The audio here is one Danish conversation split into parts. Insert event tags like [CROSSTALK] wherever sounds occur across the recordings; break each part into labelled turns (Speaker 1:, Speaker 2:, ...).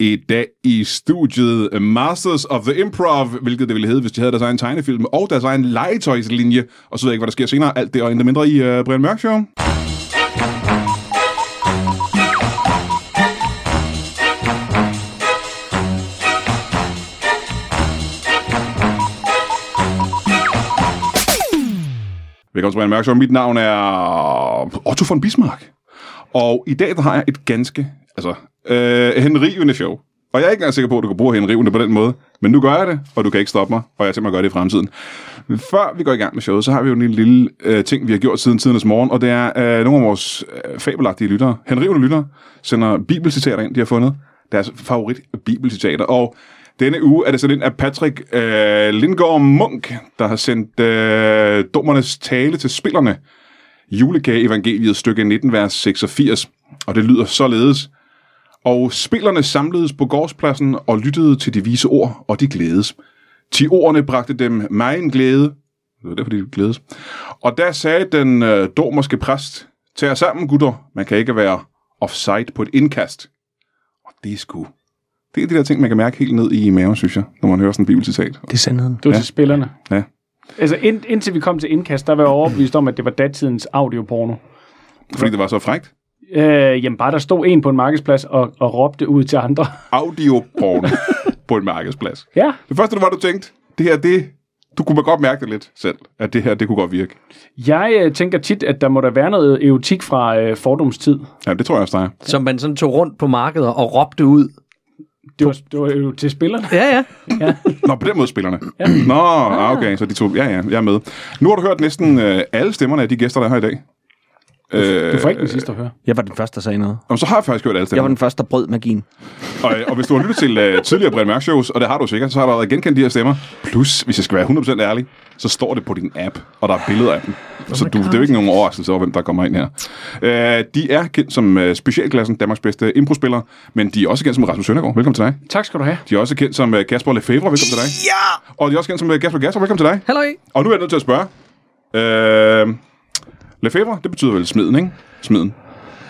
Speaker 1: I dag i studiet Masters of the Improv, hvilket det ville hedde, hvis de havde deres egen tegnefilm og deres egen legetøjslinje. Og så ved jeg ikke, hvad der sker senere. Alt det og endda mindre i uh, Brian Mørk Show. Velkommen til Brian Mørk Show. Mit navn er Otto von Bismarck. Og i dag der har jeg et ganske, altså, øh, henrivende show. Og jeg er ikke engang sikker på, at du kan bruge henrivende på den måde. Men nu gør jeg det, og du kan ikke stoppe mig, og jeg tænker mig at gøre det i fremtiden. Men Før vi går i gang med showet, så har vi jo en lille, lille øh, ting, vi har gjort siden tidernes morgen, og det er øh, nogle af vores øh, fabelagtige lyttere, henrivende lyttere, sender bibelcitater ind, de har fundet. Deres favorit bibelcitater. Og denne uge er det sådan ind af Patrick øh, Lindgaard Munk, der har sendt øh, dommernes tale til spillerne julegageevangeliet, stykke 19, vers 86. Og det lyder således. Og spillerne samledes på gårdspladsen og lyttede til de vise ord, og de glædes. Ti ordene bragte dem megen glæde. Det var derfor, de glædes. Og der sagde den øh, dormerske præst, tag jer sammen, gutter. Man kan ikke være offside på et indkast. Og det er sgu... Det er de der ting, man kan mærke helt ned i maven, synes jeg, når man hører sådan en bibelcitat.
Speaker 2: Det er sandheden.
Speaker 3: Det var ja. til spillerne.
Speaker 1: Ja.
Speaker 3: Altså ind, indtil vi kom til indkast, der var jeg overbevist om, at det var datidens audioporno.
Speaker 1: Fordi det var så frægt.
Speaker 3: Øh, jamen bare der stod en på en markedsplads og, og råbte ud til andre. [LAUGHS]
Speaker 1: Audioporno på en markedsplads.
Speaker 3: Ja,
Speaker 1: Det første, det var, du tænkte, det her, det... Du kunne godt mærke det lidt selv, at det her, det kunne godt virke.
Speaker 3: jeg øh, tænker tit, at der må der være noget erotik fra øh, fordomstid.
Speaker 1: Ja, det tror jeg også, der er.
Speaker 2: Som man sådan tog rundt på markedet og råbte ud.
Speaker 3: Det var, det var jo til spillerne.
Speaker 2: Ja, ja.
Speaker 1: Nå, på den måde spillerne. Ja. [CLEARS THROAT] Nå, ah, okay, så de to... Ja, ja, jeg er med. Nu har du hørt næsten øh, alle stemmerne af de gæster, der er her i dag. Øh,
Speaker 3: Du får ikke den sidste at høre.
Speaker 2: Jeg var den første, der sagde noget.
Speaker 1: jamen, så har jeg faktisk hørt alle
Speaker 2: Jeg var
Speaker 1: stemmerne.
Speaker 2: den første, der brød magien.
Speaker 1: Og, øh, og hvis du har lyttet til øh, tidligere Brian Mørk shows, og det har du sikkert, så har du allerede genkendt de her stemmer. Plus, hvis jeg skal være 100% ærlig, så står det på din app, og der er billeder af dem. Så du, det er jo ikke nogen overraskelse over, hvem der kommer ind her. Øh, de er kendt som øh, specialklassen, Danmarks bedste improspillere, men de er også kendt som Rasmus Søndergaard. Velkommen til dig.
Speaker 3: Tak skal du have.
Speaker 1: De er også kendt som øh, Kasper Lefebvre. Velkommen til dig.
Speaker 2: Ja!
Speaker 1: Og de er også kendt som øh, Kasper Gasser. Velkommen til dig.
Speaker 2: Hallo.
Speaker 1: Og nu er jeg nødt til at spørge. Øh, Lefebvre, det betyder vel smiden, ikke? Smiden.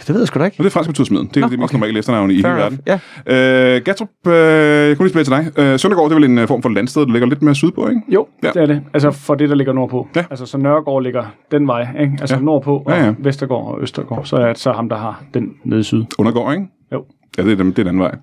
Speaker 2: Det ved jeg sgu da ikke.
Speaker 1: Og det er fransk betyder smiden. Det er Nå, det mest okay. normale efternavn i hele
Speaker 2: Fair
Speaker 1: verden.
Speaker 2: enough. Ja.
Speaker 1: Øh, Gatrup, øh, jeg kunne lige spørge til dig. Øh, Søndergaard, det er vel en øh, form for landsted, der ligger lidt mere sydpå, ikke?
Speaker 3: Jo,
Speaker 1: Ja.
Speaker 3: ja. det er det. Altså for det, der ligger nordpå.
Speaker 1: Ja.
Speaker 3: Altså så Nørregård ligger den vej, ikke? Altså
Speaker 1: Ja.
Speaker 3: ja. nordpå og
Speaker 1: Ja, ja.
Speaker 3: Vestergård og Østergård. Så er det så ham, der har den nede i syd.
Speaker 1: Undergård, ikke?
Speaker 3: Jo.
Speaker 1: Ja, det er, dem, det er den anden vej.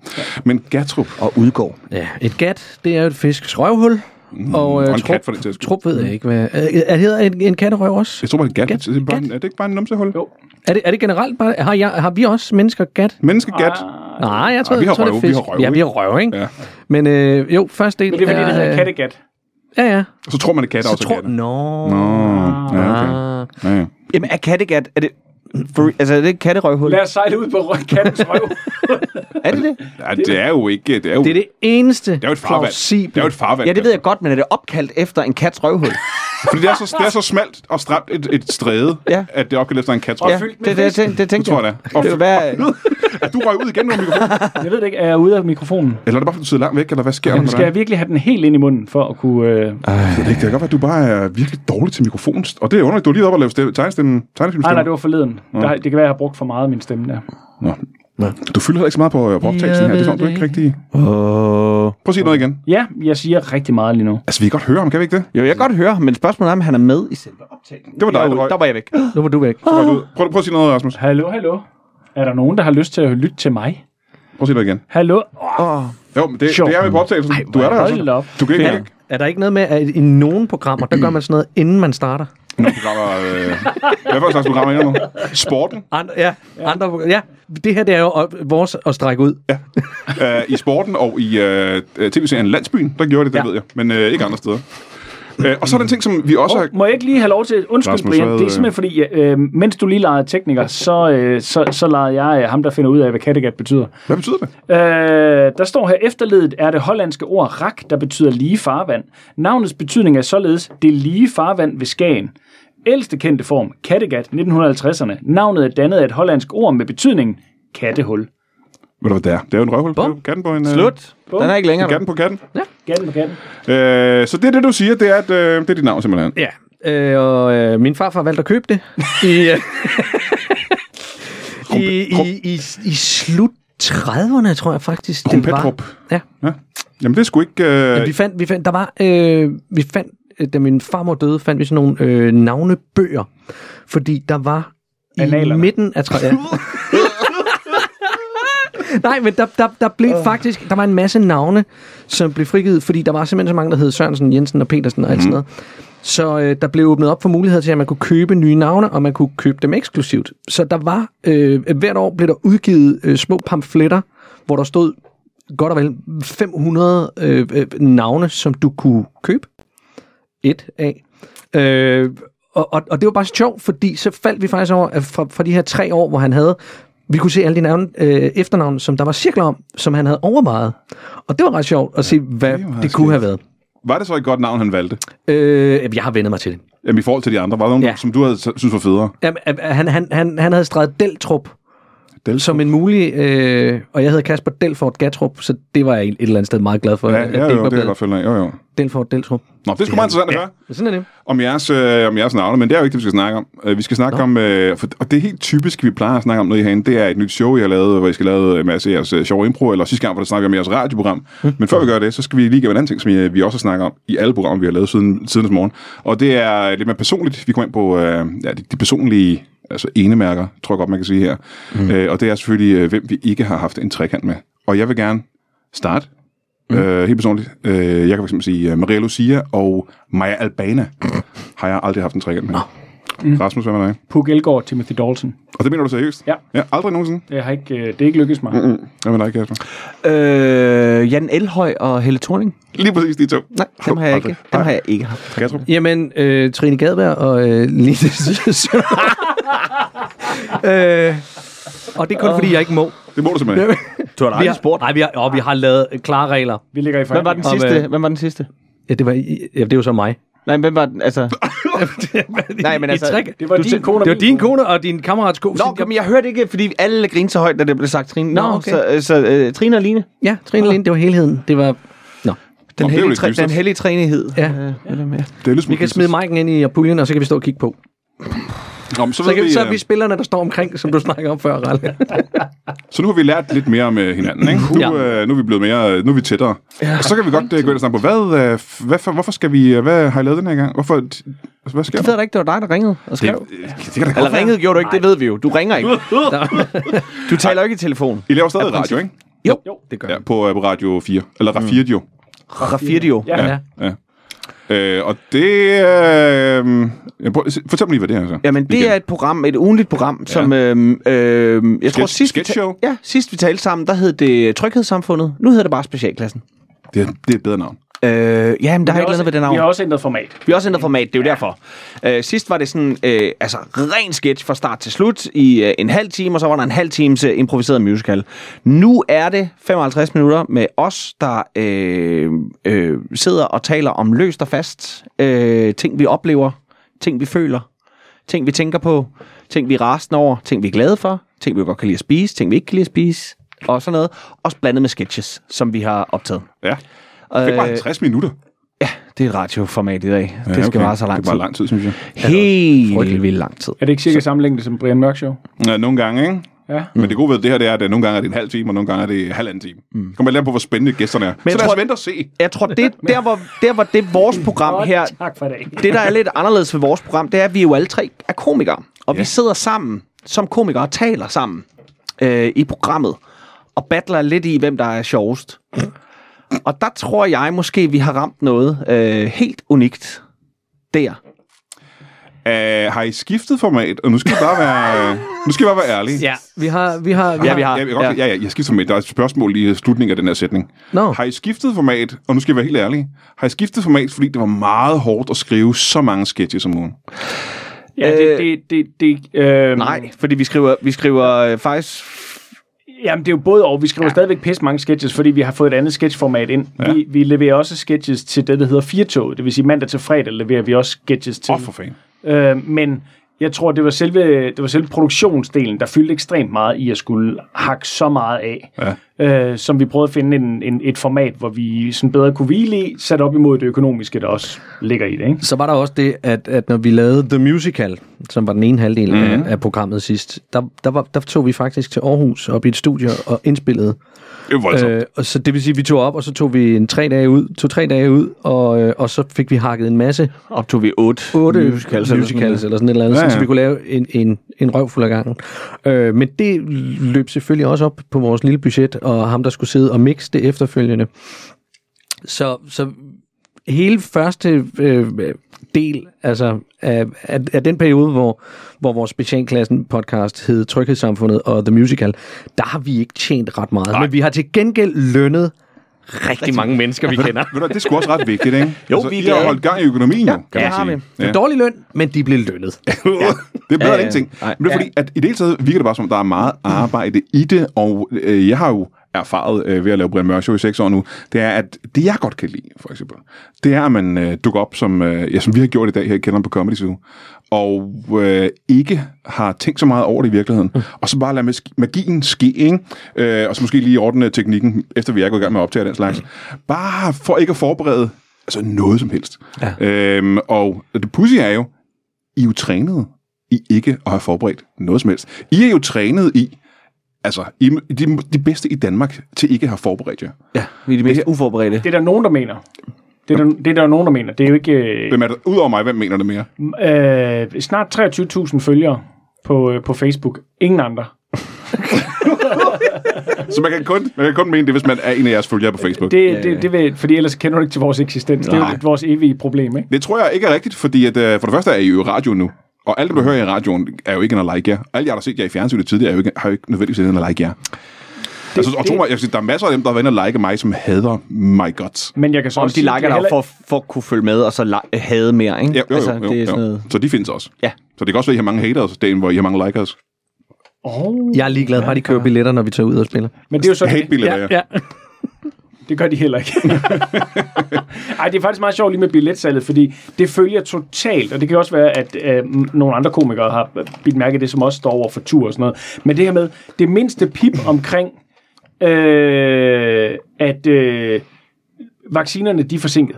Speaker 1: Men Gatrup,
Speaker 2: Og udgår. Ja, et gat, det er jo et fiskes røvhul. Mm, og, øh,
Speaker 1: og en
Speaker 2: trup,
Speaker 1: kat for Mm. den sags skyld.
Speaker 2: trup ved jeg ikke, hvad... Øh, Er, hedder en, en katterøv også?
Speaker 1: jeg tror bare, det er gat.
Speaker 2: Gat.
Speaker 1: Det er, bare, en-
Speaker 2: Gat.
Speaker 1: er det ikke bare en numsehul?
Speaker 3: Jo.
Speaker 2: Er det, er det generelt bare... Har, jeg, har vi også mennesker gat?
Speaker 1: Menneskegat.
Speaker 3: Ah,
Speaker 2: Nej, jeg tror,
Speaker 1: Ej, vi har
Speaker 2: jeg tror det
Speaker 1: røve,
Speaker 2: er
Speaker 1: vi
Speaker 2: fisk.
Speaker 1: har røve,
Speaker 2: ja, vi
Speaker 1: ikke?
Speaker 2: har røv, ikke?
Speaker 1: Ja.
Speaker 2: Men øh, jo, første del
Speaker 3: men det er fordi, det hedder
Speaker 2: øh,
Speaker 3: kattegat.
Speaker 2: Ja, ja.
Speaker 1: Så tror man, det er katter
Speaker 2: Så
Speaker 1: også er
Speaker 2: tror...
Speaker 1: katter.
Speaker 2: Nå.
Speaker 1: Nå, ja, okay.
Speaker 2: Ah.
Speaker 1: Ja, ja.
Speaker 4: Jamen, er kattegat, er det... For, altså, er det et katterøvhul?
Speaker 3: Lad os sejle ud på rød- kattens røv. [LAUGHS]
Speaker 4: Er det det?
Speaker 1: Ja, det er jo ikke... Det er jo,
Speaker 2: Det er det eneste
Speaker 1: Det er jo et farvand.
Speaker 2: plausible.
Speaker 1: Det er jo et farvand.
Speaker 4: Ja, det ved jeg godt, men er det opkaldt efter en kats røvhul?
Speaker 1: Fordi det er, så, det er så smalt og stramt et, et stræde,
Speaker 4: Ja.
Speaker 1: at det er opkaldt efter en kat, tror
Speaker 3: Og
Speaker 1: jeg.
Speaker 4: ja,
Speaker 3: fyldt med
Speaker 4: det, det,
Speaker 3: fisk.
Speaker 4: det, det
Speaker 1: Det
Speaker 4: tænkte
Speaker 1: tror jeg da. Og
Speaker 4: Det kan være...
Speaker 1: at du røg ud igen med mikrofonen.
Speaker 3: [LAUGHS] Jeg ved det ikke, er jeg ude af mikrofonen?
Speaker 1: Eller er det bare, fordi du sidder langt væk, eller hvad sker der
Speaker 3: Jamen,
Speaker 1: med
Speaker 3: skal jeg
Speaker 1: dig?
Speaker 3: virkelig have den helt ind i munden, for at kunne... Øh...
Speaker 1: Det, det kan godt være, at du bare er virkelig dårlig til mikrofonen. Og det er underligt, du er lige oppe og lave stemme, tegnestemme,
Speaker 3: Nej, nej, det
Speaker 1: tegnefilmstemme.
Speaker 3: var forleden. Der, det kan være, jeg har brugt for meget af min stemme der.
Speaker 1: Du fylder heller ikke så meget på, øh, på optagelsen her. Det er sådan, du ikke rigtig...
Speaker 4: Oh.
Speaker 1: Prøv at sige noget igen.
Speaker 3: Ja, jeg siger rigtig meget lige nu.
Speaker 1: Altså, vi kan godt høre ham, kan vi ikke det?
Speaker 4: Jo, jeg kan godt høre, men spørgsmålet er, om han er med i selve optagelsen.
Speaker 1: Det var dig, der
Speaker 4: jo,
Speaker 1: røg.
Speaker 4: der var jeg væk.
Speaker 2: Nu var du væk.
Speaker 1: Røg
Speaker 3: Øh.
Speaker 1: du ud. Prøv, prøv at sige noget, Rasmus.
Speaker 3: Hallo, hallo. Er der nogen, der har lyst til at lytte til mig?
Speaker 1: Prøv at sige noget igen.
Speaker 3: Hallo?
Speaker 4: Oh.
Speaker 1: Jo, men det,
Speaker 3: Sjov.
Speaker 1: det er med på optagelsen. du er der, altså.
Speaker 3: Hold
Speaker 1: Rasmus.
Speaker 3: da op.
Speaker 1: Du kan ikke...
Speaker 2: Ja. Er der ikke noget med, at i nogle programmer, der gør man sådan noget, inden man starter?
Speaker 1: Nogle programmer... Øh... Hvad for en slags programmer er det nu? Sporten?
Speaker 2: Andre, ja, andre, ja, det her det er jo øh, vores at strække ud. Ja.
Speaker 1: øh, i sporten og i øh, øh, tv-serien Landsbyen, der gjorde det, det ja.
Speaker 2: Ja.
Speaker 1: ved jeg, men øh, ikke andre steder. Øh, og så er den ting, som vi også har...
Speaker 3: Må jeg ikke lige have lov til... Undskyld,
Speaker 1: Rasmus,
Speaker 3: Rasmus, Brian.
Speaker 1: hvad,
Speaker 3: Det er simpelthen fordi, øh, mens du lige legede tekniker, så, øh, så, så legede jeg øh, ham, der finder ud af, hvad kattegat betyder.
Speaker 1: Hvad betyder det?
Speaker 3: Øh, der står her, efterledet er det hollandske ord rak, der betyder lige farvand. Navnets betydning er således det lige farvand ved Skagen. Ældste kendte form, Kattegat, 1950'erne. Navnet er dannet af et hollandsk ord med betydningen kattehul.
Speaker 1: Ved du, hvad det er? Det er jo en røvhul. Det er jo Katten på en... Øh,
Speaker 4: Slut. Den er ikke længere.
Speaker 1: Katten på katten.
Speaker 3: Katten på katten.
Speaker 1: Øh, så det er det, du siger, det er, at, øh, det er dit navn simpelthen.
Speaker 2: ja. Øh, og øh, min farfar valgte at købe [LAUGHS] det i, øh, i, i, i, i slut
Speaker 5: 30'erne, tror jeg faktisk, det
Speaker 1: Krumpetrup.
Speaker 5: var. Ja.
Speaker 1: Ja. Jamen, det er sgu ikke...
Speaker 5: Men
Speaker 1: Øh,
Speaker 5: vi fandt, vi fandt, der var, øh, vi fandt, øh, da min farmor døde, fandt vi sådan nogle øh, navnebøger, fordi der var i
Speaker 3: Analerne.
Speaker 5: midten af tre... Ja. Nej, men der, der, der blev faktisk, der var en masse navne, som blev frigivet, fordi der var simpelthen så mange, der hed Sørensen, Jensen og Petersen og alt sådan noget. Så øh, der blev åbnet op for muligheder til, at man kunne købe nye navne, og man kunne købe dem eksklusivt. Så der var, øh, hvert år blev der udgivet øh, små pamfletter, hvor der stod godt og vel 500 øh, øh, navne, som du kunne købe. Et af. Øh, og, og, og det var bare sjovt, fordi så faldt vi faktisk over, at fra, fra de her tre år, hvor han havde, vi kunne se alle de navne, øh, efternavne, som der var cirkler om, som han havde overvejet. Og det var ret sjovt at se, hvad
Speaker 1: jo
Speaker 5: det,
Speaker 1: ret
Speaker 5: det kunne have været.
Speaker 1: var det så et godt navn, han valgte?
Speaker 5: Øh, jeg har vendet mig til det.
Speaker 1: Jamen, i forhold til de andre. Var der nogen, ja.
Speaker 5: Ja.
Speaker 1: som du havde synes var federe?
Speaker 5: Jamen, øh, han, han, han, han havde streget Deltrup
Speaker 1: Deltrup.
Speaker 5: som en mulig, øh, og jeg hedder Kasper Delfort Gatrup, så det var jeg et eller andet sted meget glad for.
Speaker 1: Ja,
Speaker 5: at
Speaker 1: ja
Speaker 5: det
Speaker 1: jo, det
Speaker 5: ikke var
Speaker 1: kan jeg
Speaker 5: blevet
Speaker 1: godt følge af. Jo, jo.
Speaker 5: Delfort Deltrup.
Speaker 1: Nå, det er sgu meget interessant at høre.
Speaker 5: Men sådan er det.
Speaker 1: om jeres, øh, om jeres navne, men det er jo ikke det, vi skal snakke om. Øh, vi skal snakke Nå. om, øh, for, og det er helt typisk, vi plejer at snakke om noget i herinde, det er et nyt show, jeg har lavet, hvor I skal lave en masse af jeres øh, sjove impro, eller sidste gang, hvor der snakker vi om jeres radioprogram. Men før vi gør det, så skal vi lige give en anden ting, som øh, vi også snakker om i alle programmer, vi har lavet siden, siden morgen. Og det er lidt mere personligt. Vi kommer ind på øh, ja, de, de personlige altså enemærker, tror jeg godt, man kan sige her. Mm. Øh, og det er selvfølgelig, øh, hvem vi ikke har haft en trekant med. Og jeg vil gerne starte Mm. Øh, helt personligt. Øh, jeg kan for eksempel sige uh, Maria Lucia og Maja Albana har jeg aldrig haft en trekant med. Mm. Rasmus, hvad med dig?
Speaker 3: Puk Elgård, Timothy Dalton.
Speaker 1: Og det mener du seriøst?
Speaker 3: Ja.
Speaker 1: ja aldrig nogensinde.
Speaker 3: Jeg har ikke, øh, det er ikke lykkedes mig. Mm-hmm.
Speaker 1: Hvad med dig, Kasper?
Speaker 4: Øh, Jan Elhøj og Helle Thorning?
Speaker 1: Lige præcis de to.
Speaker 4: Nej, dem har jeg
Speaker 1: aldrig.
Speaker 4: ikke. Dem har jeg ikke haft.
Speaker 1: Kasper?
Speaker 5: Jamen, øh, Trine Gadberg og øh, Line Søndergaard. øh, og det er kun, fordi jeg ikke må.
Speaker 1: Det må du simpelthen.
Speaker 4: Du har
Speaker 5: Vi har, spurgt. Nej, vi har, åh, vi har lavet øh, klare regler.
Speaker 3: Vi ligger i
Speaker 4: Hvem var den
Speaker 3: forhandlinger.
Speaker 4: sidste? Hvem var den sidste?
Speaker 5: Ja, det, var, ja, det var så mig.
Speaker 4: Nej, hvem var den? Altså, Nej, men
Speaker 5: I
Speaker 4: altså,
Speaker 5: træk-
Speaker 3: Det var
Speaker 5: du
Speaker 3: din
Speaker 5: sagde-
Speaker 3: kone og
Speaker 5: Det var
Speaker 3: min
Speaker 5: din
Speaker 3: kone.
Speaker 5: kone og din kammerats kone.
Speaker 4: Nå,
Speaker 5: Sådan,
Speaker 4: men jeg hørte ikke, fordi alle grinede så højt, da det blev sagt Trine. Nå,
Speaker 5: Nå,
Speaker 4: okay.
Speaker 5: okay.
Speaker 4: Så, øh, så uh, Trine og Line.
Speaker 5: Ja, Trine Lind, det var helheden. Det var... Nå.
Speaker 1: Nå,
Speaker 4: Den,
Speaker 1: det er jo
Speaker 4: hellige,
Speaker 1: lidt
Speaker 4: træ,
Speaker 1: dystert.
Speaker 4: den hellige træenighed.
Speaker 5: Ja.
Speaker 4: Øh, hvad er det med?
Speaker 1: Det er lidt
Speaker 5: Vi kan smide Mike'en ind i puljen, og så kan vi stå og kigge på.
Speaker 1: Nå, men så,
Speaker 5: Så,
Speaker 1: ved
Speaker 5: kan vi, så er
Speaker 1: vi,
Speaker 5: vi
Speaker 1: øh,
Speaker 5: spillerne, der står omkring, som du snakker om før, Ralle.
Speaker 1: så nu har vi lært lidt mere om øh, hinanden, ikke? Nu, ja. øh, nu er vi blevet mere, øh, nu er vi tættere. Ja. Og så kan vi godt øh, gå ind og snakke på, hvad, øh, f- hvad, for, hvorfor skal vi, øh, hvad har I lavet den her gang? Hvorfor, altså, hvad sker
Speaker 4: Jeg
Speaker 1: der?
Speaker 4: ved da ikke, det var dig, der ringede og
Speaker 1: Det,
Speaker 4: skrev. Det,
Speaker 1: øh, det kan da godt
Speaker 4: Eller
Speaker 1: være.
Speaker 4: ringede gjorde du ikke, det ved vi jo. Du
Speaker 1: [LAUGHS]
Speaker 4: ringer ikke. du taler jo ikke i telefon.
Speaker 1: I laver stadig radio, ikke?
Speaker 5: Jo, det gør
Speaker 1: Ja, på øh, på Radio 4. Eller Rafirdio. Mm.
Speaker 4: Rafirdio.
Speaker 3: Ja.
Speaker 5: Ja.
Speaker 1: Ja. Øh, og det... Øh, jeg prøver, se- fortæl mig lige, hvad det er, altså. så.
Speaker 4: Jamen, det
Speaker 1: Igen.
Speaker 4: er et program, et ugenligt program, som... Øhm, øhm, jeg tror,
Speaker 1: Sketch-
Speaker 4: sidst, vi
Speaker 1: sketch show?
Speaker 4: ta- ja, sidst vi talte sammen, der hed det Tryghedssamfundet. Nu hedder det bare Specialklassen.
Speaker 1: Det er, det er et bedre navn.
Speaker 4: Øh, ja, men der er et
Speaker 3: Vi har
Speaker 4: eller
Speaker 3: også-
Speaker 4: andet ved det
Speaker 3: Vi
Speaker 4: navn.
Speaker 3: har også ændret format.
Speaker 4: Vi har også ændret format, det er jo derfor. Øh, sidst var det sådan, øh, altså ren sketch fra start til slut i øh, en halv time, og så var der en halv times øh, improviseret musical. Nu er det 55 minutter med os, der øh, øh, sidder og taler om løst og fast. Øh, ting vi oplever, ting vi føler, ting vi tænker på, ting vi er rasende over, ting vi er glade for, ting vi godt kan lide at spise, ting vi ikke kan lide at spise, og sådan noget. Også blandet med sketches, som vi har optaget.
Speaker 1: Ja. Det er bare 50 minutter.
Speaker 4: Øh, Det er et radioformat i dag. Ja, det
Speaker 1: Ja,
Speaker 4: skal vare så lang
Speaker 1: Det er
Speaker 4: tid.
Speaker 1: bare lang tid, synes jeg.
Speaker 4: Helt vildt lang tid.
Speaker 3: Er det ikke cirka samme længde som Brian Mørk Show?
Speaker 1: Ja, nogle gange, ikke?
Speaker 3: Ja.
Speaker 1: Men det gode ved det her, det er, at nogle gange er det en halv time, og nogle gange er det halvanden time. Mm. Det kommer lidt an på, hvor spændende gæsterne er. Men så
Speaker 4: jeg
Speaker 1: lad
Speaker 4: tror-
Speaker 1: os vente og se.
Speaker 4: Jeg tror, det, der, hvor, der hvor det vores program
Speaker 3: Godt,
Speaker 4: her,
Speaker 3: tak for i dag.
Speaker 4: det der er lidt anderledes ved vores program, det er, at vi jo alle tre er komikere. Og vi sidder sammen som komikere og taler sammen øh, i programmet. Og battler lidt i, hvem der er sjovest. Og der tror jeg måske, vi har ramt noget øh, helt unikt der.
Speaker 1: Uh, har I skiftet format? Og nu skal I bare være, nu skal I bare være ærlige.
Speaker 5: Ja, vi har... Vi har, vi
Speaker 4: Ja,
Speaker 5: har
Speaker 4: vi har.
Speaker 1: Ja, jeg, kan godt, ja. ja, ja, jeg skifter format. Der er et spørgsmål lige i slutningen af den her sætning.
Speaker 5: Nå.
Speaker 1: Har I skiftet format, og nu skal jeg være helt ærlig, har I skiftet format, fordi det var meget hårdt at skrive så mange sketches om ugen?
Speaker 3: Ja, det... det, det, det øh,
Speaker 4: Øh, Nej, fordi vi skriver, vi skriver øh, faktisk...
Speaker 3: Jamen, det er jo både og. Vi skriver ja. stadigvæk pisse mange sketches, fordi vi har fået et andet sketchformat ind. Ja. Vi, vi leverer også sketches til det, der hedder Firtoget. Det vil sige, mandag til fredag leverer vi også sketches til.
Speaker 1: Åh, oh, for fanden.
Speaker 3: Øh, men Jeg tror, det var selve, det var selve produktionsdelen, der fyldte ekstremt meget i at skulle hakke så meget af, ja. øh, som vi prøvede at finde en, en, et format, hvor vi sådan bedre kunne hvile i, sat op imod det økonomiske, der også ligger i det. Ikke?
Speaker 5: Så var der også det, at, at når vi lavede The Musical, som var den ene halvdel mm-hmm. af, af programmet sidst, der, der, var, der tog vi faktisk til Aarhus op i et studie og indspillede.
Speaker 1: Det er voldsomt.
Speaker 5: Øh, og så det vil sige, at vi tog op, og så tog vi en tre dage ud, tog tre dage ud, og, øh, og så fik vi hakket en masse
Speaker 4: Optog vi otte,
Speaker 5: otte
Speaker 4: musicals. eller sådan
Speaker 5: musicals eller sådan et eller andet,
Speaker 1: Ja,
Speaker 5: ja, ja. så
Speaker 1: ja.
Speaker 5: vi kunne lave en, en, en røvfuld af gangen. Øh, men det løb selvfølgelig også op på vores lille budget, og ham, der skulle sidde og mixe det efterfølgende. Så, så hele første øh, del altså, af, af, af den periode, hvor, hvor vores specialklassen podcast hed Tryghedssamfundet og The Musical, der har vi ikke tjent ret meget. Men vi har til gengæld lønnet rigtig mange mennesker, vi kender.
Speaker 1: Ved du, det er sgu også ret vigtigt, ikke? Altså,
Speaker 4: Jo, vi
Speaker 1: I
Speaker 4: er
Speaker 1: har
Speaker 4: glade.
Speaker 1: holdt gang i økonomien, jo, kan
Speaker 5: Det
Speaker 1: man
Speaker 5: har
Speaker 1: sige.
Speaker 5: vi. Det er dårlig løn, men de blev lønnet.
Speaker 1: det er bedre ja,
Speaker 4: [LAUGHS] Ja, ja.
Speaker 1: end ingenting.
Speaker 4: Nej.
Speaker 1: Men det er fordi, at i det hele taget virker det bare som, der er meget arbejde i det, og øh, jeg har jo erfaret øh, ved at lave Brian Mørk Show i seks år nu, det er, at det jeg godt kan lide, for eksempel, det er, at man øh, dukker op, som, øh, ja, som vi har gjort i dag her i kælderen på Comedy Zoo, og øh, ikke har tænkt så meget over det i virkeligheden, mm. og så bare lade mas- magien ske, ikke? Øh, og så måske lige ordne teknikken, efter vi er gået i gang med at optage den slags. Bare for ikke at forberede altså noget som helst. Ja. Øhm, og det pussy er jo, i er jo trænet i ikke at have forberedt noget som helst. I er jo trænet i, altså, I, er de, de bedste i Danmark til ikke at have forberedt jer.
Speaker 4: Ja, vi er de mest uforberedte.
Speaker 3: Det er der nogen, der mener. Det er der, det er der nogen, der mener. Det er jo ikke... øh,
Speaker 1: Hvem er det? Udover mig, hvem mener det mere?
Speaker 3: øh, snart 23.000 følgere på, øh, på Facebook. Ingen andre.
Speaker 1: Så man kan kun, man kan kun mene det, hvis man er en af jeres følgere på Facebook. Det,
Speaker 3: Det, det, det vil, fordi ellers kender du ikke til vores eksistens. Nej. Det er
Speaker 1: Nej.
Speaker 3: jo vores evige problem, ikke?
Speaker 1: det tror jeg ikke er rigtigt, fordi at, øh, for det første er I jo i radioen nu. Og alt, det, du hører i radioen, er jo ikke en at like jer. Alle jer, der har set jer i fjernsynet tidligere, er jo ikke, har jo ikke nødvendigvis en at like jer. Det, altså, og tro mig, jeg vil sige, der er masser af dem, der har været inde og like mig, som hader my guts.
Speaker 3: Men jeg kan så
Speaker 4: Om
Speaker 3: også
Speaker 4: de
Speaker 3: sige,
Speaker 4: liker dig
Speaker 3: er heller-
Speaker 4: for, for at kunne følge med, og så la- hade mere, ikke?
Speaker 1: Ja, jo, jo,
Speaker 4: altså,
Speaker 1: jo, jo,
Speaker 4: det er sådan
Speaker 1: jo.
Speaker 4: noget...
Speaker 1: Så de findes også.
Speaker 4: Ja.
Speaker 1: Så det kan også være, at I har mange haters, dagen, hvor I har mange likers.
Speaker 3: Åh,
Speaker 5: Jeg er ligeglad, bare de køber billetter, når vi tager ud og spiller.
Speaker 3: men det er jo så
Speaker 1: Hate-billeder, ja.
Speaker 5: ja.
Speaker 3: Det gør de heller ikke. Ej, det er faktisk meget sjovt lige med billetsalget, fordi det følger totalt, og det kan også være, at øh, m- nogle andre komikere har bidt mærke i det, som også står over for tur og sådan noget. Men det her med det mindste pip omkring, øh, at øh, vaccinerne de er forsinket,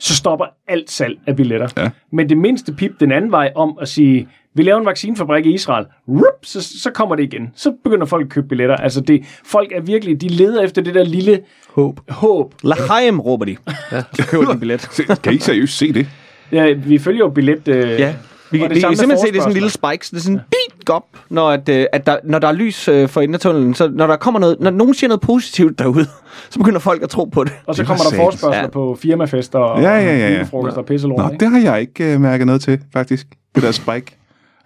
Speaker 3: så stopper alt salg af billetter.
Speaker 1: Ja.
Speaker 3: Men det mindste pip den anden vej om at sige, vi laver en vaccinefabrik i Israel, Rup, så, så kommer det igen. Så begynder folk at købe billetter. Altså det, folk er virkelig, de leder efter det der lille
Speaker 5: Håb.
Speaker 3: håb.
Speaker 4: Lahaim, råber de. Ja. [LAUGHS] Så køber de en billet.
Speaker 1: Se- Kan I seriøst se det?
Speaker 3: Ja, vi følger jo billet... Øh,
Speaker 4: Ja. Vi,
Speaker 3: og
Speaker 4: kan,
Speaker 3: det
Speaker 4: vi
Speaker 3: samme
Speaker 4: kan
Speaker 3: med
Speaker 4: simpelthen se, det er sådan en lille
Speaker 3: forespørgsler.
Speaker 4: spike, så det er sådan ja. dit op, når, at, øh, at der, når der er lys øh, for enden af tunnelen, så når der kommer noget, når nogen siger noget positivt derude, [LAUGHS] så begynder folk at tro på det.
Speaker 3: Og så
Speaker 1: Det
Speaker 3: kommer
Speaker 1: var
Speaker 3: der
Speaker 1: satans.
Speaker 3: forspørgseler
Speaker 4: Ja.
Speaker 3: ja. på firmafester og
Speaker 1: Ja, ja, ja, ja.
Speaker 3: julefrokoster og pisselort.
Speaker 1: Nå, det har jeg ikke øh, mærket noget til, faktisk. Det der spike.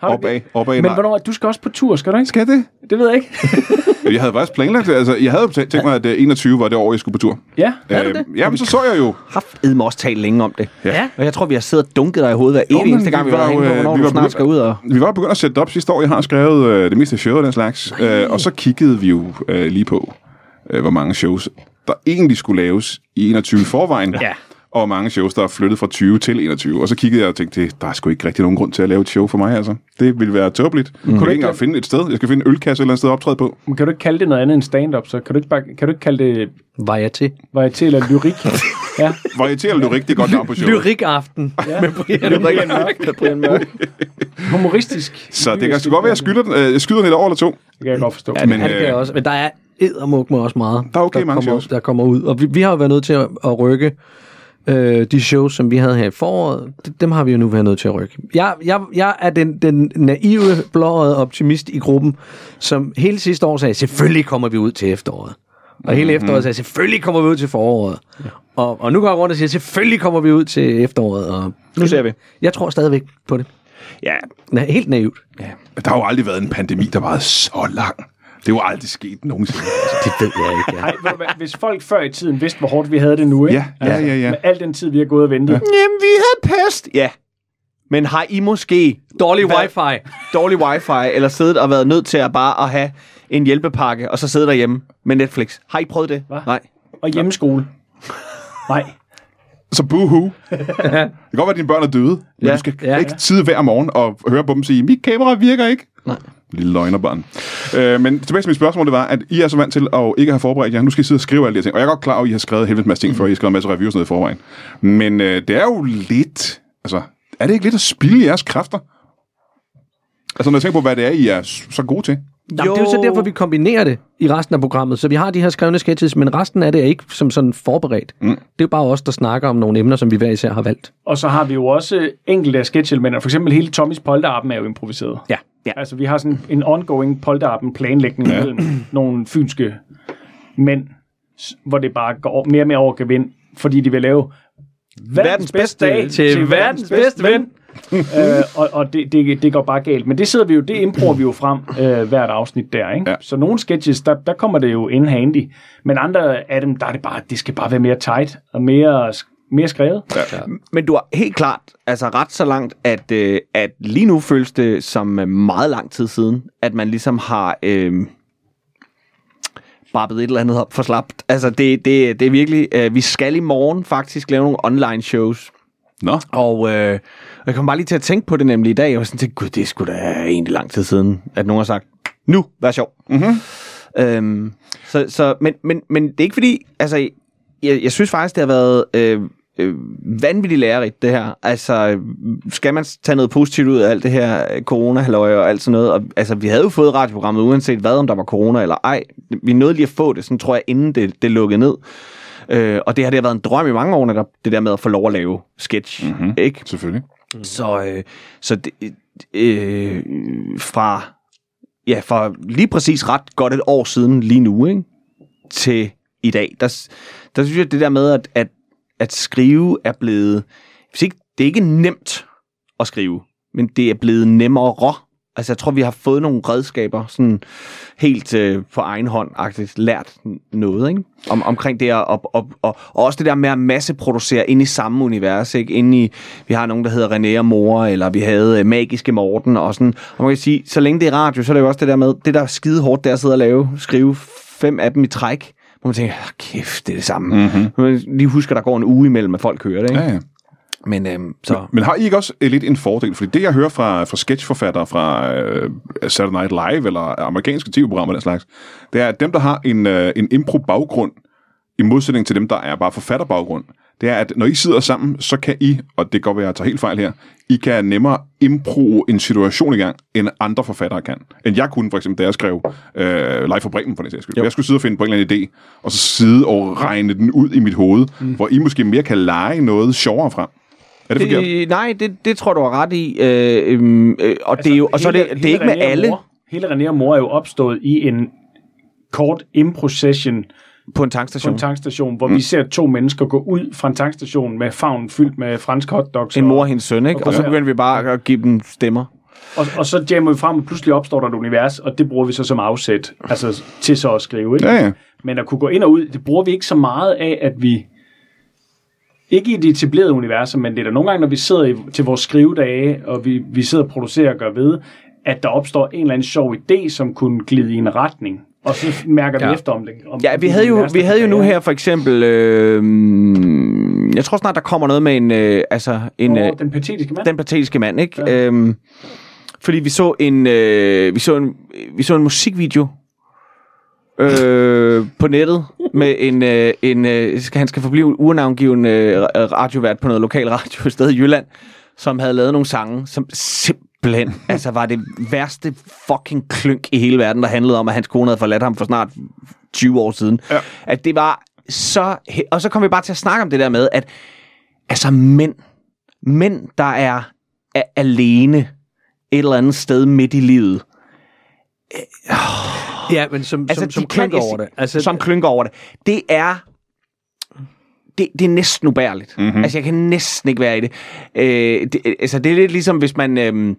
Speaker 3: du
Speaker 1: opad, opad.
Speaker 3: Men
Speaker 1: nej.
Speaker 3: hvornår, du skal også på tur, skal du ikke?
Speaker 1: Skal det?
Speaker 3: Det ved jeg ikke. [LAUGHS]
Speaker 1: Jeg havde faktisk planlagt det. Altså, jeg havde jo tæ- tænkt mig, at øh, 21 var det år, jeg skulle på tur.
Speaker 3: ja.
Speaker 1: Øh, ja, men så så jeg jo.
Speaker 4: Haft mig også talt længe om det.
Speaker 5: Ja.
Speaker 4: Og jeg tror, vi har siddet og dunket dig i hovedet hver evig
Speaker 1: men
Speaker 4: eneste gang, vi
Speaker 1: vi
Speaker 4: var
Speaker 1: var
Speaker 4: herinde
Speaker 1: jo,
Speaker 4: på,
Speaker 1: øh,
Speaker 4: hvornår
Speaker 1: vi
Speaker 4: du
Speaker 1: var
Speaker 4: snart
Speaker 1: begyndt-
Speaker 4: skal ud og...
Speaker 1: Vi var begyndt at sætte det op sidste år. Jeg har skrevet øh, det meste af showet og den slags. Øh, og så kiggede vi jo øh, lige på, øh, hvor mange shows, der egentlig skulle laves i 21 i forvejen.
Speaker 5: Ja.
Speaker 1: Og hvor mange shows, der er flyttet fra 20 til 21. Og så kiggede jeg og tænkte, der er sgu ikke rigtig nogen grund til at lave et show for mig, altså. Det ville være tåbeligt. Mm. Kunne jeg ikke engang finde et sted? Jeg skal finde en ølkasse et eller andet sted at optræde på.
Speaker 3: Men kan du ikke kalde det noget andet end stand-up, så kan du ikke, bare, kan du ikke kalde det
Speaker 5: Var jeg til?
Speaker 3: varieté eller lyrik? ja.
Speaker 1: Varieterer du rigtig godt navn på showet?
Speaker 5: Lyrikaften.
Speaker 3: ja. Med Brian Mørk. Brian Mørk. Humoristisk.
Speaker 1: Så det kan sgu godt være, at jeg skylder den, øh, jeg skyder den et år eller to.
Speaker 3: Det kan jeg godt forstå.
Speaker 1: Ja, men,
Speaker 5: Ja, det kan jeg
Speaker 1: øh,
Speaker 5: også. Men der er eddermuk med også meget,
Speaker 1: Der er okay
Speaker 5: der,
Speaker 1: mange
Speaker 5: kommer,
Speaker 1: shows.
Speaker 5: der kommer ud. Og vi, vi har jo været nødt til at, at rykke øh, de shows, som vi havde her i foråret. d- Dem har vi jo nu været nødt til at rykke. Jeg, jeg, jeg er den, den naive, blåøjede optimist i gruppen, som hele sidste år sagde, selvfølgelig kommer vi ud til efteråret. Og hele
Speaker 1: Mhm.
Speaker 5: efteråret sagde, selvfølgelig kommer vi ud til foråret. Og, og nu går jeg rundt og siger, selvfølgelig kommer vi ud til efteråret. Og
Speaker 4: Nu ser vi.
Speaker 5: jeg tror stadigvæk på det.
Speaker 4: Ja,
Speaker 5: Na, helt naivt.
Speaker 1: Der har jo aldrig været en pandemi, der varede så lang. Det er jo aldrig sket nogensinde.
Speaker 5: Det ved jeg ikke.
Speaker 2: [LAUGHS]
Speaker 5: Ja.
Speaker 3: Ej, ved du hvad, hvis folk før i tiden vidste, hvor hårdt vi havde det nu, ikke? Altså,
Speaker 1: Ja, ja, ja, ja.
Speaker 3: Med al den tid, vi har gået og ventet. Ja.
Speaker 4: Jamen, vi havde pest. Ja. Men har I måske
Speaker 5: Dårlig
Speaker 4: Hvad-
Speaker 5: wifi.
Speaker 4: dårlig wifi, eller siddet og været nødt til at bare at have en hjælpepakke, og så sidde derhjemme med Netflix? Har I prøvet det?
Speaker 3: Hva?
Speaker 4: Nej.
Speaker 3: Og hjemmeskole. Nej.
Speaker 1: Så [LAUGHS] boohoo. det kan godt være, at dine børn er døde, men
Speaker 4: Ja,
Speaker 1: du skal
Speaker 2: ja,
Speaker 1: ja, ikke tidde hver morgen og høre på dem sige, mit kamera virker ikke. Nej. Lille løgnerbarn. Øh, men tilbage til mit spørgsmål, det var, at I er så vant til at ikke have forberedt jer. Nu skal I sidde og skrive alle de her ting. Og jeg er godt klar over, at I har skrevet helvedes masse ting, før I har skrevet en masse reviews ned i forvejen. Men øh, det er jo lidt... Altså, er det ikke lidt at spille jeres kræfter? Altså, når jeg tænker på, hvad det er, I er s- så gode til.
Speaker 2: Nå, men det er jo så
Speaker 4: Jo.
Speaker 2: derfor, vi kombinerer det i resten af programmet. Så vi har de her skrevne sketches, men resten af det er ikke som sådan forberedt. Mm. Det er jo bare os, der snakker om nogle emner, som vi hver især har valgt.
Speaker 3: Og så har vi jo også enkelte af sketchelementer. For eksempel hele Tommys polterappen er jo improviseret.
Speaker 2: Ja.
Speaker 4: Ja.
Speaker 3: Altså, vi har sådan en ongoing polterappen planlægning ja. mellem nogle fynske mænd, s- hvor det bare går mere og mere over gevind, fordi de vil lave verdens,
Speaker 4: Verdens
Speaker 3: bedste
Speaker 4: bedste
Speaker 3: dag til, til verdens bedste ven. øh, og og det, det, det går bare galt. Men det sidder vi jo, det improver vi jo frem øh, hvert afsnit der, ikke?
Speaker 1: Ja.
Speaker 3: Så nogle sketches, der, der kommer det jo in handy. Men andre af dem, der er det bare, det skal bare være mere tight og mere, mere skrevet.
Speaker 4: Men du har helt klart altså ret så langt, at, øh, at lige nu føles det som øh, meget lang tid siden, at man ligesom har øh, barbet et eller andet op for slapt. Altså det, det, det er virkelig, øh, vi skal i morgen faktisk lave nogle online shows.
Speaker 1: Nå,
Speaker 4: Og øh, jeg kom bare lige til at tænke på det nemlig i dag. Jeg var sådan til, gud, det er sgu da egentlig lang tid siden, at nogen har sagt, nu, vær sjov. Mm-hmm. Øhm, så, så, men, men, men det er ikke fordi, altså, jeg, jeg synes faktisk, det har været øh, øh, vanvittigt lærerigt, det her. Altså, øh, skal man tage noget positivt ud af alt det her øh, corona-halløj og alt sådan noget? Og, altså, vi havde jo fået radioprogrammet, uanset hvad, om der var corona eller ej. Vi nåede lige at få det, sådan tror jeg, inden det, det lukkede ned. Øh, og det har det har været en drøm i mange år, netop, det der med at få lov at lave sketch, mm-hmm. ikke?
Speaker 1: selvfølgelig.
Speaker 4: Så, øh, så det, øh, fra, ja, fra lige præcis ret godt et år siden lige nu, ikke? til i dag, der, s- der synes jeg, at det der med, at, at, at skrive er blevet... Hvis ikke, det er ikke nemt at skrive, men det er blevet nemmere. Altså, jeg tror, vi har fået nogle redskaber, sådan helt øh, på egen hånd, agtigt lært n- noget, ikke? Om, omkring det her, og, og, og, og også det der med at masseproducere inde i samme univers, ikke? Inde i, vi har nogen, der hedder René og Mor, eller vi havde øh, Magiske Morten, og sådan. Og man kan sige, så længe det er radio, så er det jo også det der med, det der er skide hårdt, det er at sidde og lave, skrive fem af dem i træk, hvor man tænker, "Ah, kæft, det er det samme. Mm-hmm. Man lige husker, der går en uge imellem, at folk hører det, ikke?
Speaker 1: Ja, ja.
Speaker 4: Men øhm, så...
Speaker 1: Men har I ikke også øh, lidt en fordel? Fordi det, jeg hører fra, fra sketchforfattere fra øh, Saturday Night Live eller amerikanske tv-programmer og den slags, det er, at dem, der har en, øh, en impro-baggrund, i modsætning til dem, der er bare forfatterbaggrund, det er, at når I sidder sammen, så kan I, og det kan godt være, at jeg tager helt fejl her, I kan nemmere impro en situation i gang, end andre forfattere kan. End jeg kunne, for eksempel, da jeg skrev øh, Live for Bremen, for den sags skyld. Jeg skulle sidde og finde på en eller anden idé, og så sidde og regne den ud i mit hoved, mm. hvor I måske mere kan lege noget sjovere frem. Er det, det forkert?
Speaker 4: Det, nej, det, det tror du har ret i. Øh, øhm, øh, og
Speaker 3: Altså,
Speaker 4: det er jo, og så er det, det er ikke med
Speaker 3: René og
Speaker 4: alle
Speaker 3: Mor, hele René og mor er jo opstået i en kort impro-session
Speaker 4: på en
Speaker 3: på
Speaker 4: tankstation.
Speaker 3: en tankstation, hvor mm. vi ser to mennesker gå ud fra en tankstation med favnen fyldt med fransk hotdogs.
Speaker 4: en mor og
Speaker 3: Og,
Speaker 4: hendes søn, ikke? Og så
Speaker 3: Ja.
Speaker 4: begyndte vi bare at give dem stemmer.
Speaker 3: og, og så jammer vi frem, og pludselig opstår der et univers, og det bruger vi så som afsæt altså, til så at skrive. Ikke?
Speaker 1: Ja, ja.
Speaker 3: Men at kunne gå ind og ud, det bruger vi ikke så meget af, at vi... Ikke i de etablerede universer, men det er der nogle gange, når vi sidder i, til vores skrivedage, og vi, vi sidder og producerer og gør ved, at der opstår en eller anden sjov idé, som kunne glide i en retning. Og så mærker ja. vi efter om det. Om
Speaker 4: Ja, vi havde jo, vi havde jo nu her for eksempel... Øh, jeg tror snart, der kommer noget med en... Øh, altså en øh,
Speaker 3: den patetiske mand.
Speaker 4: den patetiske mand, ikke? Ja. Øhm, fordi vi så en, øh, vi så en, vi så en musikvideo øh, på nettet med en, øh, en øh, skal- han skal forblive uernavngiven øh, ra- radiovært på noget lokal radio et sted i Jylland, som havde lavet nogle sange, som simpelthen altså var det værste fucking klunk i hele verden, der handlede om, at hans kone havde forladt ham for snart 20 år siden. Ja. At det var så... he- Og så kom vi bare til at snakke om det der med, at altså mænd, mænd, der er, er alene et eller andet sted midt i livet.
Speaker 2: Ja, men som, altså, som,
Speaker 4: de
Speaker 2: som
Speaker 4: kan
Speaker 2: klynker
Speaker 4: ikke-
Speaker 2: over det.
Speaker 4: Altså, som klynker over det. Det er... Det, det er næsten
Speaker 2: Mhm.
Speaker 4: ubærligt. Mm-hmm. Altså, jeg kan næsten ikke være i det. Øh, det altså, det er lidt ligesom, hvis man... Øh,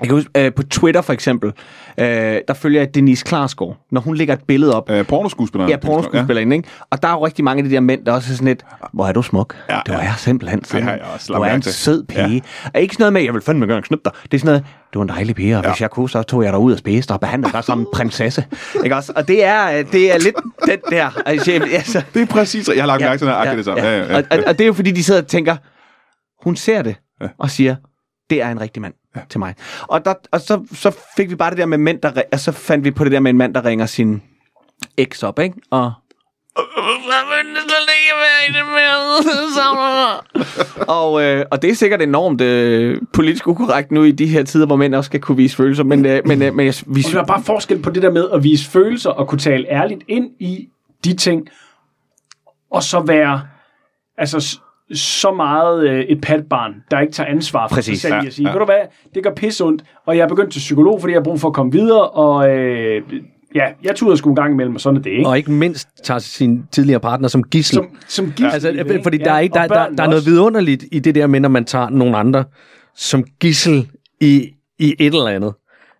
Speaker 4: Jeg kan huske, øh, på Twitter for eksempel, øh, der følger jeg Denise Klarsgaard, når hun lægger et billede op.
Speaker 1: Øh, pornoskuespilleren.
Speaker 4: Ja, pornoskuespillerinde, ikke? Og der er jo rigtig mange af de der mænd, der også er sådan lidt, hvor er du smuk.
Speaker 1: Ja,
Speaker 4: du
Speaker 1: ja.
Speaker 4: er simpelthen sådan.
Speaker 1: har jeg også lagt
Speaker 4: du er
Speaker 1: mærke
Speaker 4: en
Speaker 1: til."
Speaker 4: sød pige. Og ikke sådan noget med, jeg vil fandme gøre en knip dig. Det er sådan noget, du er en dejlig pige, og ja. hvis jeg kunne, så tog jeg dig ud og spiste dig og behandlede dig som en prinsesse. ikke også? Og det er, øh, det er lidt den der. Altså, jeg- altså,
Speaker 1: Det er præcis, jeg har lagt mærke til, at det sammen. Ja, ja,
Speaker 4: Og, og,
Speaker 1: ja.
Speaker 4: og det er jo fordi, de sidder og tænker, hun ser det ja. og siger, det er en rigtig mand ja. til mig. Og, der, og så, så fik vi bare det der med mænd, der, ri- og så fandt vi på det der med en mand, der ringer sin eks op, ikke?
Speaker 1: [LAUGHS]
Speaker 4: Og og, øh, og det er sikkert enormt øh, politisk ukorrekt nu i de her tider, hvor mænd også skal kunne vise følelser, men, øh, men, øh, men jeg, vi,
Speaker 3: Og der er bare forskel på det der med at vise følelser og kunne tale ærligt ind i de ting, og så være altså, s- så meget øh, et patbarn, der ikke tager ansvar for
Speaker 4: Præcis,
Speaker 3: sig selv.
Speaker 1: ja,
Speaker 3: Ja, sige,
Speaker 1: ja.
Speaker 3: ja. Ved du hvad, det gør pisse ondt, og jeg er begyndt til psykolog, fordi jeg har brug for at komme videre, og øh, ja, jeg tuder sgu en gang imellem, og sådan er det, ikke?
Speaker 5: Og ikke mindst tager sin tidligere partner som gissel.
Speaker 3: Som, som gissel. i det,
Speaker 5: Altså,
Speaker 3: ikke?
Speaker 5: fordi der er, ikke,
Speaker 3: og
Speaker 5: der, der,
Speaker 3: børnene
Speaker 5: der er noget
Speaker 3: også.
Speaker 5: vidunderligt i det der med, når man tager nogle andre som gissel i, i et eller andet.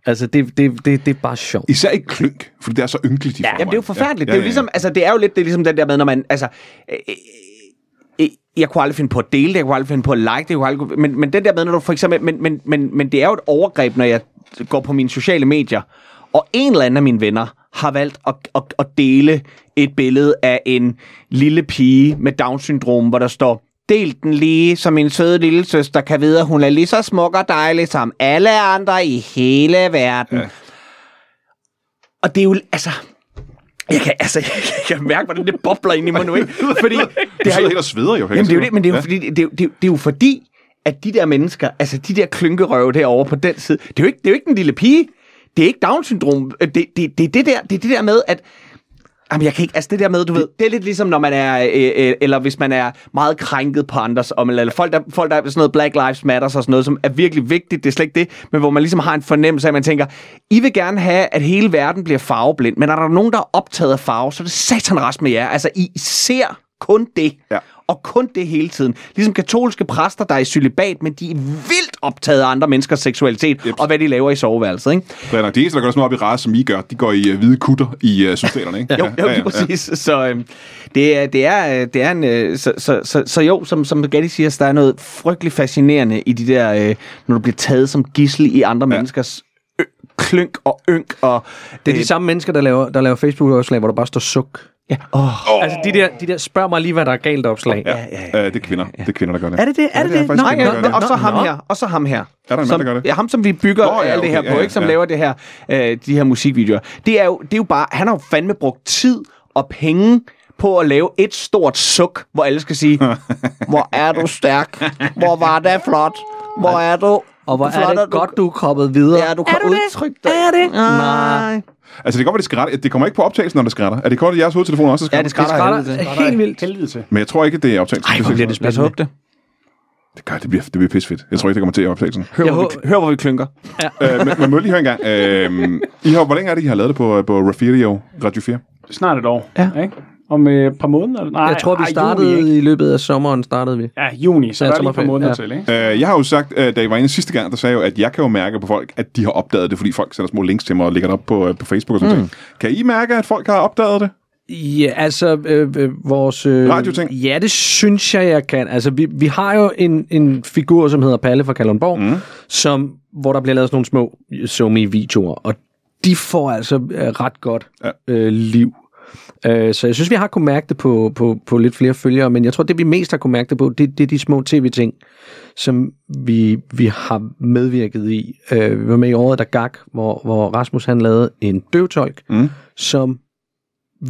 Speaker 5: Altså, det, det, det, det er bare sjovt.
Speaker 1: Især i klynk, fordi det er så ynkeligt i
Speaker 4: Ja,
Speaker 1: forvejen.
Speaker 4: jamen, det er jo forfærdeligt. Ja, ja, ja. Det er jo ligesom, altså, det er jo lidt det er ligesom den der med, når man, altså, øh, øh, øh, jeg kunne aldrig finde på at dele det, jeg kunne aldrig finde på at like det, jeg kunne aldrig, men, men den der med, når du for eksempel, men, men, men, men det er jo et overgreb, når jeg går på mine sociale medier, og en eller anden af mine venner har valgt at, at, at dele et billede af en lille pige med Down-syndrom, hvor der står, del den lige, så min søde lille søster kan vide, at hun er lige så smuk og dejlig som alle andre i hele verden. Ja. Og det er jo, altså, jeg kan, altså, [LAUGHS] jeg kan, jeg kan mærke, hvordan det bobler ind i mig nu, ikke? Fordi
Speaker 1: Det
Speaker 4: det har
Speaker 1: sidder
Speaker 4: jo...
Speaker 1: helt og sveder jo.
Speaker 4: Jamen, det er jo det, men det er jo, fordi, det, er jo, det, er jo, det er jo fordi, at de der mennesker, altså de der klynkerøve derovre på den side, det er jo ikke, det er jo ikke den lille pige. Det er ikke Down-syndrom. Øh, Det, det, det, er det, der, det er det der med, at Jamen, jeg kan ikke, altså det der med, du ved, det er lidt ligesom, når man er, øh, øh, eller hvis man er meget krænket på andres, om, eller folk der, folk der er sådan noget Black Lives Matter og sådan noget, som er virkelig vigtigt, det er slet ikke det, men hvor man ligesom har en fornemmelse af, at man tænker, I vil gerne have, at hele verden bliver farveblind, men er der nogen, der er optaget af farve, så er det satan rest med jer. Altså, I ser kun det,
Speaker 1: Ja.
Speaker 4: og kun det hele tiden. Ligesom katolske præster, der er i celibat, men de er vildt optaget af andre menneskers seksualitet,
Speaker 1: Jeps.
Speaker 4: og hvad de laver i soveværelset, ikke?
Speaker 1: Det er nok de eneste, der gør sådan noget op i race, som I gør. De går i øh, hvide kutter i øh, systemet, ikke?
Speaker 4: Jo, jo,
Speaker 1: ja,
Speaker 4: lige præcis. Så øhm, det er, det er, øh, det er en, øh, så, så, så, så jo, som, som Gatti siger, så der er noget frygtelig fascinerende i de der, øh, når du bliver taget som gissel i andre ja. menneskers ø- klynk og ynk og...
Speaker 5: Det er de samme mennesker, der laver, der laver Facebook-opslag, hvor der bare står suk.
Speaker 4: Ja. Oh,
Speaker 1: Åh,
Speaker 5: Altså, de der, de der spørg mig lige, hvad der er galt opslag.
Speaker 1: ja, ja, det er kvinder. Det er kvinder, der gør det.
Speaker 4: er det det? Er
Speaker 1: Ja,
Speaker 4: det
Speaker 1: det er
Speaker 4: det?
Speaker 1: faktisk
Speaker 4: Nej,
Speaker 1: dem, der
Speaker 4: ja,
Speaker 1: gør det.
Speaker 4: og så
Speaker 5: Nå,
Speaker 4: ham
Speaker 5: nå.
Speaker 4: her, og så ham her.
Speaker 1: der en mand,
Speaker 4: som,
Speaker 1: der gør det?
Speaker 4: Ja, ham, som vi bygger
Speaker 1: Nå,
Speaker 4: oh,
Speaker 1: ja,
Speaker 4: ja, alt det her
Speaker 1: okay,
Speaker 4: på,
Speaker 1: ja,
Speaker 4: ikke? Som
Speaker 1: ja.
Speaker 4: ja. laver det her, øh, de her musikvideoer. Det er, jo, det er jo bare, han har jo fandme brugt tid og penge på at lave et stort suk, hvor alle skal
Speaker 1: [LAUGHS]
Speaker 4: sige, hvor er du stærk, hvor var det flot, hvor er du...
Speaker 5: Og hvor er
Speaker 4: flot,
Speaker 5: det godt, du er kommet videre.
Speaker 4: Ja, du kan udtrykke dig.
Speaker 5: Er det?
Speaker 4: Nej.
Speaker 1: Altså, det kan godt være, det skrætter. Det kommer ikke på optagelsen, når det skrætter. Er det godt, at jeres hovedtelefon også er
Speaker 4: Ja,
Speaker 1: skrætter?
Speaker 4: det
Speaker 5: Det
Speaker 4: skrætter af helvede til.
Speaker 5: skrætter helt vildt.
Speaker 3: Helvede til.
Speaker 1: Men jeg tror ikke, det er optagelsen.
Speaker 4: Ej, hvor bliver det
Speaker 5: Lad os
Speaker 4: spændende.
Speaker 5: håbe
Speaker 4: det.
Speaker 1: Det, gør, det bliver, det bliver pissefedt. Jeg tror ikke, det kommer til i optagelsen.
Speaker 4: Hør,
Speaker 5: Jeg
Speaker 4: hvor vi, hør, hvor vi klynker.
Speaker 1: øh, men man må lige høre en gang. Øh, I har, hvor længe er det, I har lavet det på, på Radio, Radio 4?
Speaker 3: Snart et år,
Speaker 4: Ja.
Speaker 3: ikke? Om øh, et par måneder? Nej,
Speaker 5: Jeg tror, vi
Speaker 3: ej, Juni, ikke?
Speaker 5: startede i løbet af sommeren, startede vi.
Speaker 3: Ja, juni, så
Speaker 5: Ja,
Speaker 3: der er lige et par
Speaker 5: sommerferie,
Speaker 3: måneder til,
Speaker 5: ja.
Speaker 3: ikke?
Speaker 1: Øh, jeg har jo sagt, øh, da I var inde sidste gang, der sagde jeg jo, at jeg kan jo mærke på folk, at de har opdaget det, fordi folk sender små links til mig og lægger det op på, øh, på Facebook og sådan mm. noget. Kan I mærke, at folk har opdaget det?
Speaker 5: Ja, altså øh, øh, vores... Øh,
Speaker 1: Radioting?
Speaker 5: Ja, det synes jeg, jeg kan. Altså, vi, vi har jo en, en figur, som hedder Palle fra Kalundborg, mm. som, hvor der bliver lavet sådan nogle små somi-videoer, og de får altså øh, ret godt
Speaker 1: Ja.
Speaker 5: ja. øh, liv. Øh, så jeg synes, vi har kunnet mærke det på, på, på lidt flere følgere, men jeg tror, det vi mest har kunnet mærke det på, det, det er de små tv-ting, som vi, vi har medvirket i. Øh, vi var med i året, der gak, hvor, hvor Rasmus han lavede en døvtolk,
Speaker 1: Mm.
Speaker 5: som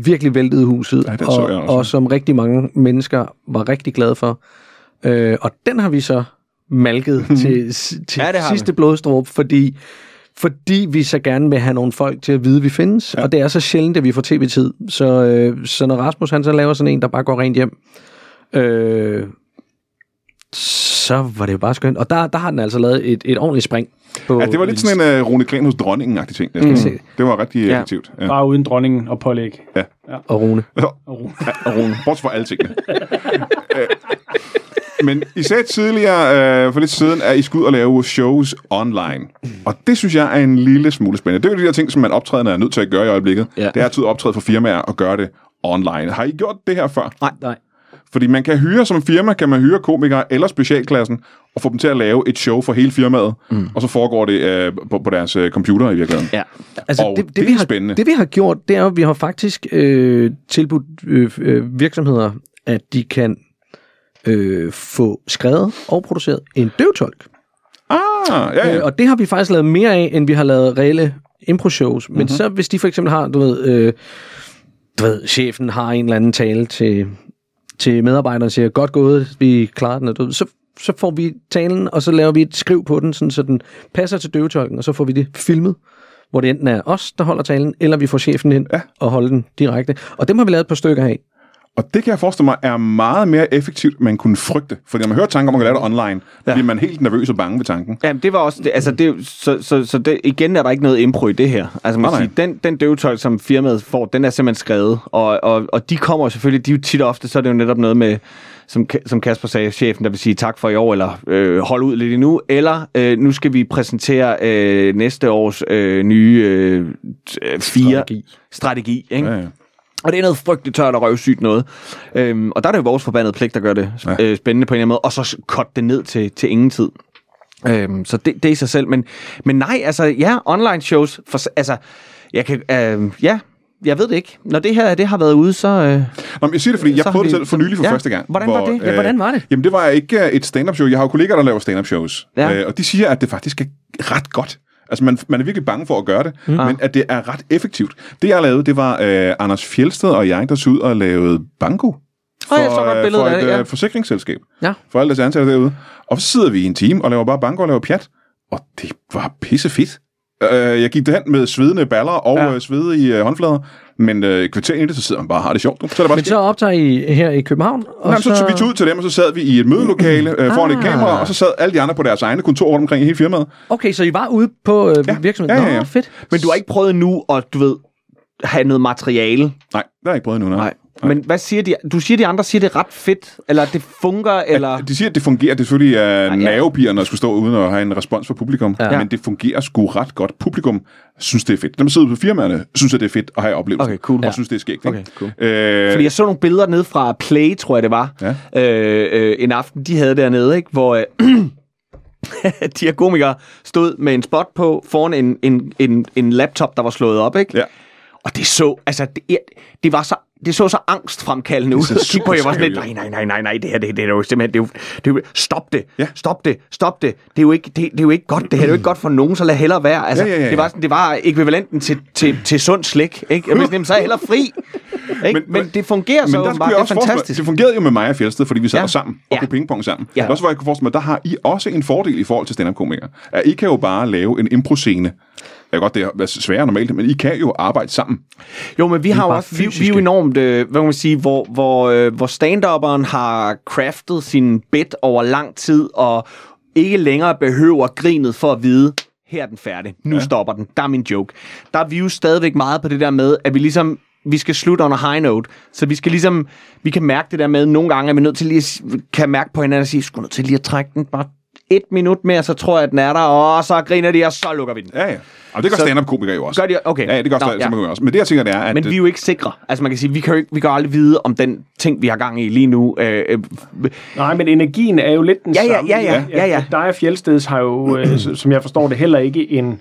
Speaker 5: virkelig væltede huset,
Speaker 1: Ja, den så
Speaker 5: og,
Speaker 1: jeg også.
Speaker 5: og som rigtig mange mennesker var rigtig glade for. Øh, og den har vi så malket til, s- til
Speaker 4: Ja, det har vi.
Speaker 5: sidste blodstrup, fordi, fordi vi så gerne vil have nogle folk til at vide, at vi findes. Ja. Og det er så sjældent, at vi får tv-tid. Så, øh, så når Rasmus han så laver sådan en, der bare går rent hjem, øh, så var det jo bare skønt. Og der, der har den altså lavet et, et ordentligt spring. På
Speaker 1: Ja, det var lidt sådan en uh, Rune Klan hos dronningen-agtig ting. Mm.
Speaker 5: se.
Speaker 1: Det var rigtig
Speaker 4: Ja.
Speaker 1: effektivt. Ja. [LAUGHS]
Speaker 3: Bare uden dronningen og pålæg.
Speaker 5: Og Rune.
Speaker 3: Og ro.
Speaker 1: [LAUGHS] Og Rune. Bortset fra alle tingene. Øh, Men I sagde tidligere, øh, for lidt siden, at I skulle ud og lave shows online. Og det synes jeg er en lille smule spændende. Det er jo de der ting, som man optrædende er nødt til at gøre i øjeblikket. Ja.
Speaker 4: Ja.
Speaker 1: Det er at tage ud og optræde for firmaer og gøre det online. Har I gjort det her før?
Speaker 4: Nej.
Speaker 2: Nej.
Speaker 1: Fordi man kan hyre som firma, kan man hyre komikere eller specialklassen, og få dem til at lave et show for hele firmaet, mm. og så foregår det øh, på, på deres øh, computer i virkeligheden.
Speaker 4: Ja.
Speaker 2: Altså,
Speaker 1: Og
Speaker 2: det, det,
Speaker 1: det er
Speaker 2: vi har,
Speaker 1: spændende.
Speaker 2: Det vi har gjort, det er jo, at vi har faktisk øh, tilbudt øh, øh, virksomheder, at de kan øh, få skrevet og produceret en døvtolk.
Speaker 1: Ah, ja,
Speaker 2: Øh,
Speaker 1: ja.
Speaker 2: og det har vi faktisk lavet mere af, end vi har lavet reelle impro-shows.
Speaker 1: Mhm.
Speaker 2: Men så hvis de for eksempel har, du ved, øh, du ved, chefen har en eller anden tale til, til medarbejderne og siger, godt gået, vi klarer den, og du ved, så, så får vi talen, og så laver vi et skriv på den, sådan, så den passer til døvetolken, og så får vi det filmet hvor det enten er os, der holder talen, eller vi får chefen ind ja. og holder den direkte. Og dem har vi lavet et par stykker af.
Speaker 1: Og det kan jeg forestille mig er meget mere effektivt, end man kunne frygte. Fordi når man hører tanker om at lave det online, ja. bliver man helt nervøs og bange ved tanken.
Speaker 4: Jamen, det var også... Det, altså, det, så så, så det, igen er der ikke noget impro i det her. Altså, man
Speaker 1: Nej,
Speaker 4: kan
Speaker 1: nej.
Speaker 4: sige, den, den døvetolk, som firmaet får, den er simpelthen skrevet. Og, og, og de kommer jo selvfølgelig... De er jo tit og ofte, så er det jo netop noget med, som, Ka- som Kasper sagde, chefen, der vil sige tak for i år, eller øh, hold ud lidt endnu, eller øh, nu skal vi præsentere øh, næste års øh, nye øh, t- øh, fire...
Speaker 2: Strategi.
Speaker 4: Strategi, ikke?
Speaker 1: Ja, ja.
Speaker 4: Og det er noget frygteligt tørt og røvsygt noget. Øhm, og der er det jo vores forbandede pligt, der gør det
Speaker 1: Ja.
Speaker 4: ja. øh, spændende på en eller anden måde, og så s- cut det ned til, til ingen tid. Øhm, så det, det er i sig selv. Men, men nej, altså ja, online shows, for, s- altså, jeg kan, øh, ja, jeg ved det ikke. Når det her det har været ude, så... Øh,
Speaker 1: Nå, men jeg siger det, fordi jeg
Speaker 4: Så har
Speaker 1: prøvede det
Speaker 4: vi-
Speaker 1: selv for nylig for ja.
Speaker 4: Ja.
Speaker 1: første gang.
Speaker 4: Hvordan var det? Ja,
Speaker 2: hvordan var det?
Speaker 1: Jamen, det var ikke øh, et stand-up show. Jeg har jo kollegaer, der laver stand-up shows.
Speaker 4: Ja.
Speaker 1: Øh, og de siger, at det faktisk er ret godt. Altså, man, man er virkelig bange for at gøre det, mm. men at det er ret effektivt. Det, jeg lavede, det var øh, Anders Fjeldsted og jeg, der tog ud og lavede banko.
Speaker 4: Åh, jeg så godt
Speaker 1: øh,
Speaker 4: billedet
Speaker 1: for
Speaker 4: af
Speaker 1: et
Speaker 4: det, ja.
Speaker 1: øh, forsikringsselskab.
Speaker 2: Ja.
Speaker 1: For alle deres ansatte derude. Og så sidder vi i en time og laver bare banko og laver pjat. Og det var pissefedt. Øh, jeg gik derhen med svedende baller og ja.
Speaker 4: Ja.
Speaker 1: øh, svede i øh, håndflader. Men øh, kvarteren i det, så sidder man bare og har det sjovt. nu. Så er det bare
Speaker 2: Men
Speaker 1: sket.
Speaker 2: så optager I her i København. Og
Speaker 1: Jamen, så, så vi tog ud til dem, og så sad vi i et mødelokale øh, foran ah. et
Speaker 2: Ah.
Speaker 1: kamera, og så sad alle de andre på deres egne kontor rundt omkring i hele firmaet.
Speaker 2: Okay, så I var ude på øh,
Speaker 1: Ja.
Speaker 2: virksomheden?
Speaker 1: Ja, ja, ja.
Speaker 2: Nå, fedt.
Speaker 4: men du har ikke prøvet nu at, du ved, have noget materiale.
Speaker 1: Nej, det har jeg ikke prøvet endnu. Nej.
Speaker 4: Nej. Men hvad siger de? Du siger, de andre siger, det er ret fedt, eller det fungerer, eller...
Speaker 1: At, de siger, at det fungerer. Det er selvfølgelig øh,
Speaker 4: ja.
Speaker 1: nervepigerne at skulle stå uden at have en respons fra publikum, ja.
Speaker 2: Ja.
Speaker 1: men det fungerer sgu ret godt. Publikum synes, det er fedt. Dem, der sidder ude på firmaerne, synes, at det er fedt at have oplevelsen.
Speaker 4: Okay, cool.
Speaker 1: Og
Speaker 4: Ja.
Speaker 1: synes, det er skægt. Ikke?
Speaker 4: Okay, cool.
Speaker 1: Øh,
Speaker 4: Fordi jeg så nogle billeder ned fra Play, tror jeg det var,
Speaker 1: Ja.
Speaker 4: øh, øh, en aften, de havde dernede, ikke? hvor øh, [CLEARS THROAT] de her komikere stod med en spot på foran en, en, en, en laptop, der var slået op. Ikke?
Speaker 1: Ja.
Speaker 4: Og det så, altså, det, det var så det så så angstfremkaldende ud.
Speaker 1: så
Speaker 4: Så kigge på, jeg var sådan lidt,
Speaker 1: superskævt
Speaker 4: nej, nej, nej, nej, nej, det her, det, det er jo simpelthen, det er jo, det er jo, stop det,
Speaker 1: Ja.
Speaker 4: stop det, stop det, det er jo ikke, det, det er jo ikke godt, det her, det er jo ikke godt for nogen, så lad hellere være. Altså,
Speaker 1: Ja, ja, ja, ja.
Speaker 4: Det, var sådan, det var ekvivalenten til, til, til sund slik, ikke? Jeg mener, så er jeg hellere
Speaker 1: [LAUGHS]
Speaker 4: fri. Ikke?
Speaker 1: Men-
Speaker 4: Men, men, det fungerer så
Speaker 1: Men der skulle
Speaker 4: åbenbart, det
Speaker 1: jeg
Speaker 4: er
Speaker 1: også fantastisk.
Speaker 4: fantastisk.
Speaker 1: Det fungerede jo med mig og Fjeldsted, fordi vi sad
Speaker 4: Ja.
Speaker 1: ja. sammen og ja.
Speaker 4: Ja.
Speaker 1: kunne pingpong sammen. Ja.
Speaker 4: Ja.
Speaker 1: Det er også, hvor jeg kan forestille mig, der har I også en fordel i forhold til stand-up-komikere. At I kan jo bare lave en impro-scene. Jeg godt, det er sværere normalt, men I kan jo arbejde sammen.
Speaker 4: Jo, men vi, har jo
Speaker 2: bare
Speaker 4: også, vi, vi er jo
Speaker 2: fysiske.
Speaker 4: enormt, øh, hvad kan man sige, hvor, hvor, øh, hvor stand-upperen har craftet sin bit over lang tid, og ikke længere behøver grinet for at vide, her er den færdig, nu ja. stopper den, der er min joke. Der er vi jo stadigvæk meget på det der med, at vi ligesom, vi skal slutte on a high note, så vi skal ligesom, vi kan mærke det der med, nogle gange er vi nødt til lige, at s- kan mærke på hinanden og sige, sgu nødt til lige at trække den bare et minut mere, så tror jeg, at den er der, og så griner de, og så lukker vi den.
Speaker 1: Ja, ja. Og det gør
Speaker 4: Så-
Speaker 1: stand-up-komikere jo også.
Speaker 4: Gør de- okay.
Speaker 1: Ja, det gør
Speaker 4: Nå, ja.
Speaker 1: stand-up-komikere også. Men det, jeg tænker, det er, at...
Speaker 4: Men vi er jo ikke sikre. Altså man kan sige, vi kan jo ikke, vi kan jo aldrig vide, om den ting, vi har gang i lige nu... Øh, øh,
Speaker 3: Nej, men energien er jo lidt den
Speaker 4: Ja, ja,
Speaker 3: samme.
Speaker 4: ja, ja, ja, ja.
Speaker 3: Dig og Fjeldsteds har jo, øh, s- som jeg forstår det, heller ikke en...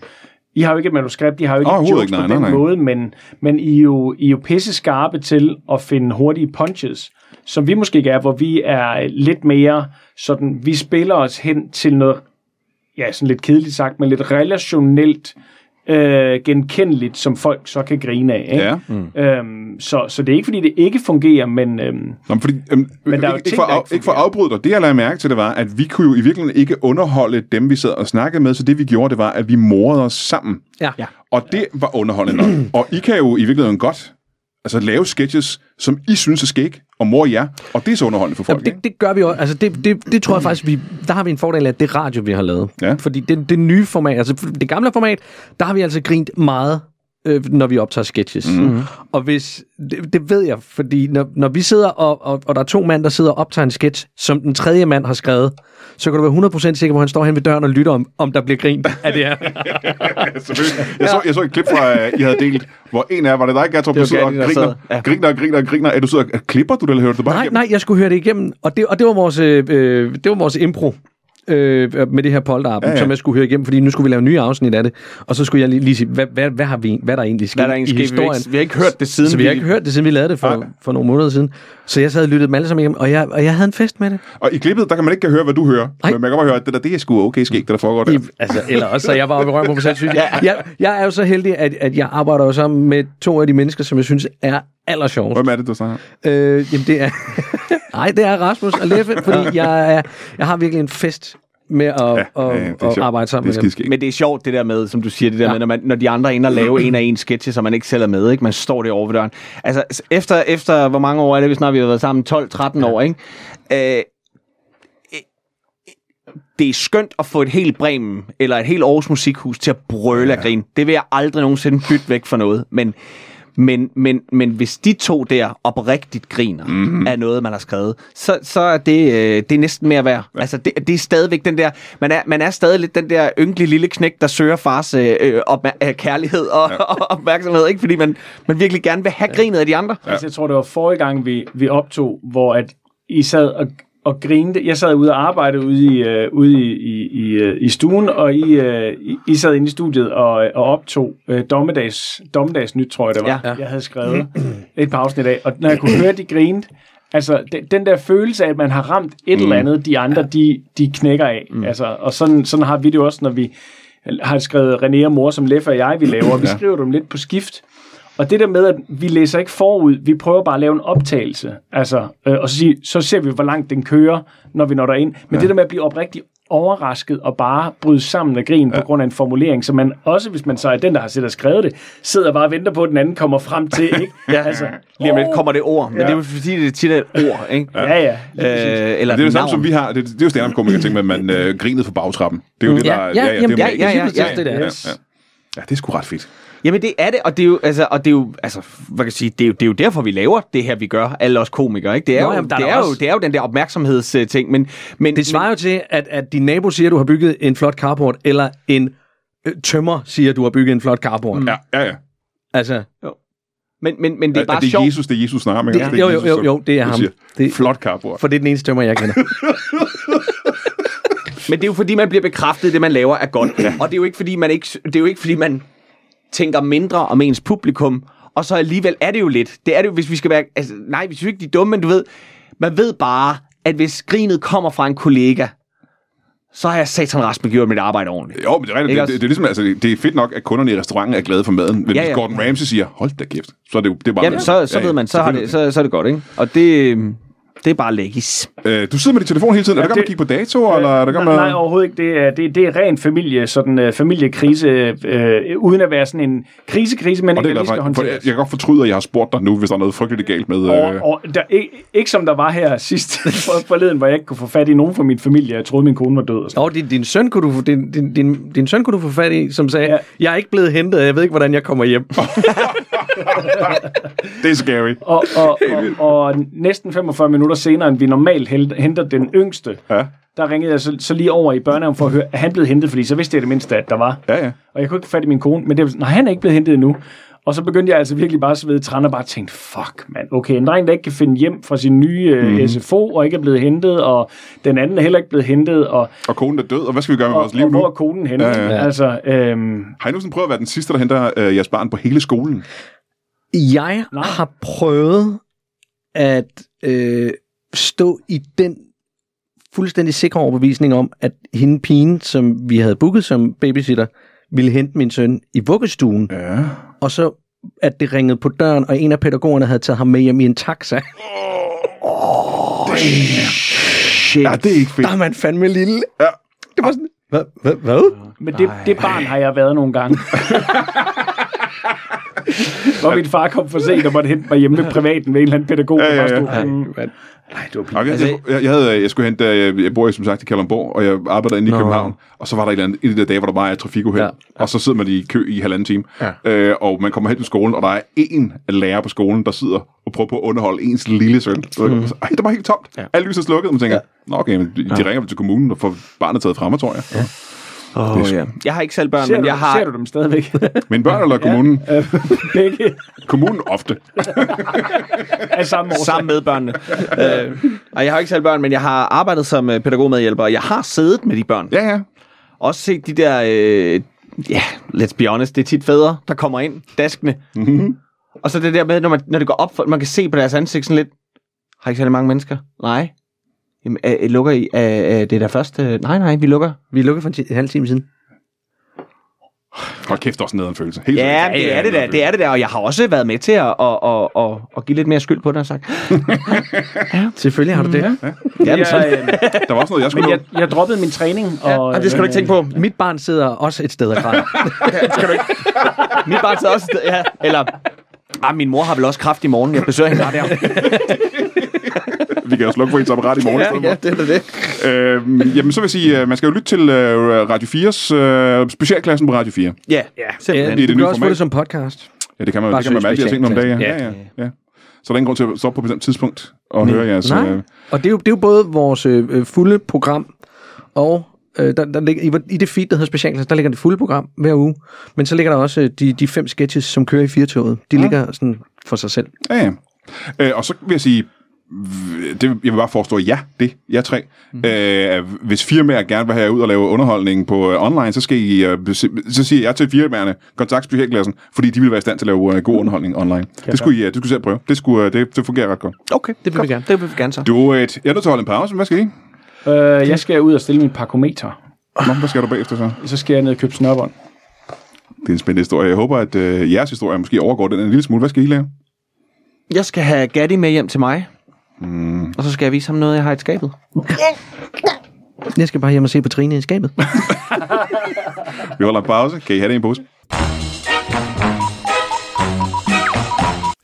Speaker 3: I har jo ikke et manuskript, de har jo ikke
Speaker 1: Overhovedet
Speaker 3: oh, jokes
Speaker 1: ikke, nej,
Speaker 3: ikke, på den
Speaker 1: nej, nej.
Speaker 3: måde, men, men I, er jo, I er jo pisse skarpe til at finde hurtige punches, som vi måske ikke er, hvor vi er lidt mere sådan, vi spiller os hen til noget, ja, sådan lidt kedeligt sagt, men lidt relationelt øh, genkendeligt, som folk så kan grine af. Ikke?
Speaker 1: Ja.
Speaker 3: Øhm, så, så det er ikke, fordi det ikke fungerer, men... Øhm,
Speaker 1: Nå, men fordi, øhm, men
Speaker 3: der er jo
Speaker 1: ikke, ikke,
Speaker 3: ting,
Speaker 1: for,
Speaker 3: der
Speaker 1: at-
Speaker 3: ikke
Speaker 1: ikke for at afbryde dig, det jeg lagde mærke til, det var, at vi kunne jo i virkeligheden ikke underholde dem, vi sad og snakkede med, så det vi gjorde, det var, at vi morede os sammen.
Speaker 2: Ja.
Speaker 4: Ja.
Speaker 1: Og det var underholdende nok.
Speaker 5: [CLEARS THROAT]
Speaker 1: og I kan jo i virkeligheden godt altså, lave sketches, som I synes er skæg, og mor jer, og det er så underholdende for folk,
Speaker 2: Jamen, det, det gør vi også. Altså, det, det, det tror jeg faktisk, vi, der har vi en fordel af det radio, vi har lavet.
Speaker 1: Ja.
Speaker 2: Fordi det, det nye format, altså det gamle format, der har vi altså grint meget
Speaker 5: øh, når vi optager sketches. Mm. Og hvis, det, det ved jeg, fordi når, når vi sidder, og, og, og der er to mænd, der sidder og optager en sketch, som den tredje mand har skrevet, så kan du være 100% sikker på, at han står hen ved døren og lytter, om, om der bliver grint af det her.
Speaker 1: Selvfølgelig. Jeg, så, jeg så et klip fra, øh, I havde delt, hvor en af jer var det dig, Gator,
Speaker 4: var
Speaker 1: der sidder og
Speaker 4: Gatti, der
Speaker 1: griner,
Speaker 4: sad. Ja.
Speaker 1: griner, og griner, og griner. Er du sidder og klipper du det, eller hører du det bare
Speaker 5: Nej,
Speaker 1: igennem?
Speaker 5: nej, jeg skulle høre det igennem, og det, og det var vores, øh, øh, det var vores impro. Øh, med det her polterappen, ja,
Speaker 1: Ja,
Speaker 5: ja.
Speaker 1: ja.
Speaker 5: som jeg skulle høre igennem, fordi nu skulle vi lave nye afsnit af det, og så skulle jeg lige, lige sige, hvad, hvad, hvad, har vi, hvad er der egentlig sket
Speaker 4: Hvad er der egentlig
Speaker 5: i
Speaker 4: sket? Vi har
Speaker 5: historien?
Speaker 4: ikke- vi har ikke hørt det siden
Speaker 5: Så vi har
Speaker 4: vi-
Speaker 5: ikke hørt det, siden vi lavede det for,
Speaker 1: Nej.
Speaker 5: for nogle måneder siden. Så jeg sad og lyttede dem alle sammen igennem, og jeg, og jeg havde en fest med det.
Speaker 1: Og i klippet, der kan man ikke høre, hvad du hører.
Speaker 5: Nej.
Speaker 1: Men man kan bare høre, at det der, det er sgu okay skægt, det der foregår der.
Speaker 5: I, altså, eller også, så jeg var oppe i røven på mig selv,
Speaker 4: [LAUGHS]
Speaker 5: synes jeg. jeg. Jeg er jo så heldig, at, at jeg arbejder jo sammen med to af de mennesker, som jeg synes er allersjovest.
Speaker 1: Hvem er det, du snakker?
Speaker 5: Øh, jamen, det er... [LAUGHS] Nej, det er Rasmus og Leffe,
Speaker 1: [LAUGHS]
Speaker 5: fordi jeg, er, jeg har virkelig en fest med at, ja, og,
Speaker 1: ja, det er
Speaker 5: at
Speaker 1: sjovt.
Speaker 5: arbejde sammen
Speaker 1: Det er
Speaker 5: med dem.
Speaker 1: skideskægt.
Speaker 4: Men det er sjovt, det der med, som du siger, det der
Speaker 5: Ja.
Speaker 4: ja. med, når, man, når de andre er inde og lave en af en sketche, som man ikke selv er med, ikke? Man står det over ved døren. Altså, s- efter, efter hvor mange år er det, hvis snart vi har været sammen? 12-13 ja. år, ikke? Øh, øh, det er skønt at få et helt Bremen eller et helt Aarhus Musikhus til at brøle ja. af grin. Det vil jeg aldrig nogensinde bytte væk for noget. Men, men, men, men hvis de to der oprigtigt griner mm-hmm. af noget, man har skrevet, så, så er det, øh, det er næsten mere værd. Ja. Altså, det, det er stadigvæk den der... Man er, man er stadig lidt den der ynkelige lille knæk, der søger fars øh, øh, opma- øh, kærlighed og, ja. [LAUGHS] og opmærksomhed, ikke? Fordi man, man virkelig gerne vil have grinet af de andre. Ja.
Speaker 3: Altså, jeg tror, det var forrige gang, vi, vi optog, hvor at I sad og, og grinte. Jeg sad ude og arbejde ude i, øh, ude i, i, i, øh, i stuen, og I, øh, I, I sad inde i studiet og, øh, og optog øh, dommedags, dommedagsnyt, tror jeg det var,
Speaker 4: Ja.
Speaker 3: ja. jeg havde [CLEARS THROAT] skrevet et par afsnit af. Og når jeg kunne høre, de grinte, altså de, den der følelse af, at man har ramt et mm. eller andet, de andre, de, de knækker af. Mm. Altså, og sådan, sådan har vi det jo også, når vi har skrevet René og mor, som Leffe og jeg, vi laver. Vi ja. skriver dem lidt på skift. Og det der med, at vi læser ikke forud, vi prøver bare at lave en optagelse, altså, øh, og så, sige, så ser vi, hvor langt den kører, når vi når derind. Men ja. det der med at blive oprigtigt overrasket og bare bryde sammen af grin ja. på grund af en formulering, så man også, hvis man så er den, der har siddet og skrevet det, sidder bare og venter på, at den anden kommer frem til, ikke? ja. Altså,
Speaker 4: Lige om lidt kommer det ord, men ja. det er jo fordi, det er tit er et ord, ikke?
Speaker 3: oh, Ja, ja. lige præcis.
Speaker 4: Øh, eller
Speaker 1: Men det er det
Speaker 4: navn.
Speaker 1: samme, som vi har. Det, det er jo stand up komikere ting med, at man øh, grinede på bagtrappen. Det er jo det, der...
Speaker 5: Mm. Ja, ja,
Speaker 1: det er
Speaker 5: jamen,
Speaker 1: jo
Speaker 5: ja,
Speaker 1: magisk.
Speaker 4: ja, ja,
Speaker 1: Lige præcis.
Speaker 5: ja, det der.
Speaker 3: Yes.
Speaker 1: Ja, ja. ja, det er sgu ret fedt.
Speaker 4: Jamen det er det, og det er jo, altså, og det er jo, altså, hvad kan jeg sige, det er jo, det er jo derfor, vi laver det her, vi gør, alle os komikere, ikke? Det er,
Speaker 5: Nå,
Speaker 4: jo,
Speaker 5: jamen, der er
Speaker 4: det
Speaker 5: da
Speaker 4: er, jo,
Speaker 5: også-
Speaker 4: det er jo den der opmærksomhedsting, men, men,
Speaker 5: Det svarer jo til, at, at din nabo siger, at du har bygget en flot carport, eller en øh, tømmer siger, at du har bygget en flot carport. Mm.
Speaker 1: Ja, ja, ja.
Speaker 5: Altså,
Speaker 4: men, men, men, det er
Speaker 1: At- at
Speaker 4: bare
Speaker 1: det er
Speaker 4: sjovt.
Speaker 1: Jesus, det er Jesus navn, ikke?
Speaker 5: Det-
Speaker 1: Det er
Speaker 5: jo, jo,
Speaker 1: Jesus,
Speaker 5: jo,
Speaker 1: som
Speaker 5: jo, det er
Speaker 1: du
Speaker 5: ham.
Speaker 1: siger.
Speaker 5: Det-
Speaker 1: Flot karbord.
Speaker 5: for det er den eneste tømmer, jeg kender.
Speaker 4: Men det er jo fordi, man bliver bekræftet, at det man laver er godt. Ja. Og det er jo ikke fordi, man ikke, det er jo ikke fordi, man tænker mindre om ens publikum, og så alligevel er det jo lidt. Det er det jo, hvis vi skal være, altså, nej, hvis vi ikke de er dumme, men du ved, man ved bare, at hvis grinet kommer fra en kollega, så har jeg satan Rasmus gjort mit arbejde ordentligt.
Speaker 1: Jo, men det er rigtigt. Det, det,
Speaker 4: Ikke også?
Speaker 1: det, er ligesom, altså, det er fedt nok, at kunderne i restauranten er glade for maden. Men ja, ja.
Speaker 4: Ja, ja.
Speaker 1: hvis Gordon Ramsay siger, hold da kæft, så er det, jo- det er bare...
Speaker 4: Jamen, så, så ved man, så, har det,
Speaker 1: selvfølgelig.
Speaker 4: så, så er det godt, ikke? Og det, øhm, det er bare lækkis.
Speaker 1: Øh, du sidder med din telefon hele tiden. Er
Speaker 3: Ja,
Speaker 1: du i gang med at
Speaker 3: det-
Speaker 1: kigge på datoer, eller er du i gang med...
Speaker 3: Nej, nej, overhovedet ikke. Det er, det, det er ren familie, sådan uh, familiekrise, øh, uden at være sådan en krisekrise, men
Speaker 1: Og
Speaker 3: ikke
Speaker 1: det er
Speaker 3: at
Speaker 1: jeg glad
Speaker 3: lige skal
Speaker 1: for, for
Speaker 3: håndtere.
Speaker 1: jeg kan godt fortryde, at jeg har spurgt dig nu, hvis der er noget frygteligt galt med... Øh,
Speaker 3: Og, og der, ikke, ikke som der var her sidst [LAUGHS] for- forleden, hvor jeg ikke kunne få fat i nogen fra min familie. Jeg troede, min kone var død. Og sådan.
Speaker 5: Og din, din, søn kunne du, få- din, din, din, din søn kunne du få fat i, som sagde, ja.
Speaker 3: Ja.
Speaker 5: jeg er ikke blevet hentet, og jeg ved ikke, hvordan jeg kommer hjem.
Speaker 1: det er scary.
Speaker 3: Og, og, og, og næsten 45 minutter senere, end vi normalt hel- henter den yngste,
Speaker 1: Ja,
Speaker 3: der ringede jeg så, så lige over i børnehaven for at høre, at han blev hentet, fordi så vidste jeg det mindste, at der var.
Speaker 1: ja, ja.
Speaker 3: Og jeg kunne ikke få fat i min kone, men det var, sådan, nej, han er ikke blevet hentet endnu. Og så begyndte jeg altså virkelig bare at svede i træerne og bare tænkte, fuck mand, okay, en dreng, der ikke kan finde hjem fra sin nye
Speaker 1: Mhm.
Speaker 3: øh, SFO og ikke er blevet hentet, og den anden er heller ikke blevet hentet, og,
Speaker 1: Og konen er død, og hvad skal vi gøre med
Speaker 3: og,
Speaker 1: vores liv
Speaker 3: og hvor er
Speaker 1: nu?
Speaker 3: konen henne?
Speaker 1: Ja, ja.
Speaker 3: Altså, øhm,
Speaker 1: Har I nogensinde prøvet at være den sidste, der henter øh, jeres barn på hele skolen?
Speaker 5: Jeg
Speaker 3: Nej.
Speaker 5: har prøvet at øh, stå i den fuldstændig sikre overbevisning om, at hende pigen, som vi havde booket som babysitter, ville hente min søn i vuggestuen,
Speaker 1: Ja.
Speaker 5: og så at det ringede på døren, og en af pædagogerne havde taget ham med hjem i en taxa.
Speaker 4: Shit.
Speaker 1: Ja, det er ikke fedt.
Speaker 5: Der er man fandme lille.
Speaker 1: Ja.
Speaker 5: Det var sådan, hvad? Hvad? hvad?
Speaker 3: [LAUGHS] Men det, det barn har jeg været nogle gange. Hvor min far kom for sent og måtte hente mig hjemme ved privaten med en eller anden pædagog.
Speaker 6: Ja, ja, ja.
Speaker 3: Nej, det var
Speaker 6: Okay, altså,
Speaker 4: Altså-
Speaker 6: jeg, jeg, jeg, havde, jeg skulle hente, øh, jeg, jeg bor jo som sagt i Kalundborg, og jeg arbejder inde i
Speaker 5: Nå.
Speaker 6: København, og så var der et eller andet, en af de der dage, hvor der bare er trafikuheld, ja.
Speaker 5: Ja.
Speaker 6: og så sidder man i kø i halvanden time,
Speaker 4: Ja.
Speaker 6: øh, og man kommer hen til skolen, og der er en lærer på skolen, der sidder og prøver på at underholde ens lille søn. Mm. Ej, der var helt tomt. Ja. Alle lyset er slukket, og man tænker, ja. Nå, okay, men de, de ringer vel til kommunen og får barnet taget frem, tror jeg. Ja.
Speaker 4: Oh, ja. Jeg har ikke selv børn,
Speaker 3: Ser
Speaker 4: men
Speaker 3: du,
Speaker 4: jeg har...
Speaker 3: ser du dem stadigvæk? [LAUGHS]
Speaker 6: Men børn eller kommunen? Ja.
Speaker 3: Begge
Speaker 6: Kommunen ofte.
Speaker 3: af samme årsag.
Speaker 4: sammen med børnene. øh, og jeg har ikke selv børn, men jeg har arbejdet som øh, pædagogmedhjælper, og jeg har siddet med de børn.
Speaker 6: Ja, ja.
Speaker 4: Også set de der, øh, ja, let's be honest, det er tit fædre, der kommer ind, daskende. Mm-hmm. Og så det der med, når, man, når det går op for, man kan se på deres ansigt sådan lidt, har I ikke særlig mange mennesker? Nej. Jamen, øh, øh, lukker I? Øh, øh, det er der første... Øh, nej, nej, vi lukker.
Speaker 5: Vi lukkede for en, ti- en halv time siden.
Speaker 6: Hold kæft, det er også en følelse. Helt
Speaker 4: Ja,
Speaker 6: seriøst.
Speaker 4: det er det der,
Speaker 6: nederen
Speaker 4: det er det der, og jeg har også været med til at, at, at, at, at give lidt mere skyld på det og sagt.
Speaker 5: Selvfølgelig har du det.
Speaker 4: Jamen, sådan.
Speaker 3: Jeg, øh,
Speaker 6: følelse. Der var også noget, jeg skulle
Speaker 3: men jeg,
Speaker 6: nå.
Speaker 3: jeg droppede min træning. Og,
Speaker 4: Jamen, det skal du ikke tænke på.
Speaker 5: Mit barn sidder også et sted og græder.
Speaker 4: Mit barn sidder også... Ja, eller... Ah, min mor har vel også kraft i morgen. Jeg besøger hende bare der.
Speaker 6: Vi kan jo slukke for ens apparat i morgen. i stedet for.
Speaker 5: det er det.
Speaker 6: Øhm, jamen, så vil jeg sige, øh, man skal jo lytte til øh, Radio 4's, øh, specialklassen på Radio 4.
Speaker 4: Ja,
Speaker 5: Ja,
Speaker 4: simpelthen.
Speaker 6: det
Speaker 5: Øh, du kan
Speaker 6: nye
Speaker 5: også
Speaker 6: format.
Speaker 5: få det som podcast.
Speaker 6: Ja, det kan man,
Speaker 5: Bare
Speaker 6: det kan man med alle de her
Speaker 5: søg
Speaker 6: ting om dagen. Ja.
Speaker 5: specialklassen.
Speaker 6: Ja, ja, ja. Så er der ingen grund til at stoppe på et bestemt tidspunkt og høre jeres...
Speaker 5: Nej.
Speaker 6: Øh,
Speaker 5: Og det er jo, det er jo både vores øh, fulde program, og øh, der, der ligger, i, i det feed, der hedder Specialklasse, der ligger det fulde program hver uge. Men så ligger der også øh, de, de fem sketches, som kører i firetoget. De ja. ligger sådan for sig selv.
Speaker 6: ja, ja. Øh, og så vil jeg sige, v- det, jeg vil bare forestå, ja, det, jeg tre.
Speaker 5: Mhm.
Speaker 6: Mm. Øh, hvis firmaer gerne vil have jer ud og lave underholdning på øh, online, så, skal I, øh, se- så siger jeg til firmaerne, kontakt specialklassen, fordi de vil være i stand til at lave øh, god underholdning online. Det skulle, I, øh, det skulle I selv prøve. Det, skulle, øh, det, det fungerer ret godt.
Speaker 4: Okay, det
Speaker 5: vil vi gerne.
Speaker 4: Det vil vi gerne så.
Speaker 6: Du, øh, jeg er nødt til at holde en pause, men hvad skal I?
Speaker 3: Øh, jeg skal ud og stille min parkometer.
Speaker 6: Nå, hvad skal du bagefter så?
Speaker 3: Så skal jeg ned og købe snørbånd.
Speaker 6: Det er en spændende historie. Jeg håber, at øh, jeres historie måske overgår den en lille smule. Hvad skal I lave?
Speaker 4: Jeg skal have Gatti med hjem til mig. Mm. Og så skal jeg vise ham noget, jeg har i et skabet.
Speaker 5: Jeg skal bare hjem og se på Trine i skabet.
Speaker 6: Vi holder en pause. Kan I have det i en pose?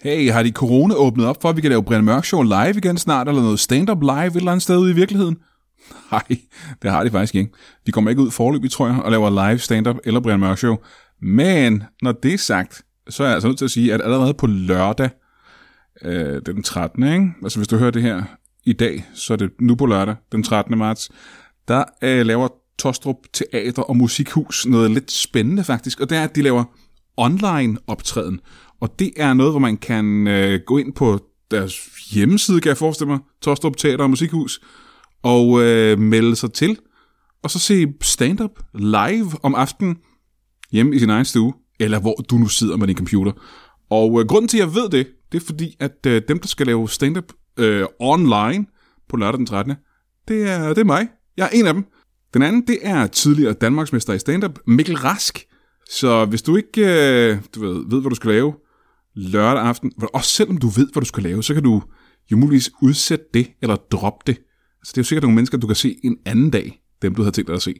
Speaker 1: Hey, har de corona åbnet op for, at vi kan lave Brian Mørk Show live igen snart, eller noget stand-up live et eller andet sted ude i virkeligheden? Nej, det har de faktisk ikke. De kommer ikke ud forløbig, tror jeg, og laver live stand-up eller Brian Mørk Show. Men når det er sagt, så er jeg altså nødt til at sige, at allerede på lørdag, øh, det er den 13. Ikke? Altså hvis du hører det her i dag, så er det nu på lørdag, den 13. marts, der øh, laver Tostrup Teater og Musikhus noget lidt spændende faktisk, og det er, at de laver online optræden. Og det er noget, hvor man kan øh, gå ind på deres hjemmeside, kan jeg forestille mig, Tostrup Teater og Musikhus, og øh, melde sig til, og så se stand-up live om aftenen hjemme i sin egen stue, eller hvor du nu sidder med din computer. Og øh, grunden til, at jeg ved det, det er fordi, at øh, dem, der skal lave stand-up øh, online på lørdag den 13., det er, det er mig. Jeg er en af dem. Den anden, det er tidligere Danmarksmester i stand-up, Mikkel Rask. Så hvis du ikke øh, du ved, ved, hvad du skal lave lørdag aften, og selvom du ved, hvad du skal lave, så kan du jo muligvis udsætte det, eller droppe det. Så det er jo sikkert nogle mennesker, du kan se en anden dag, dem du havde tænkt dig at se.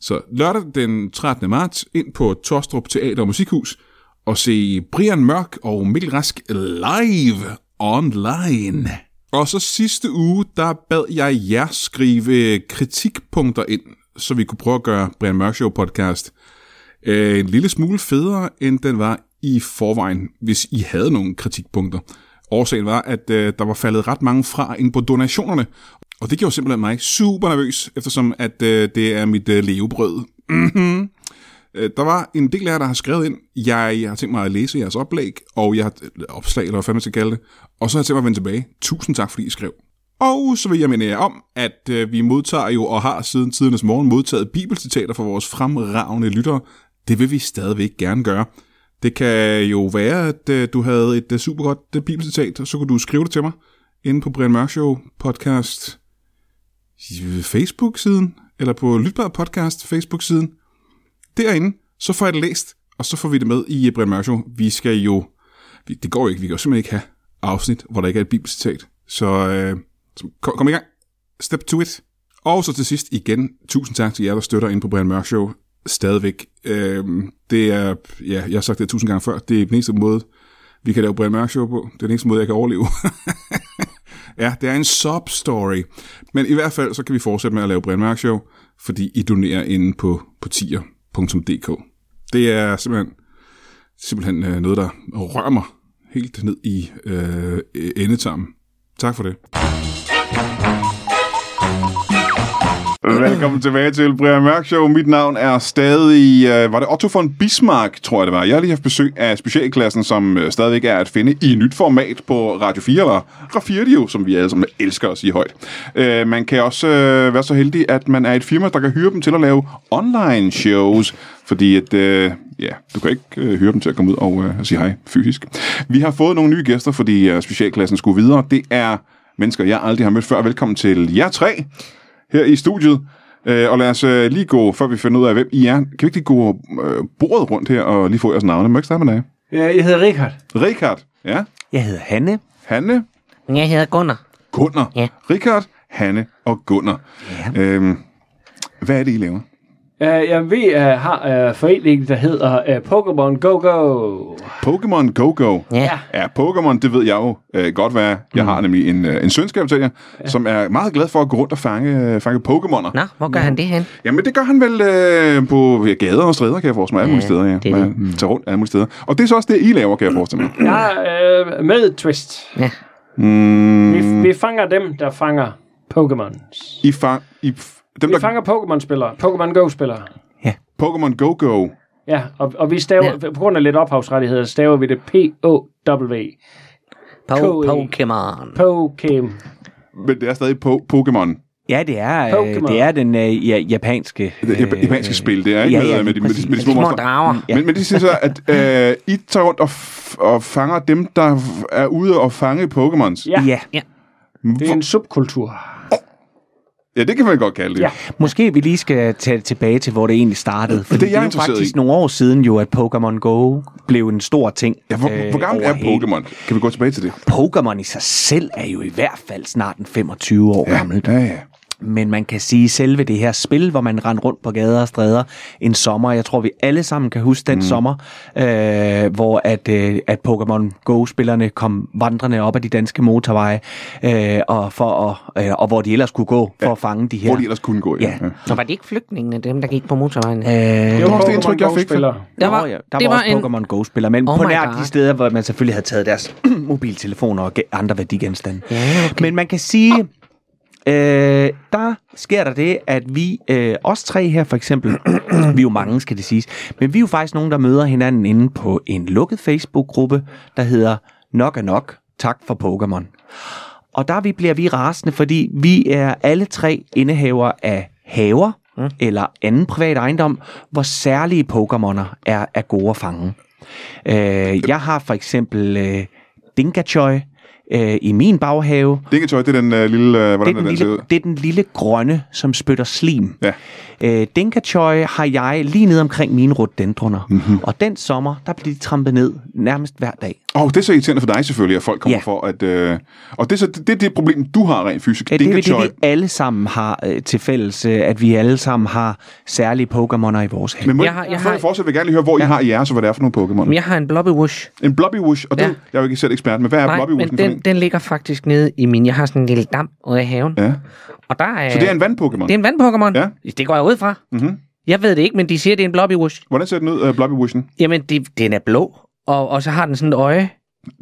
Speaker 1: Så lørdag den 13. marts ind på Torstrup Teater og Musikhus og se Brian Mørk og Mikkel Rask live online. Og så sidste uge, der bad jeg jer skrive kritikpunkter ind, så vi kunne prøve at gøre Brian Mørk Show podcast øh, en lille smule federe, end den var i forvejen, hvis I havde nogle kritikpunkter. Årsagen var, at øh, der var faldet ret mange fra ind på donationerne, og det gjorde simpelthen mig super nervøs, eftersom at øh, det er mit øh, levebrød. Mhm. Øh, der var en del af jer, der har skrevet ind, jeg, jeg har tænkt mig at læse jeres oplæg, og jeg har eller opslag, eller hvad fanden man skal kalde det, og så har jeg tænkt mig at vende tilbage. Tusind tak, fordi I skrev. Og så vil jeg minde jer om, at øh, vi modtager jo og har siden tidernes morgen modtaget bibelcitater fra vores fremragende lyttere. Det vil vi stadigvæk gerne gøre. Det kan jo være, at øh, du havde et øh, super godt øh, bibelcitat, og så kunne du skrive det til mig inde på Brian Mørk Show podcast øh, Facebook-siden, eller på Lytbar Podcast Facebook-siden. Derinde, så får jeg det læst, og så får vi det med i øh, Brian Mørk Show. Vi skal jo... vi- Det går jo ikke, vi kan jo simpelthen ikke have afsnit, hvor der ikke er et bibelcitat. Så, øh, så kom, kom i gang. Step to it. Og så til sidst igen, tusind tak til jer, der støtter ind på Brian Mørk Show. øhm,
Speaker 7: stadigvæk. Øh, det er, ja, jeg har sagt det tusind gange før, det er den eneste måde, vi kan lave Brian Mørk Show på. Det er den eneste måde, jeg kan overleve. ja, det er en sub-story. Men i hvert fald, så kan vi fortsætte med at lave Brian Mørk Show, fordi I donerer inde på, på tier.dk. Det er simpelthen, simpelthen øh, noget, der rører mig helt ned i øh, endetarmen. Tak for det.
Speaker 1: [LAUGHS] Velkommen tilbage til Brian Mørk Show. Mit navn er stadig... Øh, var det Otto von Bismarck, tror jeg det var. Jeg har lige haft besøg af specialklassen, som øh, stadigvæk er at finde i et nyt format på Radio 4, eller Rafirdio, som vi alle sammen elsker at sige højt. Øh, man kan også øh, være så heldig, at man er et firma, der kan hyre dem til at lave online shows, fordi at, øh, ja, du kan ikke øh, hyre dem til at komme ud og øh, sige hej fysisk. Vi har fået nogle nye gæster, fordi øh, specialklassen skulle videre. Det er mennesker, jeg aldrig har mødt før. Velkommen til jer tre her i studiet. Øh, og lad os øh, lige gå, før vi finder ud af, hvem I er. Kan vi ikke lige gå øh, bordet rundt her og lige få jeres navne? Må jeg ikke starte med dig?
Speaker 3: Jeg hedder Richard.
Speaker 1: Richard. Ja.
Speaker 4: Jeg hedder Hanne.
Speaker 1: Hanne.
Speaker 2: Jeg hedder Gunnar.
Speaker 1: Gunnar.
Speaker 2: Ja.
Speaker 1: Richard, Hanne og Gunnar. Ja. Øhm, hvad er det, I laver?
Speaker 3: Øh, Jeg ved, at jeg har øh, foreningen, der hedder øh, Pokémon Go Go.
Speaker 1: Pokémon Go Go.
Speaker 2: Ja. Mm.
Speaker 1: Ja, Pokémon, det ved jeg jo øh, godt, hvad er. Jeg har nemlig en, øh, en sønskab til jer, ja. som er meget glad for at gå rundt og fange, øh, fange Pokémoner.
Speaker 2: Nå, hvor gør han det hen?
Speaker 1: Jamen, det gør han vel øh, på ja, gader og stræder, kan jeg forestille mig. Alle
Speaker 2: Ja,
Speaker 1: mulige steder, ja.
Speaker 2: det er det.
Speaker 1: Man tager rundt alle mulige steder. Og det er så også det, I laver, kan jeg forestille mig.
Speaker 3: Jeg er øh, med Twist.
Speaker 2: Ja.
Speaker 1: Mm,
Speaker 3: Vi, vi fanger dem, der fanger Pokémons.
Speaker 1: I fang... I f- dem,
Speaker 3: Vi
Speaker 1: der...
Speaker 3: fanger Pokémon-spillere. Pokémon Go-spillere.
Speaker 1: Pokémon Go-Go.
Speaker 3: Ja, og, og vi staver, ja. på grund af lidt ophavsrettigheder, staver vi det P-O-W.
Speaker 2: Po-
Speaker 3: Koe.
Speaker 2: Pokémon.
Speaker 3: Pokémon.
Speaker 1: Men det er stadig po- Pokémon.
Speaker 4: Ja, det er, øh,
Speaker 3: Pokémon.
Speaker 4: det er den øh, ja, japanske...
Speaker 1: Det er japanske spil, det er ikke
Speaker 4: Øh, ja,
Speaker 1: med,
Speaker 4: ja,
Speaker 1: med, de,
Speaker 4: lige
Speaker 1: med, de,
Speaker 4: præcis.
Speaker 1: med de små
Speaker 2: Små
Speaker 1: monstre.
Speaker 2: drager.
Speaker 1: Ja. Men, men det siger
Speaker 4: [LAUGHS]
Speaker 1: så, at øh, I tager rundt og, f- og fanger dem, der f- er ude og fange Pokémons.
Speaker 3: Ja,
Speaker 4: Ja.
Speaker 3: det er en subkultur.
Speaker 1: Ja, det kan man godt kalde det.
Speaker 3: Ja.
Speaker 4: Måske vi lige skal tage det tilbage til, hvor det egentlig startede. For
Speaker 1: jeg
Speaker 4: det er jo
Speaker 1: interesseret
Speaker 4: faktisk
Speaker 1: i.
Speaker 4: nogle år siden jo, at Pokémon Go blev en stor ting.
Speaker 1: Ja, hvor, øh, hvor gammel er
Speaker 4: overalt.
Speaker 1: Pokémon? Kan vi gå tilbage til det?
Speaker 4: Pokémon i sig selv er jo i hvert fald snart en 25 år ja. gammelt.
Speaker 1: Ja, ja.
Speaker 4: Men man kan sige, selve det her spil, hvor man rendte rundt på gader og stræder en sommer, jeg tror, vi alle sammen kan huske den mm. sommer, øh, hvor at, øh, at Pokémon Go-spillerne kom vandrende op ad de danske motorveje, øh, og, for at, øh, og hvor de ellers kunne gå for ja. at fange de her.
Speaker 1: Hvor de ellers kunne gå.
Speaker 4: Ja.
Speaker 2: Så var det ikke flygtningene, dem der gik på motorvejen?
Speaker 4: øh,
Speaker 1: var også det indtryk, jeg fik fra-
Speaker 3: Go-spillere.
Speaker 2: Der var,
Speaker 4: Nå, ja, der
Speaker 2: det
Speaker 4: var,
Speaker 2: var
Speaker 4: også
Speaker 2: en...
Speaker 4: Pokémon Go-spillere, men
Speaker 2: Oh
Speaker 4: oh på
Speaker 2: my
Speaker 4: nær
Speaker 2: God.
Speaker 4: de steder, hvor man selvfølgelig havde taget deres [CLEARS THROAT] mobiltelefoner og ge- andre værdigenstande.
Speaker 2: Ja, okay.
Speaker 4: Men man kan sige, øh, der sker der det, at vi, øh, os tre her for eksempel, [CLEARS THROAT] vi er jo mange, skal det siges, men vi er jo faktisk nogen, der møder hinanden inde på en lukket Facebook-gruppe, der hedder Nok er nok, tak for Pokémon. Og der vi bliver vi rasende, fordi vi er alle tre indehaver af haver, mm. eller anden privat ejendom, hvor særlige Pokémoner er, er gode at fange. Øh, jeg har for eksempel øh, Dinkachoy øh, i min baghave.
Speaker 1: Dingetøj, det er den øh, lille... Øh,
Speaker 4: Det er,
Speaker 1: hvordan er
Speaker 4: den
Speaker 1: den ser
Speaker 4: lille,
Speaker 1: ud?
Speaker 4: det er den lille grønne, som spytter slim.
Speaker 1: Ja.
Speaker 4: Øh, Dinkachoy har jeg lige nede omkring mine rhododendroner.
Speaker 1: Mhm.
Speaker 4: Mm-hmm. Og den sommer, der bliver de trampet ned nærmest hver dag.
Speaker 1: Og oh, det er så irriterende for dig selvfølgelig, at folk kommer
Speaker 4: Ja.
Speaker 1: for at... Øh, og det er så det, det, er det problem, du har rent fysisk.
Speaker 4: Øh, Det er vel
Speaker 1: Dingetøj.
Speaker 4: det, vi alle sammen har øh, til fælles, øh, at vi alle sammen har særlige Pokémoner i vores have.
Speaker 1: Men må jeg,
Speaker 2: Jeg
Speaker 1: har,
Speaker 2: har-
Speaker 1: jeg
Speaker 2: jeg
Speaker 1: før
Speaker 2: har-
Speaker 1: jeg fortsætter, vil jeg gerne lige høre, hvor ja. I har jeres, og hvad det er for nogle Pokémon.
Speaker 2: Men jeg har en blobbywush.
Speaker 1: En Blobbywoosh, og det,
Speaker 2: Ja.
Speaker 1: jeg er jo ikke selv ekspert, men hvad er
Speaker 2: Nej,
Speaker 1: Blobbywoosh?
Speaker 2: men den, den ligger faktisk nede i min... Jeg har sådan en lille dam ude i haven.
Speaker 1: Ja.
Speaker 2: Og der er...
Speaker 1: Så det er en vandpokémon.
Speaker 2: Det er en vandpokémon.
Speaker 1: Ja.
Speaker 2: Det går jeg ud fra.
Speaker 1: Mm-hmm.
Speaker 2: Jeg ved det ikke, men de siger, det er en blobbywush.
Speaker 1: Hvordan ser den ud, uh, Blobbywishen?
Speaker 2: Jamen, det, den er blå, og, og så har den sådan et øje.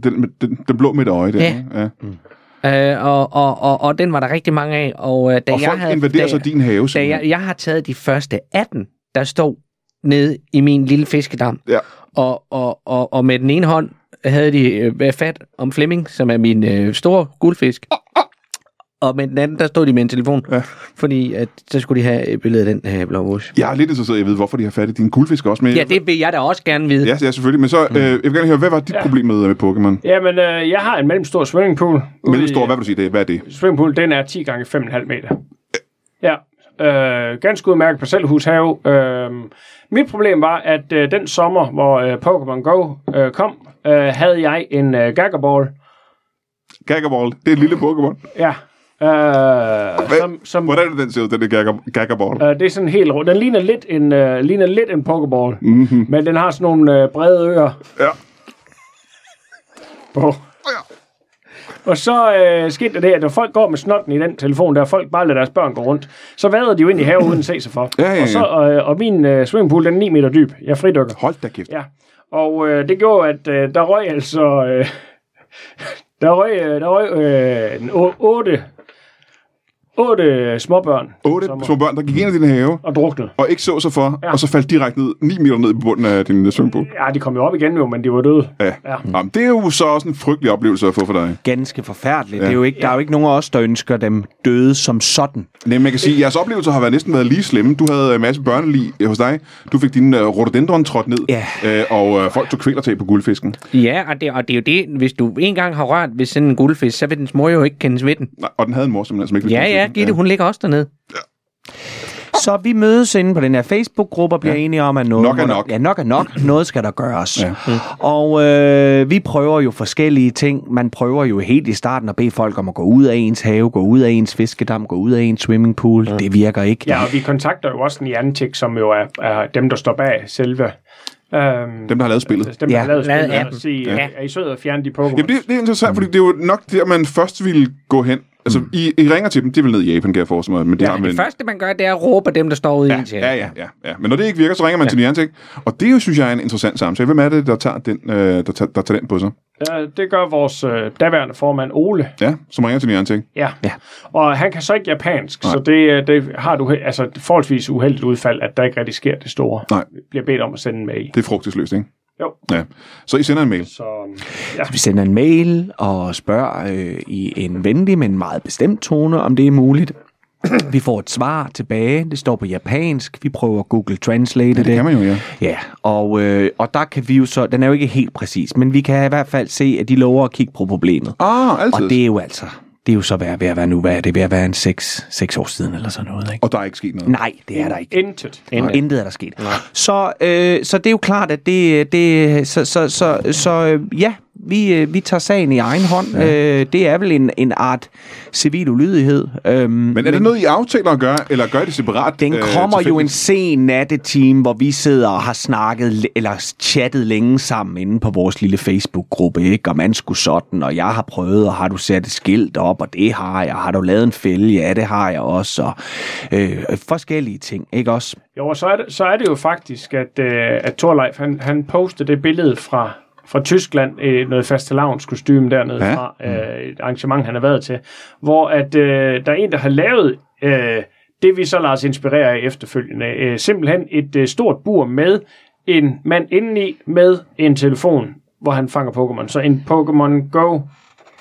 Speaker 1: Den, med- den, den blå med et øje der.
Speaker 2: Ja.
Speaker 1: ikke? ja.
Speaker 2: Øh, og, og, og, og den var der rigtig mange af. Og, øh, da
Speaker 1: Og
Speaker 2: jeg
Speaker 1: folk
Speaker 2: havde,
Speaker 1: invaderer
Speaker 2: da,
Speaker 1: så din have.
Speaker 2: da
Speaker 1: simpelthen.
Speaker 2: jeg, jeg har taget de første 18, der stod nede i min lille fiskedam.
Speaker 1: Ja.
Speaker 2: Og, og, og, og med den ene hånd havde de øh, fat om Flemming, som er min øh, store guldfisk. Og med den anden, der stod de med en telefon. Ja. Fordi at, så skulle de have øh, billedet af den her blåbus.
Speaker 1: Jeg er lidt interesseret i at vide, hvorfor de har fat i din guldfisk også. Men,
Speaker 2: Ja, det Mm. vil jeg da også gerne vide.
Speaker 1: ja, ja, selvfølgelig. Men så, øh, jeg vil gerne høre, hvad var dit ja.
Speaker 3: Ja.
Speaker 1: problem med, med Pokémon?
Speaker 3: Jamen, øh, jeg har en mellemstor swimmingpool. ude
Speaker 1: Mellemstor,
Speaker 3: i-
Speaker 1: hvad vil du sige det? er? Hvad er det?
Speaker 3: Swimmingpool, den er 10 gange 5,5 meter. Ja. Øh, ganske udmærket parcelhushave. Øh, mit problem var, at øh, den sommer, hvor øh, Pokémon Go øh, kom, øh, havde jeg en øh, gaggerball. Mm.
Speaker 1: Gagaball, det er et lille Pokémon.
Speaker 3: Ja. Øh, som, som,
Speaker 1: Hvordan er den ser ud, den der gacker- gaggerball?
Speaker 3: øh, det er sådan helt rund. Den ligner lidt en, øh, ligner lidt en pokeball,
Speaker 1: Mhm.
Speaker 3: mm-hmm. men den har sådan nogle øh, brede ører
Speaker 1: Ja.
Speaker 3: på. Og så øh, skete der det, at når folk går med snotten i den telefon, der folk bare lader deres børn gå rundt, så vader de jo ind i haven uden at se sig for.
Speaker 1: Ja, ja, ja.
Speaker 3: Og, så, øh, og min øh, swimmingpool, den er 9 meter dyb. Jeg fridykker.
Speaker 1: Hold da kæft.
Speaker 3: Ja, og øh, det gjorde, at øh, der røg altså... Øh, [LAUGHS] der røg, øh, der røg øh, en o- otte, otte småbørn
Speaker 1: Otte små børn, der gik ind i din have,
Speaker 3: og druknede.
Speaker 1: og ikke så sig for, ja. og så faldt direkte ned, 9 meter ned i bunden af din øh, svømmepool.
Speaker 3: Ja, de kom jo op igen jo, men de var døde.
Speaker 1: Ja. ja.
Speaker 3: Ja.
Speaker 1: Jamen, det er jo så også en frygtelig oplevelse at få for dig.
Speaker 4: Ganske forfærdeligt. Ja. Det er jo ikke, der er jo ikke nogen af os, der ønsker dem døde som sådan.
Speaker 1: Nej, man kan sige, at jeres oplevelser har været næsten været lige slemme. Du havde en masse børnelig øh, hos dig. Du fik din uh, rhododendron trådt ned,
Speaker 4: Ja.
Speaker 1: øh, og uh, folk tog kvælertag på guldfisken.
Speaker 2: Ja, og det, og det er jo det, hvis du en gang har rørt ved sådan en guldfisk, så vil dens mor jo ikke kende smitten.
Speaker 1: Nej, og den havde en mor, simpelthen, som ikke vidste,
Speaker 2: Ja,
Speaker 1: hvad den
Speaker 2: ja,
Speaker 1: hed.
Speaker 2: Gitte, hun ligger også dernede.
Speaker 4: Så vi mødes inde på den her Facebook-gruppe og bliver ja. enige om, at noget
Speaker 1: Nok er
Speaker 4: må der-
Speaker 1: nok.
Speaker 4: Ja, nok er nok. Noget skal der gøres. Ja. Og øh, vi prøver jo forskellige ting. Man prøver jo helt i starten at bede folk om at gå ud af ens have, gå ud af ens fiskedam, gå ud af ens swimmingpool. Ja. Det virker ikke.
Speaker 3: Ja, og vi kontakter jo også Niantic, som jo er, er dem, der står bag selve... Øhm,
Speaker 1: Dem, der har lavet spillet.
Speaker 3: dem, der
Speaker 4: Ja,
Speaker 3: har lavet
Speaker 2: lavet
Speaker 3: spillet, og
Speaker 2: appen.
Speaker 3: sige,
Speaker 2: Ja.
Speaker 3: ja. er I søde at fjerne de Pokémon?
Speaker 1: Jamen, det, det er interessant, fordi det er jo nok der, man først ville gå hen. Altså, I, I ringer til dem, det vil ned i Japan, kan jeg forestille mig. Men det ja, har man...
Speaker 2: Det første, man gør, det er at råbe dem, der står ude i ens have.
Speaker 1: Ja, ja, ja, ja. Men når det ikke virker, så ringer man ja. til Niantic. Og det er jo, synes jeg, er en interessant samtale. Hvem er det, der tager den, øh, der, tager, der tager den på sig?
Speaker 3: Ja, det gør vores øh, daværende formand Ole.
Speaker 1: Ja, som ringer til Niantic.
Speaker 3: Ja. ja. Og han kan så ikke japansk, Nej. så det, øh, det har du he- altså et forholdsvis uheldigt udfald, at der ikke rigtig sker det store.
Speaker 1: Nej.
Speaker 3: Vi Bliver bedt om at sende en mail.
Speaker 1: Det er frugtesløst, ikke?
Speaker 3: Jo.
Speaker 1: Ja. Så I sender en mail.
Speaker 3: Så ja.
Speaker 4: Vi sender en mail og spørger øh, i en venlig, men meget bestemt tone, om det er muligt. [CLEARS THROAT] Vi får et svar tilbage. Det står på japansk. Vi prøver at Google Translate det.
Speaker 1: Det kan man jo, ja.
Speaker 4: Ja, og, øh, og der kan vi jo så... Den er jo ikke helt præcis, men vi kan i hvert fald se, at de lover at kigge på problemet.
Speaker 1: Ah, altid.
Speaker 4: Og det er jo altså... Det er jo så ved, ved at være nu, hvad er det? Ved at være en 6, 6 år siden eller sådan noget, ikke?
Speaker 1: og der er ikke sket noget.
Speaker 4: Nej, det er der ikke.
Speaker 3: Intet.
Speaker 4: Nej. Intet er der sket. Så, øh, så det er jo klart, at det... øh, det så, så, så, så øh, ja, vi, øh, vi tager sagen i egen hånd. Ja. Øh, det er vel en, en art civil ulydighed. Øhm, men
Speaker 1: Men er det noget, I aftaler at gøre, eller gør I det separat?
Speaker 4: Den
Speaker 1: øh,
Speaker 4: kommer jo en
Speaker 1: tilfældigt?
Speaker 4: sen nattetime, hvor vi sidder og har snakket l- eller chattet længe sammen inde på vores lille Facebook-gruppe, ikke? Og man skulle sådan, og jeg har prøvet, og har du sat et skilt op, og det har jeg, har du lavet en fælde, ja, det har jeg også, og øh, forskellige ting, ikke også?
Speaker 3: Jo, og så er det, så er det jo faktisk, at, øh, at Thorleif, han, han postede det billede fra, fra Tyskland, øh, noget fastelavns kostume dernede
Speaker 1: Ja.
Speaker 3: ja. fra, øh, et arrangement, han har været til, hvor at, øh, der er en, der har lavet øh, det, vi så lader os inspirere af efterfølgende. Øh, simpelthen et øh, stort bur med en mand indeni med en telefon, hvor han fanger Pokémon. Så en Pokémon Go-fanger.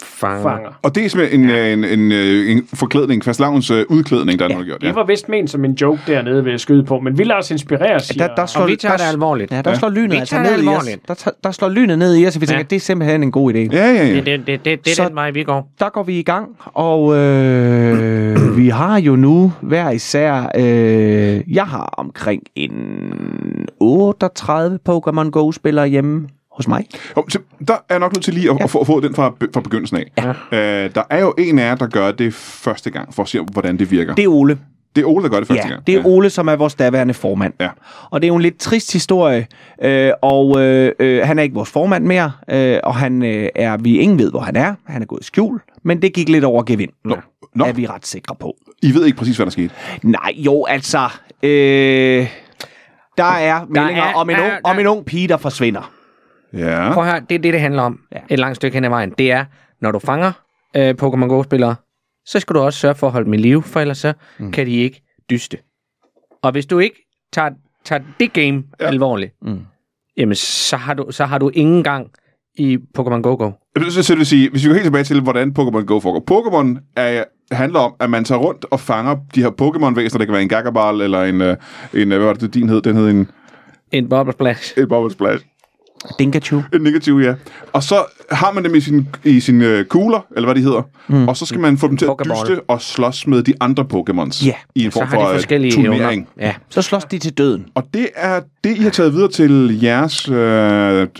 Speaker 2: Fanger.
Speaker 1: Og det er simpelthen en, øh, en, en, øh, en forklædning, fastlavns øh, udklædning, der er noget gjort. Ja.
Speaker 3: Det var vist ment som en joke dernede, ved at skyde på, men vi lader os inspirere, siger...
Speaker 4: Der, der slår,
Speaker 2: Og vi tager
Speaker 4: der,
Speaker 2: det alvorligt.
Speaker 4: Ja, der ja. slår lynet
Speaker 2: Vi
Speaker 4: altså
Speaker 2: tager det
Speaker 4: ned i os.
Speaker 2: alvorligt.
Speaker 4: Der, tager- der slår lynet ned i os, og vi tænker,
Speaker 2: Ja.
Speaker 4: ja. det er simpelthen en god idé. Ja.
Speaker 1: Ja, ja, ja.
Speaker 2: Det, det, det, det, det
Speaker 4: Så-
Speaker 2: er den vej, vi går.
Speaker 4: der går vi i gang, og øh, vi har jo nu hver især, øh, jeg har omkring en 38 Pokémon Go-spillere hjemme hos mig.
Speaker 1: Jo, så Der er jeg nok nødt til lige at, ja. at, få, at få den fra, be- fra begyndelsen af. Ja. Øh, der er jo en af jer, der gør det første gang, for at se, hvordan det virker.
Speaker 4: Det
Speaker 1: Det,
Speaker 4: er Ole.
Speaker 1: det er Ole, der gør det første
Speaker 4: Ja,
Speaker 1: gang.
Speaker 4: det er Ole, som er vores daværende formand.
Speaker 1: Ja.
Speaker 4: Og det er jo en lidt trist historie, øh, og øh, øh, han er ikke vores formand mere, øh, og han øh, er, vi ingen ved, hvor han er. Han er gået i skjul, men det gik lidt over gevind. Nå.
Speaker 1: nå.
Speaker 4: Er vi ret sikre på.
Speaker 1: I ved ikke præcis, hvad der skete.
Speaker 4: Nej, jo, altså... Øh, der er meldinger
Speaker 2: er-
Speaker 4: om, en
Speaker 2: der
Speaker 4: ung,
Speaker 2: er-
Speaker 4: om en ung pige, der forsvinder.
Speaker 1: Ja.
Speaker 2: Prøv at høre, det er det, det handler om ja. et langt stykke hen ad vejen. Det er, når du fanger øh, Pokémon Go-spillere, så skal du også sørge for at holde dem i live, for ellers så mm. kan de ikke dyste. Og hvis du ikke tager, tager det game ja. alvorligt, mm. jamen så har, du, så har du ingen gang i Pokémon Go Go.
Speaker 1: Så, så det vil sige, hvis vi går helt tilbage til, hvordan Pokémon Go foregår. Pokémon er, handler om, at man tager rundt og fanger de her Pokémon-væsener. Det kan være en Gagabal eller en, øh, en øh, hvad var det, din hed? Den hed en,
Speaker 2: En bobble splash.
Speaker 1: en Bubble Splash.
Speaker 4: Dinkachu.
Speaker 1: En negativ, ja. Og så har man dem i sin, i sin øh, kugler, eller hvad de hedder, mm. og så skal man få dem til at
Speaker 4: Pokéball.
Speaker 1: dyste og slås med de andre Pokémons
Speaker 4: Ja,
Speaker 1: i en form
Speaker 2: Så har
Speaker 1: for
Speaker 2: de
Speaker 1: øh,
Speaker 2: forskellige
Speaker 1: turnering.
Speaker 2: evner.
Speaker 1: Evner.
Speaker 4: Ja, så slås de til døden.
Speaker 1: Og det er det, I har taget videre til jeres, øh, ja,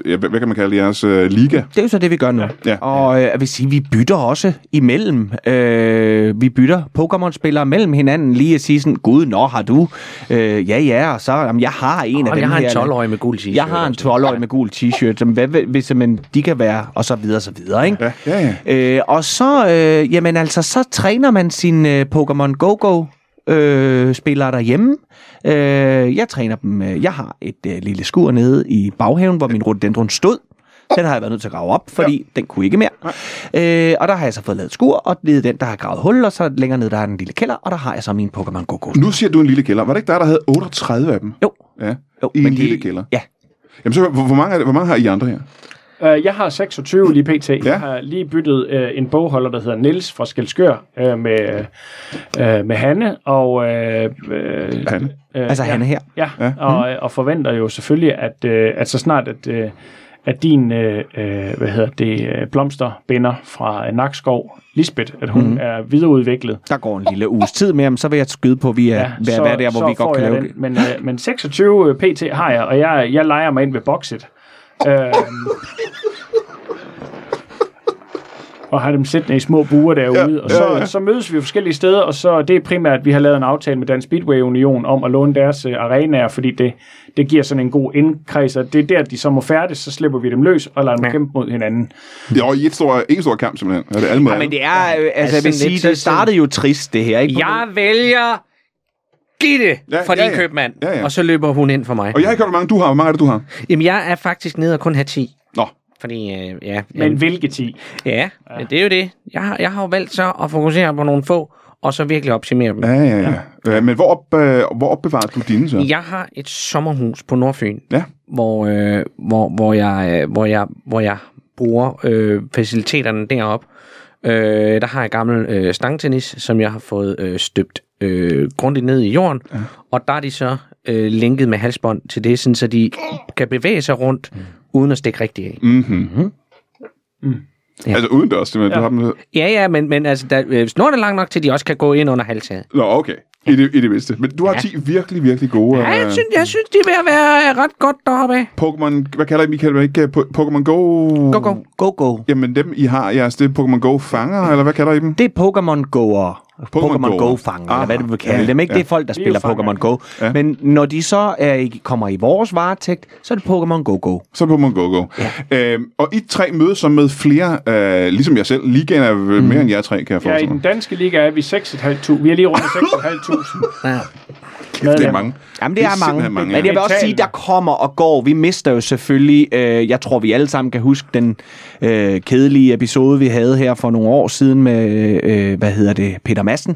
Speaker 1: hvad hvad kan man kalde det, jeres øh, liga.
Speaker 4: Det er jo så det, vi gør nu.
Speaker 1: Ja.
Speaker 4: Og øh, jeg vil sige, vi bytter også imellem. Øh, vi bytter Pokémon-spillere mellem hinanden. Lige at sige sådan, gud, nå, har du? Øh, ja, ja, og så, jamen, jeg har en af
Speaker 2: Og
Speaker 4: dem
Speaker 2: jeg har en
Speaker 4: her.
Speaker 2: 12-årig med gul t-shirt.
Speaker 4: Jeg har en 12-årig med gul t-shirt, som hvad, vil- hvis man, de kan være, og så videre, og så videre, ikke?
Speaker 1: Ja, ja.
Speaker 4: Øh, og så, øh, jamen altså, så træner man sin øh, Pokémon Go-Go. Øh, spillere derhjemme. Øh, jeg træner dem. øh, Jeg har et øh, lille skur nede i baghaven, hvor min rhododendron stod. Den har jeg været nødt til at grave op, fordi ja. den kunne ikke mere. Øh, og der har jeg så fået lavet et skur, og det er den, der har gravet hul, og så længere nede, der er den lille kælder, og der har jeg så min Pokémon Go-Go.
Speaker 1: Nu siger du en lille kælder. Var det ikke dig, der havde 38 af dem?
Speaker 4: Jo.
Speaker 1: Ja.
Speaker 4: jo
Speaker 1: I en
Speaker 4: men
Speaker 1: lille kælder.
Speaker 4: Ja,
Speaker 1: Jamen, så, hvor, hvor, mange, er det, hvor mange har I andre her?
Speaker 3: Øh, jeg har 26 lige pt. Ja.
Speaker 1: Ja.
Speaker 3: Jeg har lige byttet øh, en bogholder, der hedder Nils fra Skelskør øh, med, øh, med Hanne. Og, øh, øh,
Speaker 1: Hanne?
Speaker 3: Øh,
Speaker 4: altså
Speaker 3: ja.
Speaker 4: han er her.
Speaker 3: Ja, ja. Og, øh, og forventer jo selvfølgelig, at, øh, at så snart at, øh, at din øh, øh, hvad hedder det, øh, blomsterbinder fra øh, Nakskov, Lisbeth, at hun mm. er videreudviklet.
Speaker 4: Der går en lille uges tid med ham, så vil jeg skyde på, at vi er, ja, hvad, hvad er der, hvor vi
Speaker 3: får
Speaker 4: godt kan
Speaker 3: jeg
Speaker 4: lave
Speaker 3: den.
Speaker 4: det.
Speaker 3: Men, øh, men 26 øh, pt. har jeg, og jeg, jeg leger mig ind ved boxet. Øh, og har dem sættende i små buer derude. Ja, og så, ja, ja. så mødes vi forskellige steder, og så det er primært, at vi har lavet en aftale med Dansk Speedway Union om at låne deres øh, arenaer, fordi det, det giver sådan en god indkreds, og det er der, de så må færdes, så slipper vi dem løs og lader dem kæmpe mod hinanden.
Speaker 1: Jo, i et stor, en stor kamp, simpelthen. Er det alle mod
Speaker 4: Ja, men
Speaker 1: alle?
Speaker 4: det er, øh, altså, jeg vil
Speaker 2: lidt
Speaker 4: sige,
Speaker 2: sådan-
Speaker 4: det startede jo trist, det her, ikke?
Speaker 2: Jeg vælger Gitte
Speaker 1: Ja,
Speaker 2: fra
Speaker 1: ja,
Speaker 2: din
Speaker 1: ja.
Speaker 2: købmand.
Speaker 1: Ja, ja.
Speaker 2: Og så løber hun ind for mig.
Speaker 1: Og jeg har ikke hørt, hvor mange du har. Hvor mange er det, du har?
Speaker 2: Jamen, jeg er faktisk nede og kun har 10.
Speaker 1: Nå,
Speaker 2: Fordi, øh, ja,
Speaker 3: Men hvilke ti?
Speaker 2: ja, ja, men det er jo det. Jeg har, jeg har jo valgt så at fokusere på nogle få, og så virkelig optimere dem.
Speaker 1: ja, ja, ja. ja. Øh, men hvor, op, øh, hvor opbevarer du dine så?
Speaker 2: Jeg har et sommerhus på Nordfyn,
Speaker 1: Ja.
Speaker 2: hvor, øh, hvor, hvor, jeg, øh, hvor, jeg, hvor jeg bruger øh, faciliteterne deroppe. Øh, der har jeg gammel øh, stangtennis, som jeg har fået øh, støbt øh, grundigt ned i jorden. Ja. Og der er de så øh, linket med halsbånd til det, sådan, så de kan bevæge sig rundt, mm. uden at stikke rigtigt af. Mm.
Speaker 1: Altså uden dørs, simpelthen. Ja. Du har dem...
Speaker 2: Ja, ja, men, men altså, der, øh, snoren er lang nok til, at de også kan gå ind under halvtaget.
Speaker 1: Nå, okay. I det, I det mindste. Men du har 10 virkelig, virkelig gode
Speaker 2: Ja, jeg
Speaker 1: øh,
Speaker 2: synes, jeg synes de er ved at være øh, ret godt deroppe. af.
Speaker 1: Pokémon... Hvad kalder I dem? I kalder dem ikke øh, Po- Pokémon Go?
Speaker 2: Go, go.
Speaker 4: Go-Go.
Speaker 1: Jamen dem, I har jeres, det er Pokémon Go-fanger, eller hvad kalder I dem?
Speaker 4: Det er Pokémon Go'er. Pokémon
Speaker 1: Go'er.
Speaker 4: Go-fanger, eller hvad
Speaker 1: Aha.
Speaker 4: du vil kalde
Speaker 1: Ah, Ja,
Speaker 4: dem, ikke?
Speaker 1: ja.
Speaker 4: Det er folk, der
Speaker 3: er jo
Speaker 4: spiller
Speaker 3: fanger.
Speaker 4: Pokémon Go. Men når de så er, i- kommer i vores varetægt, så er det Pokémon Go-Go.
Speaker 1: Så er det Pokémon Go-Go. Ja. Øhm, og I tre mødes så med flere, øh, ligesom jeg selv. Ligaen er vel mere end jer tre, kan jeg
Speaker 3: Ja, i
Speaker 1: forestille
Speaker 3: den
Speaker 1: mig.
Speaker 3: danske liga er vi 6.500. Vi er lige rundt 6.500.
Speaker 2: Ja.
Speaker 1: Det er mange.
Speaker 4: Jamen,
Speaker 1: Det
Speaker 4: det, det
Speaker 1: er
Speaker 4: er, er mange.
Speaker 1: simpelthen mange,
Speaker 4: mange.
Speaker 1: ja.
Speaker 4: Men jeg vil også sige, der kommer og går. Vi mister jo selvfølgelig, øh, jeg tror, vi alle sammen kan huske den øh, kedelige episode, vi havde her for nogle år siden med, øh, hvad hedder det, Peter Madsen.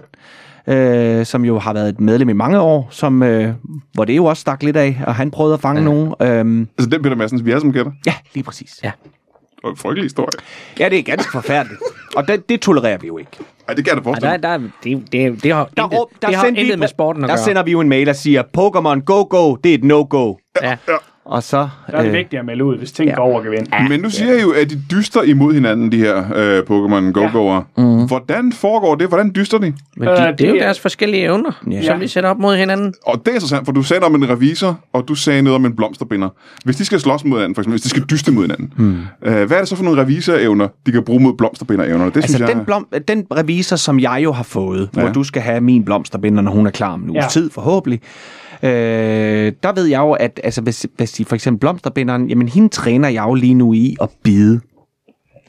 Speaker 4: Øh, som jo har været et medlem i mange år, som, øh, hvor det jo også stak lidt af, og han prøvede at fange ja. nogen. Øhm,
Speaker 1: Altså den Peter Madsen, vi er som kender.
Speaker 4: ja, lige præcis.
Speaker 2: Ja.
Speaker 1: Det var en frygtelig historie.
Speaker 4: Ja, det er ganske forfærdeligt. Og det, det tolererer vi jo ikke.
Speaker 1: Ej, det kan jeg da
Speaker 2: Og der,
Speaker 1: forestille. mig.
Speaker 2: der, det, det, det har
Speaker 4: Der,
Speaker 2: intet,
Speaker 4: råb- der
Speaker 2: det har
Speaker 4: sendte
Speaker 2: intet
Speaker 4: vi,
Speaker 2: med sporten at
Speaker 4: Der
Speaker 2: gøre.
Speaker 4: sender vi jo en mail, der siger, Pokémon Go Go, det er et no-go.
Speaker 2: ja.
Speaker 4: Og så...
Speaker 3: Der er det vigtigt at melde ud, hvis ting ja. går over gevind.
Speaker 1: Men nu siger I jo, at de dyster imod hinanden, de her øh, Pokémon Go-Go'er. Ja. Hvordan foregår det? Hvordan dyster de?
Speaker 2: Men de,
Speaker 3: Øh,
Speaker 2: det, det er jo
Speaker 3: det er-
Speaker 2: deres forskellige evner, yeah. som de sætter op mod hinanden.
Speaker 1: Og det er interessant, for du sagde noget om en revisor, og du sagde noget om en blomsterbinder. Hvis de skal slås mod hinanden, for eksempel, hvis de skal dyste mod hinanden, hmm. øh, hvad er det så for nogle revisorevner, de kan bruge mod blomsterbinderevnerne? Det
Speaker 4: Altså,
Speaker 1: synes jeg...
Speaker 4: den, blom, den revisor, som jeg jo har fået, ja.
Speaker 1: Ja.
Speaker 4: hvor du skal have min blomsterbinder, når hun er klar om en uges
Speaker 3: Ja.
Speaker 4: ja. tid, forhåbentlig, øh, der ved jeg jo, at altså, hvis, hvis de for eksempel blomsterbinderen, jamen hende træner jeg jo lige nu i at bide.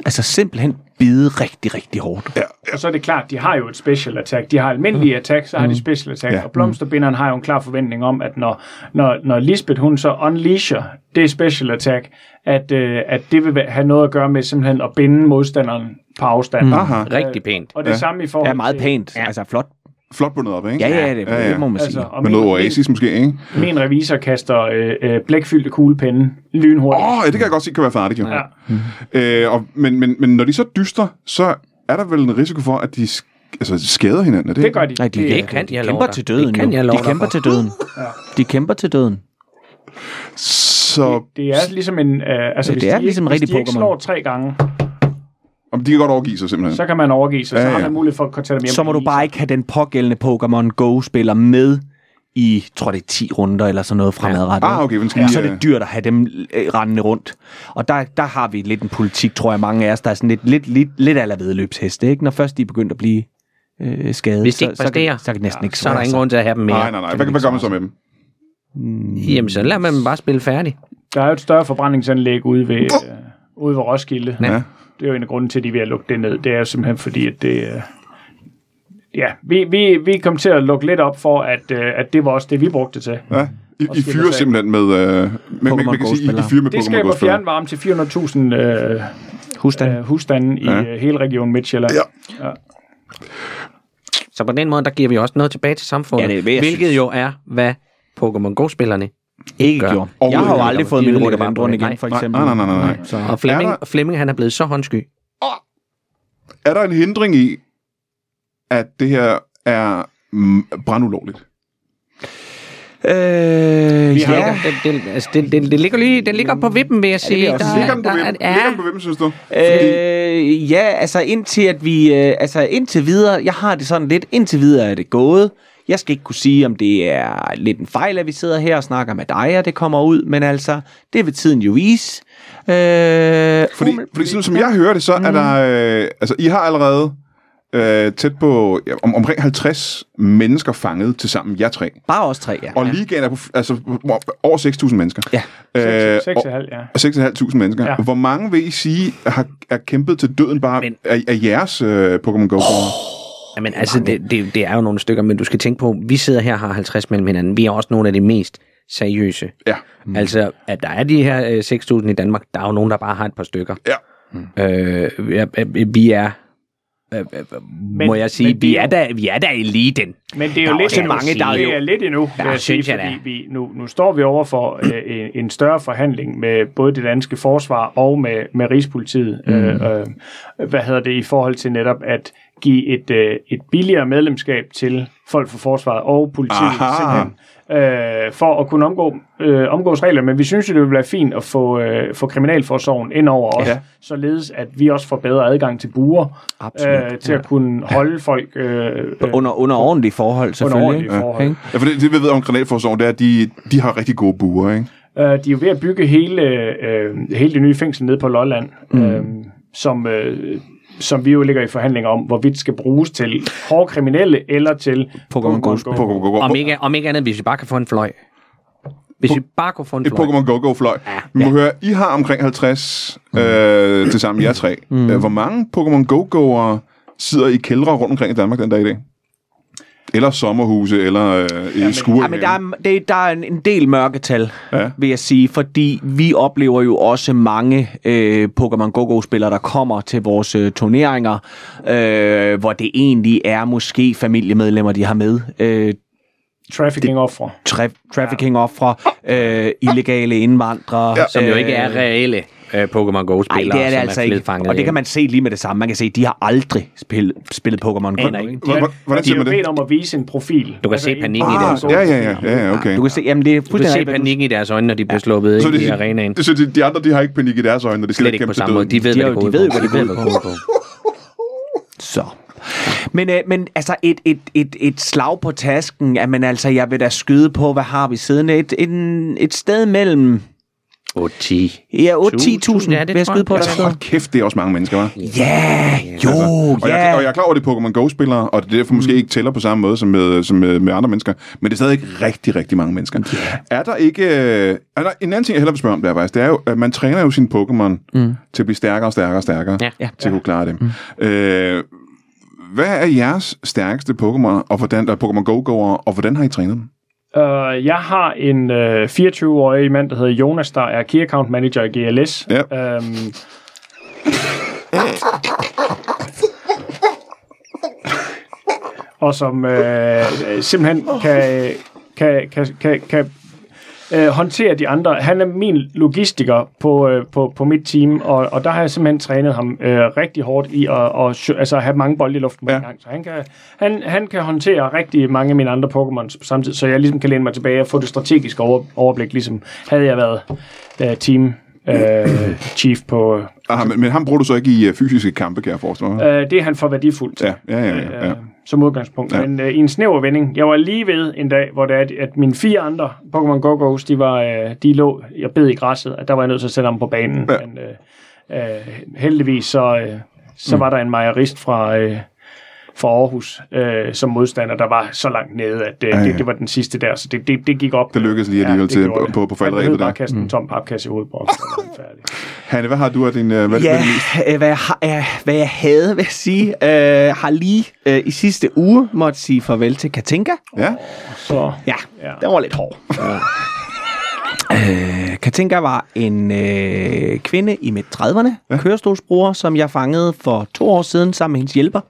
Speaker 4: Altså simpelthen bide rigtig, rigtig hårdt. Ja.
Speaker 3: Og så er det klart, de har jo et special attack. De har almindelige attack, så har de special attack.
Speaker 1: Ja.
Speaker 3: Ja. Og blomsterbinderen har jo en klar forventning om, at når, når, når Lisbeth hun så unleasher det special attack, at, øh, at det vil have noget at gøre med simpelthen at binde modstanderen på afstand. Mm.
Speaker 1: Aha,
Speaker 2: Rigtig pænt.
Speaker 3: Og det samme i forhold
Speaker 4: Er meget
Speaker 3: til-
Speaker 4: pænt. Ja. Altså flot.
Speaker 1: flot bundet op, ikke?
Speaker 4: Ja, ja, det, ja, ja. det må man sige.
Speaker 3: Altså, og
Speaker 1: Med
Speaker 3: min,
Speaker 1: noget oasis måske, ikke?
Speaker 3: Min, min revisor kaster øh, øh, blækfyldte kuglepinde lynhurtigt.
Speaker 1: Åh, oh, ja, det kan jeg godt se, kan være farligt, jo.
Speaker 3: Ja.
Speaker 1: Øh, og, men, men, men når de så dyster, så er der vel en risiko for, at de sk- altså, skader hinanden, er det?
Speaker 3: Det gør de.
Speaker 4: Nej, de,
Speaker 2: Det kan
Speaker 4: de
Speaker 2: jeg love
Speaker 4: kæmper
Speaker 2: dig.
Speaker 4: til døden.
Speaker 2: Det kan
Speaker 4: jo.
Speaker 2: jeg love
Speaker 4: de
Speaker 2: dig
Speaker 4: kæmper
Speaker 2: for.
Speaker 4: til døden. De kæmper til døden.
Speaker 1: Så Så
Speaker 3: Det er ligesom en... Øh, altså,
Speaker 4: Ja,
Speaker 3: hvis
Speaker 4: det er
Speaker 3: de,
Speaker 4: ligesom
Speaker 3: ikke,
Speaker 4: rigtig
Speaker 3: hvis de ikke
Speaker 4: Pokémon.
Speaker 3: slår tre gange,
Speaker 1: om de kan godt overgive sig simpelthen.
Speaker 3: så kan man overgive sig. Så
Speaker 1: Ja, ja.
Speaker 3: har man mulighed for at kontakte dem hjem.
Speaker 4: Så må du bare ikke have den pågældende Pokémon Go-spiller med i, tror det er 10 runder eller sådan noget fremadrettet.
Speaker 1: Ah, okay, den skal
Speaker 4: ja.
Speaker 1: lige,
Speaker 4: Så er
Speaker 1: øh,
Speaker 4: det dyrt at have dem øh, rendende rundt. Og der, der har vi lidt en politik, tror jeg, mange af os, der er sådan lidt, lidt, lidt, lidt aller vedløbsheste, ikke? Når først de er begyndt at blive øh, skadet,
Speaker 2: Hvis de ikke
Speaker 4: så, så,
Speaker 2: præsterer,
Speaker 4: kan, så kan det næsten ikke
Speaker 2: så er der
Speaker 4: svare
Speaker 2: ingen
Speaker 4: sig.
Speaker 2: grund til at have dem mere.
Speaker 1: Nej, nej, nej. Hvad, hvad gør man så med dem?
Speaker 2: Jamen, så lader man dem bare spille færdig.
Speaker 3: Der er jo et større forbrændingsanlæg ude ved, øh, ude ved Roskilde.
Speaker 1: Ja.
Speaker 3: Det er jo en af grunden til, at de er ved at lukke det ned. Det er jo simpelthen fordi, at det... Øh, ja, vi, vi, vi kom til at lukke lidt op for, at, øh, at det var også det, vi brugte det til.
Speaker 1: Ja. I, I
Speaker 3: skal
Speaker 1: fyrer
Speaker 3: jeg
Speaker 1: simpelthen med... Øh, man, man, man kan sige, I, I
Speaker 4: Go-spillere.
Speaker 1: fyrer med
Speaker 3: Det
Speaker 1: Pokémon
Speaker 3: skaber
Speaker 1: Go-spillere.
Speaker 3: fjernvarme til 400.000 øh,
Speaker 4: Husstand.
Speaker 3: øh, husstande i øh, hele regionen Midtjylland.
Speaker 1: Ja.
Speaker 2: Så på den måde, der giver vi også noget tilbage til samfundet.
Speaker 4: Ja, det er, hvad jeg
Speaker 2: hvilket
Speaker 4: synes.
Speaker 2: jo er, hvad Pokémon Go-spillerne
Speaker 4: Ikke
Speaker 2: gør.
Speaker 4: gjort.
Speaker 1: Overhovedet
Speaker 4: Jeg har jo
Speaker 1: ikke.
Speaker 4: aldrig
Speaker 2: De
Speaker 4: fået min
Speaker 2: ødelægger
Speaker 4: runde
Speaker 2: bare
Speaker 4: bare rundt
Speaker 2: programmet.
Speaker 4: igen, for
Speaker 1: Nej,
Speaker 4: eksempel.
Speaker 1: nej, nej, nej, nej.
Speaker 4: Så.
Speaker 2: Og Flemming,
Speaker 1: Er der-
Speaker 2: Flemming, han er blevet så håndsky.
Speaker 1: Er der en hindring i, at det her er mm, brandulovligt?
Speaker 4: Øh,
Speaker 3: Vi har
Speaker 4: ja.
Speaker 3: jo-
Speaker 2: Den, den, altså, den, den, den, ligger lige, den ligger på vippen, vil jeg sige.
Speaker 4: også.
Speaker 2: Der-
Speaker 1: Ligger den på
Speaker 2: der-
Speaker 1: hvem?
Speaker 2: ja.
Speaker 1: Ligger den på hvem, synes du?
Speaker 4: Øh, ja, altså indtil at vi, øh, altså indtil videre, jeg har det sådan lidt, indtil videre er det gået. Jeg skal ikke kunne sige, om det er lidt en fejl, at vi sidder her og snakker med dig, og det kommer ud, men altså, det vil tiden jo vise. Øh,
Speaker 1: Fordi, fordi sådan som jeg hører det, så er der... Øh, altså, I har allerede øh, tæt på ja, om, omkring 50 mennesker fanget til sammen, jer tre.
Speaker 4: Bare os tre, ja.
Speaker 1: Og ja. ligaen er på, f- altså, hvor- over 6.000 mennesker.
Speaker 4: Ja.
Speaker 1: Øh,
Speaker 3: 6,5, ja.
Speaker 1: og 6.500 mennesker. Ja.
Speaker 3: Ja.
Speaker 1: Hvor mange vil I sige har, er kæmpet til døden bare Men. af, af jeres øh, Pokémon Go? Oh.
Speaker 2: Jamen, altså, det, det, det er jo nogle stykker, men du skal tænke på, vi sidder her og har 50 mellem hinanden. Vi er også nogle af de mest seriøse.
Speaker 1: Ja.
Speaker 2: Mm. Altså, at der er de her øh, 6.000 i Danmark, der er jo nogen, der bare har et par stykker.
Speaker 1: Ja.
Speaker 2: Øh, jeg- jeg- vi er, øh, øh, må jeg sige,
Speaker 3: men
Speaker 2: vi,
Speaker 3: vi
Speaker 2: er
Speaker 3: er-
Speaker 2: da, vi er da eliten.
Speaker 3: Men det er
Speaker 2: Der
Speaker 3: jo
Speaker 2: er
Speaker 3: lidt
Speaker 2: også
Speaker 3: endnu.
Speaker 2: mange, der er
Speaker 3: det
Speaker 2: jo-
Speaker 3: er lidt endnu,
Speaker 2: Der
Speaker 3: vil jeg sige,
Speaker 2: synes jeg, der
Speaker 3: fordi vi, nu, nu står vi over for øh, en, en større forhandling med både det danske forsvar og med, med Rigspolitiet. Mm. Øh, øh, hvad hedder det i forhold til netop at give et, øh, et billigere medlemskab til folk fra forsvaret og politiet
Speaker 1: Aha.
Speaker 3: simpelthen, øh, for at kunne omgå, øh, omgås regler. Men vi synes jo, det ville være fint at få, øh, få Kriminalforsorgen ind over os,
Speaker 1: Ja.
Speaker 3: således at vi også får bedre adgang til buer
Speaker 4: Absolut,
Speaker 3: øh, til at kunne holde folk øh, øh,
Speaker 4: Under, under ordentlige forhold, selvfølgelig.
Speaker 3: ordentlige
Speaker 4: ikke?
Speaker 3: forhold.
Speaker 4: Ikke?
Speaker 1: ja for det, det, vi ved om Granatforsorgen, det er, at de, de har rigtig gode buer, ikke?
Speaker 3: Øh, de er jo ved at bygge hele, øh, hele det nye fængsel nede på Lolland, mm. øh, som, øh, som vi jo ligger i forhandlinger om, hvorvidt skal bruges til hårde kriminelle eller til
Speaker 4: Pokémon Go.
Speaker 1: Pokémon Go. Go.
Speaker 2: Om ikke, om ikke andet, hvis vi bare kan få en fløj. Hvis vi bare kunne få en
Speaker 1: Et
Speaker 2: fløj.
Speaker 1: Pokémon Go-Go-fløj. Ja, Vi må høre, I har omkring 50 øh, til sammen, jer tre. Mm. Hvor mange Pokémon Go-Go'ere sidder i kældre rundt omkring i Danmark den dag i dag? Eller sommerhuse, eller øh, i skure.
Speaker 4: Ja, men der er, det, der er en, en del mørketal, ja. vil jeg sige, fordi vi oplever jo også mange øh, Pokémon Go-Go-spillere, der kommer til vores øh, turneringer, øh, hvor det egentlig er måske familiemedlemmer, de har med. Øh,
Speaker 3: trafficking-offre.
Speaker 4: tra- trafficking-offre, øh, illegale indvandrere.
Speaker 1: Ja.
Speaker 2: Som jo ikke er reelle øh, Pokémon
Speaker 4: Nej,
Speaker 2: Go-spillere,
Speaker 4: det er det
Speaker 2: som
Speaker 4: altså
Speaker 2: er
Speaker 4: ikke.
Speaker 2: flidfanget
Speaker 4: Og det
Speaker 2: ind.
Speaker 4: kan man se lige med det samme. Man kan se, at de har aldrig spillet, spillet Pokémon Go.
Speaker 3: Aner ikke.
Speaker 4: ikke?
Speaker 3: De har-
Speaker 1: Hvordan- hvordan
Speaker 3: de
Speaker 1: siger
Speaker 3: har
Speaker 1: man det?
Speaker 3: bedt om at vise en profil. Altså
Speaker 2: Du kan se
Speaker 3: en-
Speaker 2: panikken i
Speaker 1: ah,
Speaker 2: deres
Speaker 1: ja, ja, ja, ja, okay.
Speaker 4: Du kan se, jamen det er
Speaker 2: Du kan se
Speaker 4: fuldstændig... rigtigt, hvad
Speaker 2: panikken i deres øjne, når de bliver sluppet
Speaker 1: så
Speaker 2: ind
Speaker 1: det,
Speaker 2: i arenaen.
Speaker 1: det, så de, de andre, de har ikke panik i deres øjne, når de skal
Speaker 2: Slet ikke
Speaker 1: kæmpe
Speaker 2: på
Speaker 1: til
Speaker 2: samme måde.
Speaker 1: døden.
Speaker 2: De ved,
Speaker 4: De
Speaker 2: hvad
Speaker 4: er
Speaker 2: det
Speaker 4: jo-
Speaker 2: går ud
Speaker 4: de ved jo,
Speaker 2: på.
Speaker 4: hvad det går ud på.
Speaker 2: på.
Speaker 4: Så. Men, øh, men altså et, et, et, et slag på tasken, at man altså, jeg vil da skyde på, hvad har vi siden? Et, en, et sted mellem
Speaker 2: Åh, 10.
Speaker 4: ja, 8-10.000,
Speaker 2: 10.000,
Speaker 4: ja,
Speaker 2: ja, det
Speaker 4: vil jeg
Speaker 2: tror
Speaker 4: skyde
Speaker 2: jeg.
Speaker 4: på. Der
Speaker 2: Altså,
Speaker 1: Altså,
Speaker 4: sidder.
Speaker 1: hold kæft, det er også mange mennesker, hva'?
Speaker 4: Ja, jo,
Speaker 1: Altså, Og, jeg, og jeg er
Speaker 4: ja.
Speaker 1: klar over, at det er Pokémon Go-spillere, og det er derfor måske ikke tæller på samme måde som med, som med, med andre mennesker, men det er stadig ikke rigtig, rigtig mange mennesker. Yeah. Er der ikke... øh, Er der, en anden ting, jeg hellere vil spørge om, det er faktisk, det er jo, at man træner jo sin Pokémon mm. til at blive stærkere og stærkere og stærkere,
Speaker 2: Ja.
Speaker 4: Ja.
Speaker 1: til at kunne klare dem. Mm. Øh, hvad er jeres stærkeste Pokémon, og hvordan der er Pokémon Go-go'ere, og hvordan har I trænet dem?
Speaker 3: Øh, jeg har en øh, 24-årig mand, der hedder Jonas, der er Key Account Manager i GLS.
Speaker 1: Ja.
Speaker 3: Øhm, og som øh, øh, simpelthen kan, kan, kan, kan, kan øh, håndtere de andre. Han er min logistiker på, øh, på, på mit team, og, og der har jeg simpelthen trænet ham øh, rigtig hårdt i at og, altså, have mange bolde i luften på
Speaker 1: Ja.
Speaker 3: ja. en gang. Så han kan, han, han kan håndtere rigtig mange af mine andre Pokémons på samme tid, så jeg ligesom kan læne mig tilbage og få det strategiske over, overblik, ligesom havde jeg været øh, team øh, chief på...
Speaker 1: Aha, Ah, men, men ham bruger du så ikke i øh, fysiske kampe, kan jeg forestille mig.
Speaker 3: Øh, det er han for værdifuldt til
Speaker 1: Ja, ja, ja. ja, ja.
Speaker 3: øh, som udgangspunkt.
Speaker 1: Ja.
Speaker 3: Ja. Men øh, i en snæver vending, jeg var lige ved en dag, hvor det er, at- at mine fire andre Pokémon Go-Go's, de, var, øh, de lå, jeg bed i græsset, at der var jeg nødt til at sætte ham på banen.
Speaker 1: Ja.
Speaker 3: Ja. Men øh, øh, heldigvis, så, øh, så mm. var der en majorist fra, øh, fra Aarhus øh, som modstander, der var så langt nede, at øh,
Speaker 1: Ja, ja.
Speaker 3: det, det var den sidste der, så det, det, det gik op.
Speaker 1: Det lykkedes lige alligevel
Speaker 3: det
Speaker 1: til-
Speaker 3: gjorde det.
Speaker 1: på- på
Speaker 3: Han
Speaker 1: falderæbet
Speaker 3: behøvede
Speaker 1: der. Mm.
Speaker 3: bare at kaste en tom papkasse i hovedet på os, så var han færdig.
Speaker 1: Hanne, hvad har du af din... Øh, hvad,
Speaker 4: Ja,
Speaker 1: hvad-
Speaker 4: øh, hvad jeg, har, øh, hvad jeg havde, vil jeg sige, øh, har lige øh, i sidste uge måtte sige farvel til Katinka.
Speaker 1: ja?
Speaker 3: Så
Speaker 4: Ja,
Speaker 3: Ja.
Speaker 4: ja. den var lidt hård. Øh, Katinka var en øh, kvinde i midt 30'erne, ja. kørestolsbruger, som jeg fangede for to år siden sammen med hendes hjælper.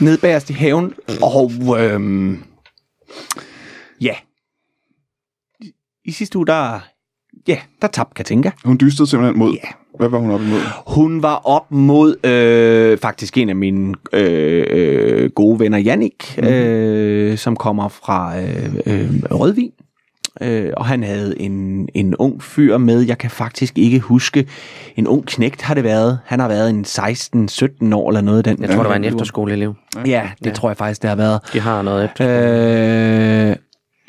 Speaker 4: Ned bagerst i haven, og øhm, ja, I- i sidste uge, der, ja, der tabte Katinka.
Speaker 1: Hun dystede simpelthen mod...
Speaker 4: Ja.
Speaker 1: Hvad var hun op imod?
Speaker 4: Hun var op mod øh, faktisk en af mine øh, øh, gode venner, Jannik,
Speaker 2: Mhm.
Speaker 4: mm. øh, som kommer fra øh, øh, Rødvin. Øh, og han havde en, en ung fyr med, jeg kan faktisk ikke huske, en ung knægt har det været. Han har været en 16-17 år eller noget. i Den,
Speaker 2: Jeg tror, der var en efterskoleelev.
Speaker 4: Ja, det ja. tror jeg faktisk, det har været.
Speaker 2: De har noget efter.
Speaker 4: Øh,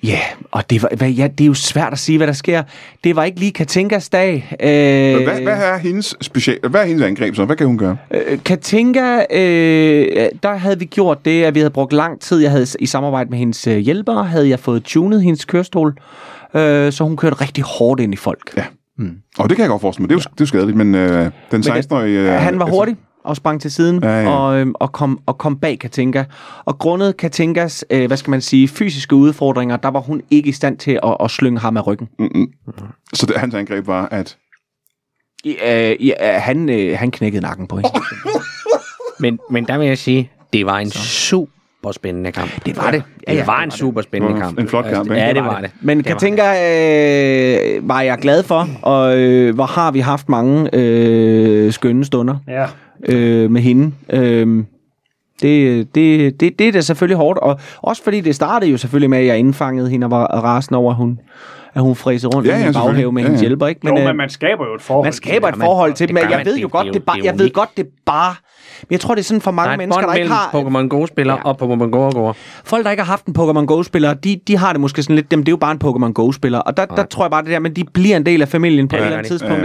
Speaker 4: ja, og det, var, hvad, ja, det er jo svært at sige, hvad der sker. Det var ikke lige Katinkas dag. Øh,
Speaker 1: Hvad, hvad er hendes special... Hvad er hendes angreb så? Hvad kan hun gøre?
Speaker 4: Øh, Katinka, øh, der havde vi gjort det, at vi havde brugt lang tid. Jeg havde i samarbejde med hendes øh, hjælpere, havde jeg fået tunet hendes kørestol, øh, så hun kørte rigtig hårdt ind i folk.
Speaker 1: Ja. Og det kan jeg godt forestille mig. Det er jo, det er jo skadeligt, men øh, den 16-årige... Øh,
Speaker 4: han var
Speaker 1: altså-
Speaker 4: hurtig og sprang til siden
Speaker 1: Ja,
Speaker 4: ja,
Speaker 1: ja.
Speaker 4: ja. Og, øhm, og, kom, og kom bag Katinka. Og grundet Katinkas, øh, hvad skal man sige, fysiske udfordringer, der var hun ikke i stand til at, at slynge ham af ryggen.
Speaker 1: Så det, hans angreb var, at...
Speaker 4: I, øh, i, øh, han, øh, han knækkede nakken på hende.
Speaker 2: Men, men der vil jeg sige, det var en super spændende kamp. Det
Speaker 4: var det.
Speaker 2: Ja, det var en super spændende
Speaker 1: Det var en-
Speaker 2: kamp.
Speaker 1: en flot kamp, ikke?
Speaker 2: Ja, det var det.
Speaker 4: Men
Speaker 2: Det var
Speaker 4: Katinka øh, var jeg glad for, og øh, hvor har vi haft mange øh, skønne stunder
Speaker 3: ja.
Speaker 4: øh, med hende. Øh, det, det, det, det er da selvfølgelig hårdt, og også fordi det startede jo selvfølgelig med, at jeg indfangede hende og var rasende over, at hun, at hun fræsede rundt
Speaker 1: Ja,
Speaker 4: ja, i
Speaker 1: ja,
Speaker 4: min baghave
Speaker 1: selvfølgelig.
Speaker 4: med
Speaker 1: Ja,
Speaker 4: ja, hendes
Speaker 1: ja.
Speaker 4: hjælper. Ikke?
Speaker 3: Men, jo,
Speaker 4: øh,
Speaker 3: men man skaber jo et forhold.
Speaker 4: man skaber
Speaker 2: det
Speaker 4: et
Speaker 2: gør man.
Speaker 4: forhold til
Speaker 2: Det
Speaker 4: dem, men
Speaker 2: gør
Speaker 4: jeg
Speaker 2: man.
Speaker 4: ved
Speaker 2: Det-
Speaker 4: jo
Speaker 2: det er
Speaker 4: godt,
Speaker 2: jo-
Speaker 4: det
Speaker 2: det
Speaker 4: bare,
Speaker 2: er jo
Speaker 4: jeg ved
Speaker 2: unikt.
Speaker 4: godt, det bare, men jeg tror, det er sådan for
Speaker 2: Der er
Speaker 4: mange
Speaker 2: et
Speaker 4: mennesker,
Speaker 2: bånd
Speaker 4: der ikke
Speaker 2: mellem
Speaker 4: har...
Speaker 2: Pokémon Go-spillere
Speaker 4: Ja.
Speaker 2: og Pokémon Go-gårdere.
Speaker 4: folk, der ikke har haft en Pokémon Go-spiller, de, de har det måske sådan lidt, dem, det er jo bare en Pokémon Go-spiller. Og der, der tror jeg bare det der, men de bliver en del af familien på ja, et eller andet
Speaker 2: gør de.
Speaker 4: tidspunkt,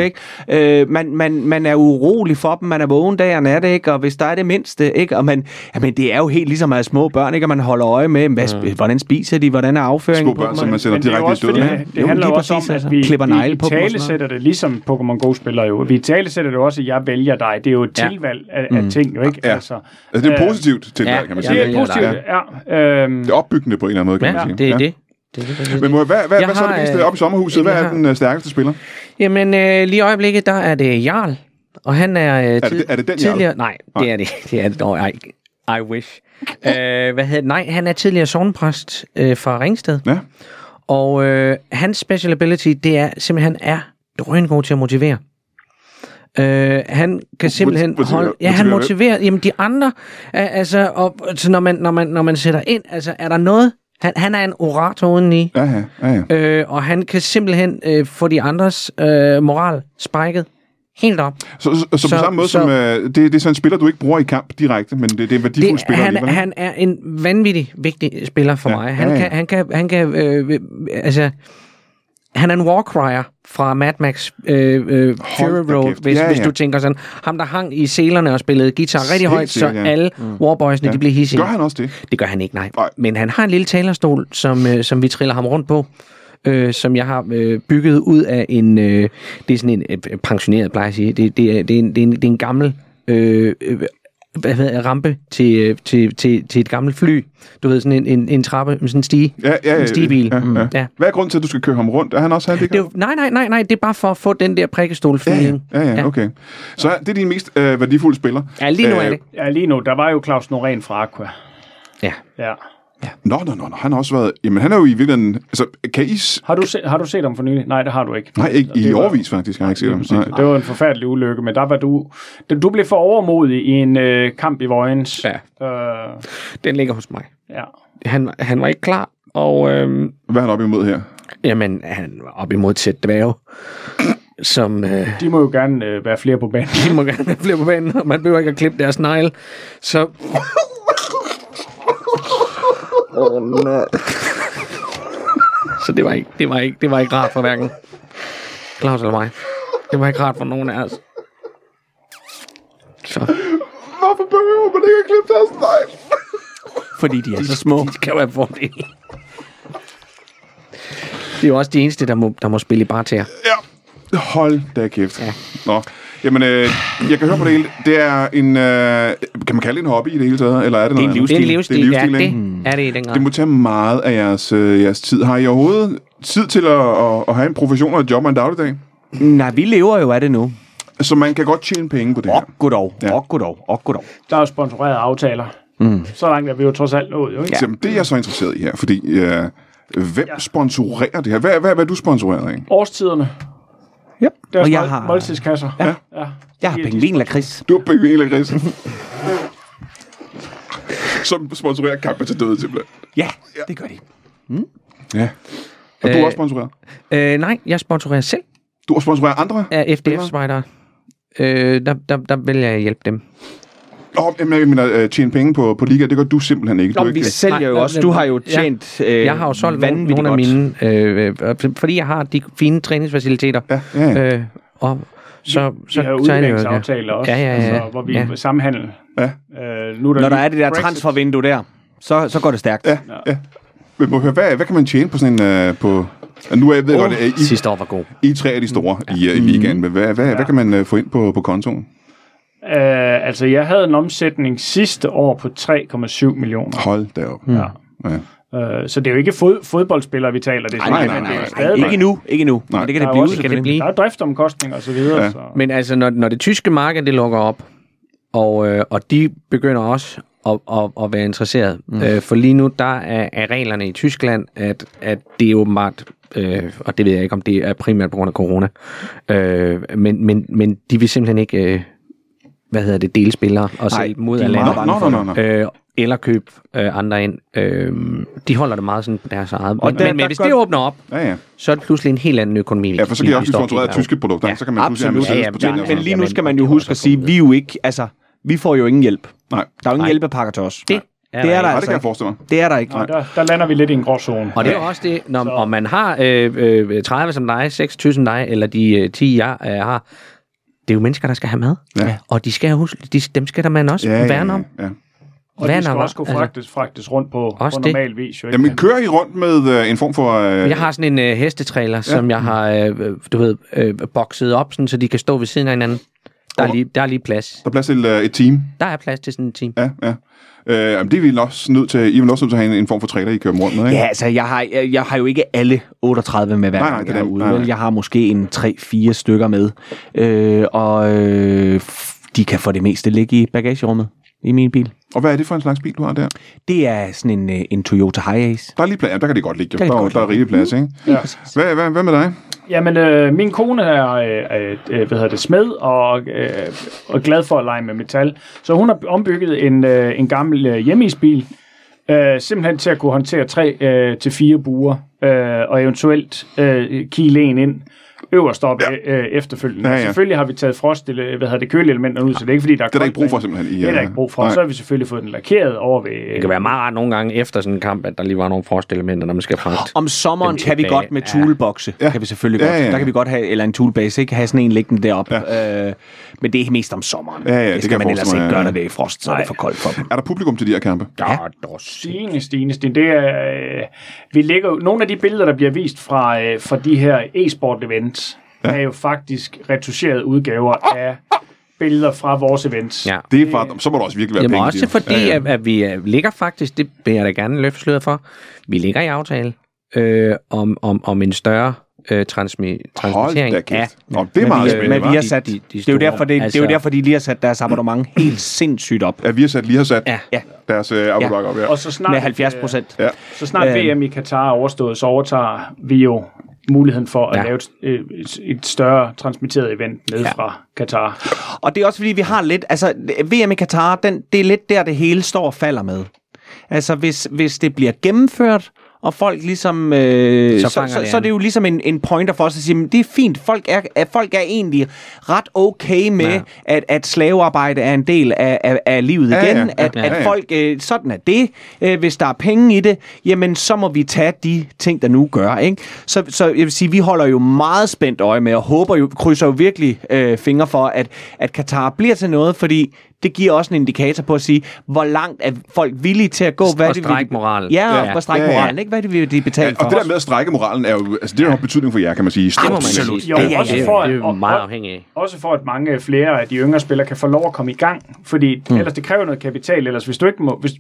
Speaker 4: ja, ja. ikke? Øh, man, man, man er urolig for dem, man er vågen dag og nat, ikke? Og hvis der er det mindste, ikke? Og man, jamen, det er jo helt ligesom at have små børn, ikke? Og man holder øje med, hvad, sp- hvordan spiser de, hvordan er afføringen
Speaker 1: Små børn,
Speaker 4: dem,
Speaker 1: som
Speaker 4: ikke?
Speaker 1: man sender
Speaker 3: Men det er jo
Speaker 1: direkte i
Speaker 3: også fordi,
Speaker 1: døden.
Speaker 4: ikke?
Speaker 3: Det, det
Speaker 4: Jo,
Speaker 3: handler
Speaker 4: lige
Speaker 3: jo også om,
Speaker 4: præcis,
Speaker 3: at
Speaker 4: altså.
Speaker 3: vi,
Speaker 4: Klipper
Speaker 3: vi,
Speaker 4: negle
Speaker 3: vi
Speaker 4: på dem og sådan noget.
Speaker 3: talesætter det, ligesom Pokémon Go spiller jo. Vi talesætter det også, at jeg vælger dig. Det er jo et
Speaker 2: Ja.
Speaker 3: tilvalg af,
Speaker 4: Mm.
Speaker 3: af ting, jo ikke?
Speaker 1: Ja.
Speaker 3: Altså,
Speaker 1: Altså, det er
Speaker 3: øh,
Speaker 1: positivt til ja, kan man
Speaker 2: ja,
Speaker 1: sige.
Speaker 3: det
Speaker 2: vælger
Speaker 3: er
Speaker 2: dig.
Speaker 3: positivt, ja. Øhm,
Speaker 1: Det er opbyggende på en eller anden måde, kan
Speaker 2: Ja,
Speaker 1: man sige.
Speaker 2: det er
Speaker 1: Ja.
Speaker 2: det. Det er det, det. er
Speaker 1: Men
Speaker 2: det.
Speaker 1: må jeg- hvad, hvad,
Speaker 2: Jeg
Speaker 1: hvad så er
Speaker 2: har,
Speaker 1: det meste
Speaker 2: øh,
Speaker 1: oppe i sommerhuset? Hvad
Speaker 2: jeg
Speaker 1: er
Speaker 2: har-
Speaker 1: den øh, stærkeste spiller?
Speaker 2: Jamen, øh, lige i øjeblikket, der er det Jarl, og han er... Øh,
Speaker 1: det- er det den Jarl?
Speaker 2: tidligere, Nej, det er det. [LAUGHS] Det er det. Nå, ej, I wish. øh, hvad hedder det? Nej, han er tidligere sovnpræst øh, fra Ringsted.
Speaker 1: Ja.
Speaker 2: Og øh, hans special ability, det er simpelthen, han er drøngod til at motivere. Øh, han kan simpelthen
Speaker 1: motiverer-
Speaker 2: holde... Ja, han
Speaker 1: motiverer
Speaker 2: motiverer... Jamen, de andre... Er, altså, og, så når, man, når, man, når man sætter ind, altså, er der noget... Han, han er en orator udeni.
Speaker 1: Ja, ja, ja, ja.
Speaker 2: Øh, og han kan simpelthen øh, få de andres øh, moral sprækket helt op.
Speaker 1: Så, så, så, så på
Speaker 2: Så-
Speaker 1: samme måde
Speaker 2: så-
Speaker 1: som... Øh, det, det er sådan en spiller, du ikke bruger i kamp direkte, men det, det er en værdifuld
Speaker 2: Det,
Speaker 1: spiller
Speaker 2: han,
Speaker 1: alligevel.
Speaker 2: han er en vanvittig vigtig spiller for
Speaker 1: Ja,
Speaker 2: ja. mig. Han
Speaker 1: ja, ja.
Speaker 2: kan, han kan, han kan øh, øh, altså, han er en warcrier fra Mad Max øh, øh, Fury
Speaker 1: da
Speaker 2: Road,
Speaker 1: kæft.
Speaker 2: hvis,
Speaker 1: Ja,
Speaker 2: ja, hvis
Speaker 1: ja.
Speaker 2: du tænker sådan. Ham, der hang i selerne og spillede guitar rigtig
Speaker 1: Helt
Speaker 2: højt, så
Speaker 1: sikkert, ja.
Speaker 2: alle mm. warboysene, ja. de blev hissige.
Speaker 1: Gør han også det?
Speaker 2: Det gør han ikke, nej.
Speaker 1: Nej.
Speaker 2: Men han har en lille talerstol, som, øh, som vi triller ham rundt på. Øh, som jeg har øh, bygget ud af en... Øh, det er sådan en øh, pensioneret, plejer jeg at sige. Det, det, er, det, er, en, det, er, en, det er en gammel... Øh, øh, hvad hedder det, rampe til, øh, til, til, til et gammelt fly. Du ved, sådan en, en, en trappe, sådan en stige.
Speaker 1: Ja, ja, ja.
Speaker 2: en stigebil.
Speaker 1: Ja, ja.
Speaker 2: ja.
Speaker 1: Hvad er grunden til, at du skal køre ham rundt? Er han også
Speaker 2: Det er
Speaker 1: handicap?
Speaker 2: jo, nej, nej, nej, nej, det er bare for at få den
Speaker 1: Ja,
Speaker 2: der
Speaker 1: ja,
Speaker 2: prikkestol-feeling.
Speaker 1: ja, ja, okay. Så det er din mest øh, værdifulde spiller.
Speaker 2: ja, lige nu er
Speaker 1: Øh,
Speaker 2: det.
Speaker 3: ja, lige nu, der var jo Claus Norén fra Aqua.
Speaker 2: Ja.
Speaker 3: Ja.
Speaker 1: Nå, nå, nå, nå, han har også været... Jamen, han er jo i virkeligheden... Altså, kan I... s-
Speaker 3: Har du, se, har du set ham for nylig? Nej, det har du ikke.
Speaker 1: Nej, ikke
Speaker 3: Det
Speaker 1: i
Speaker 3: var-
Speaker 1: årvis faktisk, har jeg ikke set ham. Nej.
Speaker 3: Det var en forfærdelig ulykke, men der var du... Du blev for overmodig i en øh, kamp i Vojens.
Speaker 2: Ja.
Speaker 3: Øh,
Speaker 2: Den ligger hos mig.
Speaker 3: ja.
Speaker 2: Han, han var ikke klar, og øhm,
Speaker 1: Hvad er han op imod her?
Speaker 2: jamen, han var op imod tæt dværge, som... Øh,
Speaker 3: De må jo gerne øh, være flere på banen.
Speaker 2: de må gerne [LAUGHS] blive på banen, og man behøver ikke at klippe deres negle. Så... oh, no. Så det var, ikke, det, var ikke, det var ikke rart for hverken Claus eller mig. Det var ikke rart for nogen af os. Så.
Speaker 1: Hvorfor behøver man ikke at klippe deres nej?
Speaker 4: fordi de er så små.
Speaker 2: Det kan være en fordel. Det er jo også de eneste, der må, der må spille i barter.
Speaker 1: Ja. Hold da kæft. Nå. Jamen, øh, jeg kan høre på det hele. Det er en... Øh, kan man kalde det en hobby i det hele taget? Eller er det noget andet?
Speaker 2: Det er en livsstil, det er,
Speaker 1: livsstil,
Speaker 2: ja,
Speaker 1: ikke?
Speaker 2: det er det i den grad.
Speaker 1: Det må tage meget af jeres, øh, jeres tid. Har I overhovedet tid til at, at, at have en profession og et job og en dagligdag?
Speaker 4: Nej, vi lever jo af det nu.
Speaker 1: Så man kan godt tjene penge på det her.
Speaker 4: Og goddag,
Speaker 1: Ja.
Speaker 4: og goddag, og goddag.
Speaker 3: Der er jo sponsorerede aftaler. Mm. Så langt er vi jo trods alt nået, jo ikke?
Speaker 1: Ja. Det er jeg så interesseret i her, fordi øh, hvem ja. sponsorerer det her? Hvad, hvad, hvad er du sponsoreret af?
Speaker 3: Årstiderne.
Speaker 4: Ja.
Speaker 3: Det er
Speaker 4: Og
Speaker 3: og
Speaker 4: jeg
Speaker 3: jeg
Speaker 4: har-
Speaker 3: måltidskasser. Ja. ja.
Speaker 4: Jeg har pengevin lakrids.
Speaker 1: Du er Pingvin eller Grisen. Som sponsorerer kampen til døde, simpelthen.
Speaker 4: Ja, det gør de.
Speaker 1: Ja. Og øh, du er
Speaker 2: Øh.
Speaker 1: også sponsoreret.
Speaker 2: Øh, nej, jeg sponsorerer selv
Speaker 1: Du er også sponsoreret andre?
Speaker 2: af FDF-spejdere. Øh, der, der, der vil jeg hjælpe dem.
Speaker 1: Nå, jamen, jeg mener, øh, tjene penge på, på liga, det gør du simpelthen ikke. Du
Speaker 4: Nå,
Speaker 1: er
Speaker 4: men vi
Speaker 1: ikke
Speaker 4: sælger jo
Speaker 2: Nej,
Speaker 4: også.
Speaker 2: nej,
Speaker 4: Du
Speaker 2: nej.
Speaker 4: har jo
Speaker 2: Ja.
Speaker 4: tjent øh,
Speaker 2: Jeg har jo solgt nogle,
Speaker 4: vanvittigt
Speaker 2: nogle af
Speaker 4: godt.
Speaker 2: mine, øh, øh, fordi jeg har de fine træningsfaciliteter.
Speaker 1: Ja, ja, ja.
Speaker 2: Øh, og så, så,
Speaker 3: Så, vi har
Speaker 2: så er det jo-
Speaker 3: udviklingsaftaler også,
Speaker 2: Ja, ja, ja.
Speaker 3: Altså, hvor vi
Speaker 2: ja.
Speaker 3: ja. samhandler.
Speaker 1: Ja.
Speaker 3: Øh, nu er der
Speaker 4: Når der
Speaker 3: lige
Speaker 4: er det der
Speaker 3: Brexit.
Speaker 4: transfervindue der, så, så går det stærkt.
Speaker 1: Ja, ja. Men må jeg høre, hvad, hvad kan man tjene på sådan en... Øh, på, Ja, nu er jeg ved godt, at I,
Speaker 2: Sidste år var god.
Speaker 1: I er tre af de store i, øh, i ligaen, men hvad, hvad, hvad kan man øh, få ind på, på kontoen?
Speaker 3: Øh, altså, jeg havde en omsætning sidste år på 3,7 millioner.
Speaker 1: Hold da op. Ja. ja.
Speaker 3: Øh, så det er jo ikke fod, fodboldspillere, vi taler. Det er
Speaker 1: nej,
Speaker 3: sådan,
Speaker 1: nej,
Speaker 3: men det er
Speaker 1: nej.
Speaker 3: jo
Speaker 4: Ej,
Speaker 3: stadigvæk-
Speaker 4: ikke nu, ikke nu.
Speaker 1: Nej.
Speaker 4: Men det kan det
Speaker 3: Der er
Speaker 4: blive.
Speaker 3: også-
Speaker 2: kan det
Speaker 4: selvfølgelig.
Speaker 2: blive.
Speaker 3: Der er jo driftomkostninger og så videre.
Speaker 1: Ja.
Speaker 3: Ja. Så.
Speaker 2: Men altså, når, når det tyske marked det lukker op, og, øh, og de begynder også at, at, at være interesseret. Mm. Øh, for lige nu, der er, er reglerne i Tyskland, at, at det er åbenbart, øh, og det ved jeg ikke, om det er primært på grund af corona, øh, men, men, men de vil simpelthen ikke, øh, hvad hedder det, dele spillere og sælge dem ud
Speaker 4: de er
Speaker 2: af
Speaker 4: meget
Speaker 2: landet.
Speaker 1: Nå, nå, nå, nå, nå.
Speaker 2: Øh, eller købe øh, andre ind. Øh, de holder det meget sådan på deres eget. Og men,
Speaker 4: der-
Speaker 2: men,
Speaker 4: der
Speaker 2: hvis
Speaker 4: gør-
Speaker 2: det åbner op,
Speaker 1: Ja, ja.
Speaker 2: så er det pludselig en helt anden økonomi.
Speaker 1: Ja, for så kan
Speaker 2: vi
Speaker 1: jeg også blive
Speaker 2: står
Speaker 1: sponsoreret af
Speaker 2: i.
Speaker 1: tyske produkter, ja. så kan man pludselig have
Speaker 4: Absolut.
Speaker 1: Mercedes
Speaker 2: Ja, ja,
Speaker 1: på
Speaker 2: ja,
Speaker 1: tingene. og
Speaker 4: Men
Speaker 1: sådan
Speaker 4: lige nu
Speaker 2: Jamen,
Speaker 4: skal man
Speaker 2: det
Speaker 4: jo
Speaker 2: er
Speaker 4: huske
Speaker 2: også
Speaker 4: at sige,
Speaker 2: godt.
Speaker 4: vi er jo ikke, altså, vi får jo ingen hjælp.
Speaker 1: noget. Nej,
Speaker 4: Der er jo ingen
Speaker 2: Nej.
Speaker 4: hjælpepakker til os.
Speaker 2: Det er
Speaker 4: det er
Speaker 2: der
Speaker 4: der
Speaker 1: Nej, det
Speaker 4: altså
Speaker 1: kan jeg
Speaker 4: ikke.
Speaker 1: forestille mig.
Speaker 4: Det er der ikke.
Speaker 3: Og der, der lander vi lidt i en gråzone.
Speaker 2: Og det er jo også det, når om man har øh, øh, 30 som dig, 26 som dig, eller de øh, 10 jeg øh, har, det er jo mennesker, der skal have mad.
Speaker 1: Ja.
Speaker 2: Og de skal jo huske, de, dem skal der man også
Speaker 1: Ja,
Speaker 2: ja,
Speaker 1: ja,
Speaker 2: værne om.
Speaker 1: ja.
Speaker 3: Og
Speaker 2: Hvad
Speaker 3: de skal
Speaker 2: når-
Speaker 3: også kunne
Speaker 2: altså-
Speaker 3: fragtes, fragtes rundt på, på
Speaker 2: Også det.
Speaker 3: normal vis. Jo, ikke?
Speaker 1: Jamen, kører I rundt med øh, en form for... Øh,
Speaker 2: Jeg har sådan en øh, hestetrailer, ja. som jeg har, øh, øh, du ved, øh, bokset op, sådan, så de kan stå ved siden af hinanden. Der er lige, der er lige plads.
Speaker 1: Der er plads til øh, et team.
Speaker 2: Der er plads til sådan en team.
Speaker 1: Ja, ja. Øh, jamen, det er vi også nødt til. I er vel også nødt til at have en, en form for trailer, I kører rundt med, ikke?
Speaker 4: Ja, altså, jeg har, jeg, jeg har jo ikke alle 38 med hver
Speaker 1: Nej,
Speaker 4: gang,
Speaker 1: nej, det er
Speaker 4: jeg er
Speaker 1: dem.
Speaker 4: ude.
Speaker 1: Nej,
Speaker 4: vel?
Speaker 1: nej.
Speaker 4: Jeg har måske en 3-4 stykker med. Øh, og øh, f- de kan for det meste ligge i bagagerummet i min bil.
Speaker 1: Og hvad er det for en slags bil, du har der?
Speaker 4: Det er sådan en, øh, en Toyota Hiace.
Speaker 1: Der er lige plads. Ja, der kan det godt ligge.
Speaker 4: Kan
Speaker 1: jo.
Speaker 4: det
Speaker 1: Der, er-
Speaker 4: godt
Speaker 1: der er rigtig plads, ikke?
Speaker 3: Ja.
Speaker 1: Hvad, hvad, hvad med dig?
Speaker 3: Jamen, øh, min kone er øh, øh, øh, hvad hedder det, smed og, øh, og glad for at lege med metal. Så hun har ombygget en, øh, en gammel øh, hjemmeisbil, øh, simpelthen til at kunne håndtere tre øh, til fire buer, øh, og eventuelt øh, kile en ind øverst op ja. øh, efterfølgende.
Speaker 1: Ja,
Speaker 3: Ja,
Speaker 1: ja.
Speaker 3: ja. Selvfølgelig har vi taget frost, eller, hvad hedder det, køleelementer ud, så det er ikke fordi, der er
Speaker 1: Det er der ikke brug for,
Speaker 3: koldt derinde.
Speaker 1: simpelthen. I,
Speaker 3: Det er der
Speaker 1: øh,
Speaker 3: ikke brug for.
Speaker 1: nej.
Speaker 3: Så har vi selvfølgelig fået den lakeret over ved...
Speaker 2: Det kan være meget rart nogle gange efter sådan en kamp, at der lige var nogle frostelementer, når man skal fragt.
Speaker 4: Om sommeren
Speaker 2: Dem
Speaker 4: kan vi
Speaker 2: tilbage.
Speaker 4: godt med toolboxe.
Speaker 1: Ja.
Speaker 4: Ja. Kan vi selvfølgelig
Speaker 1: Ja,
Speaker 4: godt.
Speaker 1: ja, ja.
Speaker 4: Der kan vi godt have, eller en toolbase, ikke? Have sådan en liggende deroppe. Ja. Øh, men det er mest om sommeren.
Speaker 1: ja, det
Speaker 4: det skal
Speaker 1: kan jeg
Speaker 4: man ellers
Speaker 1: forestille
Speaker 4: ikke
Speaker 1: mig,
Speaker 4: gøre,
Speaker 1: ja.
Speaker 4: når det er frost, så er det for koldt for dem.
Speaker 1: Er der publikum til de her kampe?
Speaker 4: Ja.
Speaker 3: Stine, Stine, Stine. Det er, øh, vi lægger jo, nogle af de billeder, der bliver vist fra, øh, fra de her e-sport events, ja. er jo faktisk retuscherede udgaver af billeder fra vores events.
Speaker 2: Ja.
Speaker 1: Det er bare, så må der også virkelig være
Speaker 2: Jamen
Speaker 1: penge. i
Speaker 2: også
Speaker 1: det.
Speaker 2: fordi,
Speaker 1: Ja, ja.
Speaker 2: At, at vi øh, ligger faktisk, det vil jeg da gerne løfte sløret for, vi ligger i aftale øh, om, om, om en større øh, transmi-
Speaker 1: Hold
Speaker 2: transmittering
Speaker 1: da kæft.
Speaker 2: af
Speaker 1: Nå, det er meget
Speaker 2: vi-
Speaker 1: spændende,
Speaker 4: Men
Speaker 1: hva'?
Speaker 4: vi har sat,
Speaker 2: De- de- de
Speaker 4: det er jo
Speaker 2: store.
Speaker 4: derfor, det, altså, det er
Speaker 2: Altså-
Speaker 4: jo derfor, de lige har sat deres abonnement helt sindssygt op
Speaker 1: Ja, vi har sat lige har sat
Speaker 2: Ja.
Speaker 4: Ja.
Speaker 1: deres øh, abonnement op, ja.
Speaker 3: Og så snart, øh,
Speaker 4: med
Speaker 2: øh,
Speaker 4: 70 procent.
Speaker 1: ja.
Speaker 3: Så snart
Speaker 4: Øhm.
Speaker 3: VM i Katar er overstået, så overtager vi jo muligheden for at
Speaker 4: Ja.
Speaker 3: ja. lave et, et, et større transmitteret event ned ja. fra Katar.
Speaker 4: Og det er også fordi, vi har lidt, altså VM i Katar, den, det er lidt der, det hele står og falder med. Altså hvis, hvis det bliver gennemført, og folk ligesom, øh, så,
Speaker 2: Så
Speaker 4: så,
Speaker 2: fanger
Speaker 4: så,
Speaker 2: det
Speaker 4: så er det jo ligesom en, en pointer for os at sige, men det er fint, folk er, er, folk er egentlig ret okay med, ja.
Speaker 2: Ja.
Speaker 4: at, at slavearbejde er en del af, af, af livet
Speaker 1: Ja,
Speaker 4: igen,
Speaker 1: ja, ja,
Speaker 4: at,
Speaker 1: ja,
Speaker 4: at
Speaker 1: ja.
Speaker 4: folk, øh, sådan er det, øh, hvis der er penge i det, jamen så må vi tage de ting, der nu gør, ikke? Så, så jeg vil sige, vi holder jo meget spændt øje med, og håber jo, krydser jo virkelig øh, fingre for, at, at Katar bliver til noget, fordi det giver også en indikator på at sige, hvor langt er folk villige til at gå, hvad
Speaker 2: og
Speaker 4: det
Speaker 2: strække moralen.
Speaker 4: Ja, og
Speaker 2: Ja.
Speaker 4: ja. strække
Speaker 1: Ja, ja.
Speaker 4: moralen, ikke? Hvad det vil de betale
Speaker 1: Ja,
Speaker 4: for.
Speaker 1: og det der med at strække moralen, er jo, altså, det har jo betydning for jer, kan man sige.
Speaker 2: må man
Speaker 1: Stort set.
Speaker 2: sige. Absolut.
Speaker 3: Jo,
Speaker 2: Ja, ja,
Speaker 3: også
Speaker 2: ja.
Speaker 3: for,
Speaker 2: Det er jo
Speaker 3: og-
Speaker 2: meget
Speaker 3: og-
Speaker 2: afhængigt af.
Speaker 3: Også for, at mange flere af de yngre spillere kan få lov at komme i gang, fordi mm. ellers det kræver noget kapital, ellers hvis du ikke må... Hvis,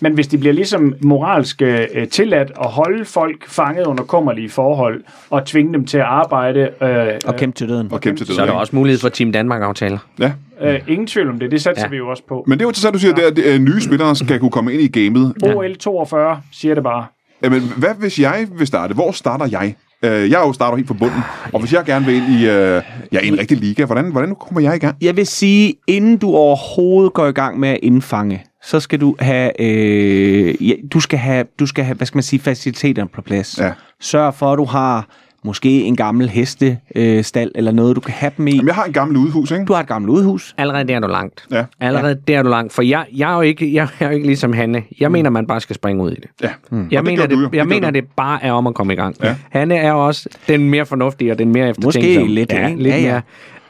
Speaker 3: men hvis det bliver ligesom moralsk øh, tilladt at holde folk fanget under kummerlige forhold, og tvinge dem til at arbejde, øh,
Speaker 4: Og kæmpe til døden.
Speaker 1: Og kæmpe til
Speaker 2: Så er der
Speaker 1: døden.
Speaker 2: også mulighed for Team Danmark-aftaler.
Speaker 1: Ja.
Speaker 3: øh, ingen tvivl om det, det satser ja.
Speaker 2: Ja.
Speaker 3: vi jo også på.
Speaker 1: Men det er jo interessant, du siger, det er, at øh, nye spillere skal kunne komme ind i gamet.
Speaker 3: OL 42 siger det bare.
Speaker 1: Jamen, hvad hvis jeg vil starte? Hvor starter jeg? Øh, jeg er jo starter helt fra bunden. Og hvis jeg gerne vil ind i, øh, ja, i en rigtig liga, hvordan, hvordan kommer jeg i gang?
Speaker 4: Jeg vil sige, inden du overhovedet går i gang med at indfange, så skal du have, øh, ja, du skal have, du skal have, hvad skal man sige, faciliteterne på plads.
Speaker 1: Ja.
Speaker 4: Sørg for, at du har måske en gammel hestestal øh, stald eller noget, du kan have dem i.
Speaker 1: Jamen, jeg har en gammel udhus, ikke?
Speaker 4: Du har et gammelt udhus.
Speaker 2: Allerede der er du langt.
Speaker 1: Ja.
Speaker 2: Allerede der er du langt, for jeg, jeg, er jo ikke, jeg, er jo ikke ligesom Hanne. Jeg mener, man bare skal springe ud i det.
Speaker 1: Ja. Mm.
Speaker 2: Jeg mener,
Speaker 1: gjorde du jo.
Speaker 2: det,
Speaker 1: Det
Speaker 2: jeg
Speaker 1: gjorde
Speaker 2: mener
Speaker 1: du.
Speaker 2: det bare er om at komme i gang. Ja. Hanne er jo også den mere fornuftige og den mere
Speaker 4: Måske
Speaker 2: eftertænksomme.
Speaker 4: lidt,
Speaker 2: ja,
Speaker 4: ikke?
Speaker 2: lidt
Speaker 4: Ja,
Speaker 2: ja,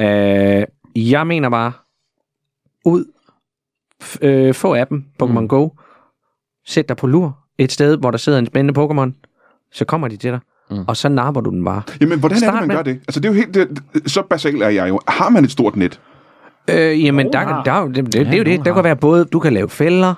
Speaker 2: ja. Mere. Øh, jeg mener bare, ud, f- øh, få appen, Pokémon mm. Go, sæt dig på lur et sted, hvor der sidder en spændende Pokémon, så kommer de til dig, mm. og så napper du den bare.
Speaker 1: Jamen, hvordan er det,
Speaker 2: Start
Speaker 1: man
Speaker 2: med-
Speaker 1: gør det? Altså, det er jo helt... Det, så basalt er jeg jo. Har man et stort net?
Speaker 2: Øh, jamen,
Speaker 3: Nogen
Speaker 2: der, kan-
Speaker 3: har.
Speaker 2: der, er jo- det, det, det er jo
Speaker 4: nogen
Speaker 2: det. Der
Speaker 4: har.
Speaker 2: kan være både, du kan lave fælder,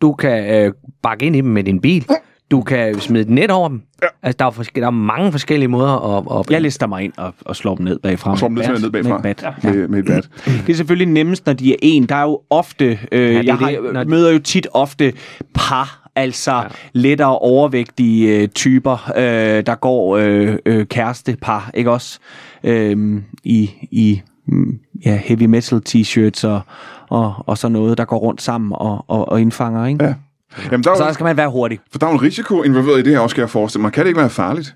Speaker 2: du kan øh, bakke ind i dem med din bil, du kan smide et net over dem. Ja. Altså, der er, forske- der er mange forskellige måder at... at
Speaker 4: Jeg lister mig ind og, og slår dem ned bagfra.
Speaker 1: slår dem ned,
Speaker 4: Med et
Speaker 1: ned
Speaker 4: bat.
Speaker 1: bagfra.
Speaker 4: Med et bat.
Speaker 1: Med, med et bat.
Speaker 4: Det er selvfølgelig nemmest, når de er en. Der er jo ofte, øh, ja,
Speaker 2: det
Speaker 4: jeg
Speaker 2: er
Speaker 4: har,
Speaker 2: det, når de-
Speaker 4: møder jo tit ofte par, altså ja. lettere overvægtige øh, typer, øh, der går øh, øh, kærestepar, ikke også? Øhm, I i mm, ja, heavy metal t-shirts og, og, og sådan noget, der går rundt sammen og, og, og indfanger, ikke? Ja.
Speaker 1: Jamen, der er,
Speaker 4: Så
Speaker 1: jo,
Speaker 4: der skal man være hurtig.
Speaker 1: for der er jo en risiko involveret i det her også, skal jeg forestille mig. Kan det ikke være farligt?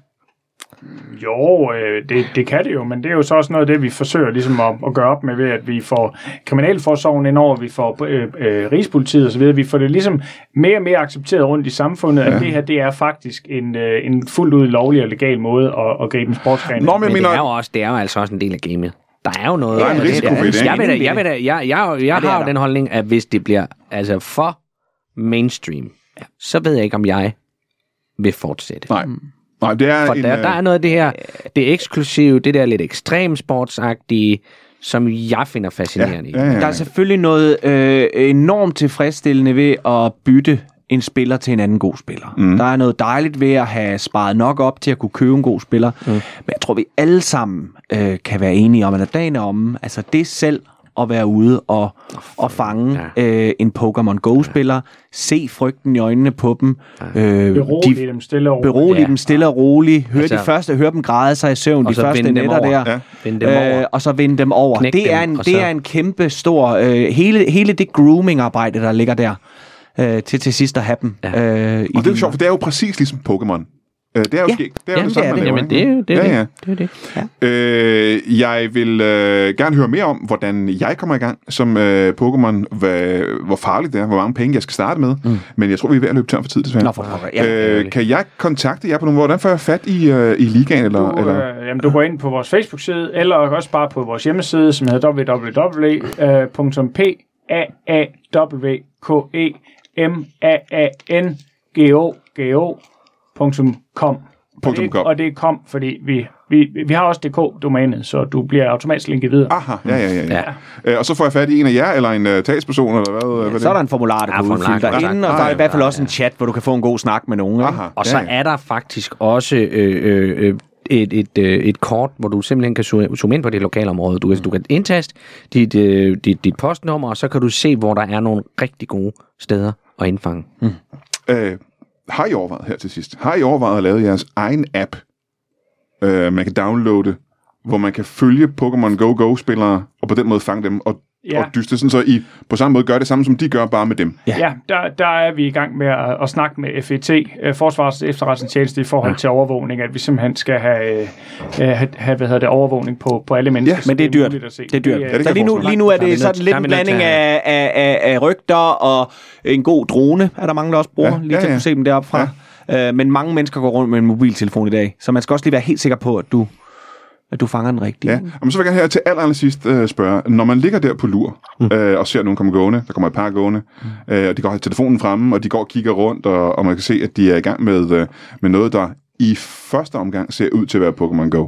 Speaker 3: Jo, øh, det, det kan det jo, men det er jo så også noget af det, vi forsøger ligesom at, at gøre op med, ved at vi får kriminalforsorgen ind over, vi får øh, øh, Rigspolitiet osv., vi får det ligesom mere og mere accepteret rundt i samfundet, ja. at det her, det er faktisk en, øh, en fuldt ud lovlig og legal måde at, at gribe en sportsgren.
Speaker 1: Nå, men jeg
Speaker 2: men
Speaker 1: mener...
Speaker 2: det er jo også, det er jo altså også en del af gamet. Der er jo noget...
Speaker 1: Der er en
Speaker 2: altså,
Speaker 1: risiko ved det, ikke?
Speaker 2: jeg, ved da, jeg, ved da, jeg, jeg, jeg, jeg har jo den holdning, at hvis det bliver altså for mainstream, så ved jeg ikke, om jeg vil fortsætte.
Speaker 1: Nej. Nej, det er
Speaker 2: For
Speaker 1: en...
Speaker 2: der,
Speaker 1: øh,
Speaker 2: der er noget af det her, det eksklusive, det der lidt ekstremsportsagtige, som jeg finder fascinerende
Speaker 1: ja,
Speaker 2: i.
Speaker 1: ja,
Speaker 4: Der
Speaker 1: ja.
Speaker 4: er selvfølgelig noget øh, enormt tilfredsstillende ved at bytte en spiller til en anden god spiller. Mm. Der er noget dejligt ved at have sparet nok op til at kunne købe en god spiller. Mm. Men jeg tror, vi alle sammen øh, kan være enige om, at når dagen er omme, altså det selv at være ude og, og fange ja. øh, en Pokémon Go-spiller, se frygten i øjnene på dem, øh,
Speaker 3: Berolige dem stille og roligt.
Speaker 4: berolige
Speaker 2: Ja.
Speaker 4: dem stille og roligt, høre altså,
Speaker 2: Altså-
Speaker 4: de første, høre dem græde sig i søvn,
Speaker 2: Og
Speaker 4: de
Speaker 2: så
Speaker 4: første
Speaker 2: vinde dem
Speaker 4: nætter
Speaker 2: over.
Speaker 4: der Øh,
Speaker 1: Ja.
Speaker 2: Vende dem over.
Speaker 4: og så vinde dem over.
Speaker 2: Knække
Speaker 4: det er
Speaker 2: dem,
Speaker 4: en,
Speaker 2: og
Speaker 4: det
Speaker 2: så-
Speaker 4: er en kæmpe stor... Øh, hele, hele det grooming-arbejde, der ligger der, øh, til til sidst at have dem. Ja. Øh, i
Speaker 1: Og det er jo
Speaker 4: din-
Speaker 1: sjovt, for det er jo præcis ligesom Pokémon. Øh, Det er jo
Speaker 4: Ja.
Speaker 1: skægt. Det er jo
Speaker 2: Jamen,
Speaker 1: det samme,
Speaker 4: det er
Speaker 1: man
Speaker 4: det.
Speaker 1: laver,
Speaker 2: Jamen, det er
Speaker 1: ikke?
Speaker 2: jo det.
Speaker 1: Ja,
Speaker 2: er det.
Speaker 1: ja.
Speaker 2: Det er det.
Speaker 1: Øh, jeg vil øh, gerne høre mere om, hvordan jeg kommer i gang som øh, Pokémon. Hvad, hvor farligt det er, hvor mange penge jeg skal starte med. Mm. Men jeg tror, vi er ved at løbe tør for tid, desværre.
Speaker 4: Nå, for pokker. Ja,
Speaker 1: øh, kan jeg kontakte jer på nogen måde? Hvordan får jeg fat i, øh, i ligaen? Eller,
Speaker 3: Du,
Speaker 1: eller?
Speaker 3: øh, jamen, du går ind på vores Facebook-side, eller også bare på vores hjemmeside, som hedder www.paawkemaaangogo.com.
Speaker 1: Punktum
Speaker 3: Og det-
Speaker 1: com.
Speaker 3: Og det er kom, fordi vi, vi, vi har også DK-domænet, så du bliver automatisk linket videre.
Speaker 1: Aha, ja, ja, ja. ja. Øh, og så får jeg fat i en af jer, eller en øh, talsperson, eller hvad, ja, hvad
Speaker 4: Så er der
Speaker 1: det
Speaker 4: en formular, du
Speaker 2: Ja,
Speaker 4: kan
Speaker 2: formular,
Speaker 4: udfylde
Speaker 2: tak.
Speaker 4: derinde, og
Speaker 1: Ah,
Speaker 4: der er
Speaker 1: ja.
Speaker 4: i hvert fald også en chat, hvor du kan få en god snak med nogen. ikke?
Speaker 1: Aha,
Speaker 2: Og
Speaker 1: ja,
Speaker 2: så
Speaker 1: ja.
Speaker 2: er der faktisk også øh, øh, øh, et, et, øh, et kort, hvor du simpelthen kan zoome zoome ind på det lokale område. Du, kan- du kan indtaste dit, øh, dit, dit postnummer, og så kan du se, hvor der er nogle rigtig gode steder at indfange.
Speaker 1: Øh, har I overvejet her til sidst? Har I overvejet at lave jeres egen app, øh, man kan downloade, hvor man kan følge Pokémon Go Go-spillere, og på den måde fange dem og,
Speaker 3: Ja.
Speaker 1: ja. og dyste, sådan så I på samme måde gør det samme, som de gør, bare med dem?
Speaker 3: Ja, ja der, der er vi i gang med at, at snakke med FET, øh, Forsvarets Efterretningstjeneste, i forhold ja. til overvågning, at vi simpelthen skal have, øh, øh, have, have hvad hedder det, overvågning på, på alle mennesker.
Speaker 1: Ja.
Speaker 3: så
Speaker 4: Men det er dyrt.
Speaker 3: muligt at se.
Speaker 4: Det er dyrt.
Speaker 3: øh,
Speaker 1: Ja, det
Speaker 4: Så
Speaker 1: kan
Speaker 4: lige
Speaker 1: jeg
Speaker 4: nu,
Speaker 1: forestille
Speaker 4: lige nu er
Speaker 2: mig. Der er
Speaker 4: det
Speaker 2: vi
Speaker 4: sådan
Speaker 2: nødt-
Speaker 4: lidt
Speaker 2: der er
Speaker 4: en
Speaker 2: vi nødt til
Speaker 4: blanding af,
Speaker 2: at-
Speaker 4: af, af, af rygter og en god drone, er der mange, der også bruger, ja,
Speaker 1: Ja,
Speaker 4: lige
Speaker 1: ja,
Speaker 4: til at
Speaker 1: ja.
Speaker 4: kunne se dem deroppe fra. Ja. Øh, men mange mennesker går rundt med en mobiltelefon i dag, så man skal også lige være helt sikker på, at du, at du fanger den rigtige.
Speaker 1: Ja, og så vil jeg gerne her til aller, aller sidst øh, spørge, når man ligger der på lur øh, og ser nogen komme gående, der kommer et par gående, øh, og de går har telefonen fremme, og de går og kigger rundt, og, og man kan se, at de er i gang med, øh, med noget, der i første omgang ser ud til at være Pokémon Go.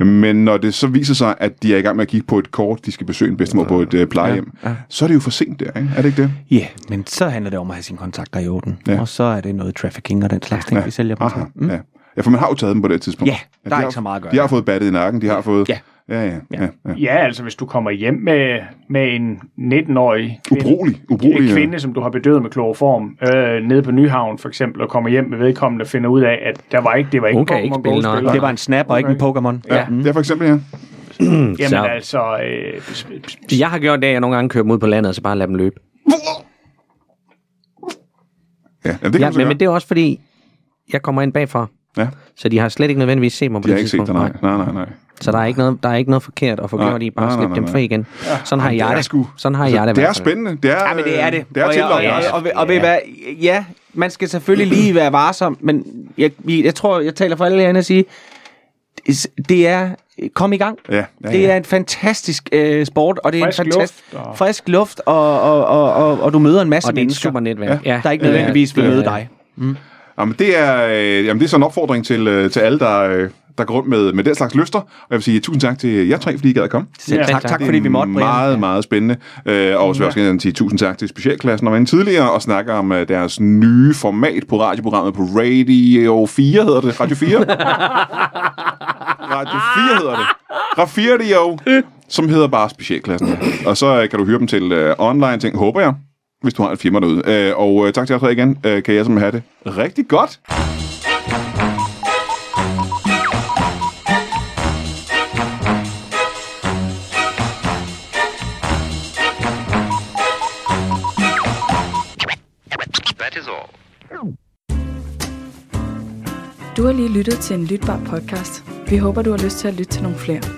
Speaker 1: Mm. Men når det så viser sig, at de er i gang med at kigge på et kort, de skal besøge en bedstemor på et øh, plejehjem, ja, ja. så er det jo for sent der, ikke? Er det ikke det?
Speaker 4: Ja, yeah, men så handler det om at have sine kontakter i orden. Ja.
Speaker 1: Ja.
Speaker 4: Og så er det noget trafficking og den slags ting, ja. vi sælger dem til.
Speaker 1: Aha, mm. ja. ja, for man har jo taget dem på det tidspunkt.
Speaker 4: Ja, der
Speaker 1: de
Speaker 4: er
Speaker 1: har-
Speaker 4: ikke så meget at gøre.
Speaker 1: De har fået battet i nakken, de har fået...
Speaker 4: Ja.
Speaker 1: Ja, ja, ja. ja.
Speaker 3: Ja, altså hvis du kommer hjem med, med en 19-årig kvinde,
Speaker 1: Ubrugelig,
Speaker 2: Oh,
Speaker 1: ubrugelig,
Speaker 3: en
Speaker 1: ja.
Speaker 3: kvinde som du har bedøvet med kloroform, øh, nede på Nyhavn for eksempel, og kommer hjem med vedkommende og finder ud af, at der var ikke, det var ikke
Speaker 2: Hun kan ikke
Speaker 3: Pokémon
Speaker 2: spille, nej.
Speaker 3: Go-spiller.
Speaker 4: Det var en snap og ikke en Pokémon.
Speaker 1: Ja, ja, for eksempel, ja.
Speaker 3: Jamen
Speaker 2: Så-
Speaker 3: altså, øh, s- s-
Speaker 2: Jeg har gjort det, at jeg nogle gange kører dem ud på landet, og så bare lader dem løbe.
Speaker 1: Ja, det kan
Speaker 2: Ja,
Speaker 1: man så
Speaker 2: men,
Speaker 1: gøre.
Speaker 2: men det er også fordi, jeg kommer ind bagfra,
Speaker 1: Ja.
Speaker 2: så de har slet ikke nødvendigvis set mig
Speaker 1: Jeg
Speaker 2: på det
Speaker 1: har ikke set
Speaker 2: tidspunkt.
Speaker 1: dig, nej. Nej, nej, nej.
Speaker 2: Nej. Så der er, ikke noget, der er ikke noget forkert at få
Speaker 1: Nej,
Speaker 2: gjort i, bare
Speaker 1: nej, nej,
Speaker 2: slip dem
Speaker 1: nej.
Speaker 2: fri igen. Sådan har
Speaker 1: Jamen,
Speaker 2: jeg
Speaker 1: det er
Speaker 2: det.
Speaker 1: sgu-
Speaker 2: Sådan har
Speaker 1: Altså,
Speaker 2: jeg det. i
Speaker 1: det
Speaker 2: hvert
Speaker 1: er
Speaker 2: fald.
Speaker 1: spændende. Det er,
Speaker 4: Ja, men det er det.
Speaker 1: Det er
Speaker 4: og, jeg- og,
Speaker 1: tillokkende.
Speaker 4: jeg-
Speaker 1: også.
Speaker 4: og, ved- og ved I hvad, ja, man skal selvfølgelig lige være varsom, men jeg, jeg, jeg tror, jeg taler for alle jer andre at sige, det- det er, kom i gang.
Speaker 1: Ja, ja,
Speaker 4: Det
Speaker 1: ja.
Speaker 4: er en fantastisk øh, sport, og det er
Speaker 3: Frisk
Speaker 4: en fantastisk
Speaker 3: luft, og-
Speaker 4: frisk luft, og, og, og, og, og du møder en masse
Speaker 2: Og det er et
Speaker 4: mennesker,
Speaker 2: super netværk. Ja.
Speaker 4: der ikke
Speaker 2: Ja,
Speaker 4: nødvendigvis vil
Speaker 2: det er-
Speaker 4: møde dig.
Speaker 1: Jamen, det er, øh, jamen, det er sådan en opfordring til, øh, til alle, der, øh, der går rundt med, med den slags lyster. Og jeg vil sige tusind tak til jer tre, fordi I gad at komme.
Speaker 4: Selv
Speaker 3: Ja.
Speaker 4: tak, tak, fordi vi måtte, Brian.
Speaker 1: Meget, meget spændende. Øh, og så vil jeg også gerne sige tusind tak til specialklassen, og var inde tidligere og snakke om øh, deres nye format på radioprogrammet på Radio 4, hedder det. Radio
Speaker 4: [LAUGHS]
Speaker 1: 4? Radio 4 hedder det. Radio 4, som hedder bare specialklassen. Og så øh, kan du høre dem til øh, online ting, håber jeg, hvis du har et firma derude. Øh, og øh, tak til jer tre igen. Øh, kan jeg som have det rigtig godt.
Speaker 8: Du har lige lyttet til en lytbar podcast. Vi håber, du har lyst til at lytte til nogle flere.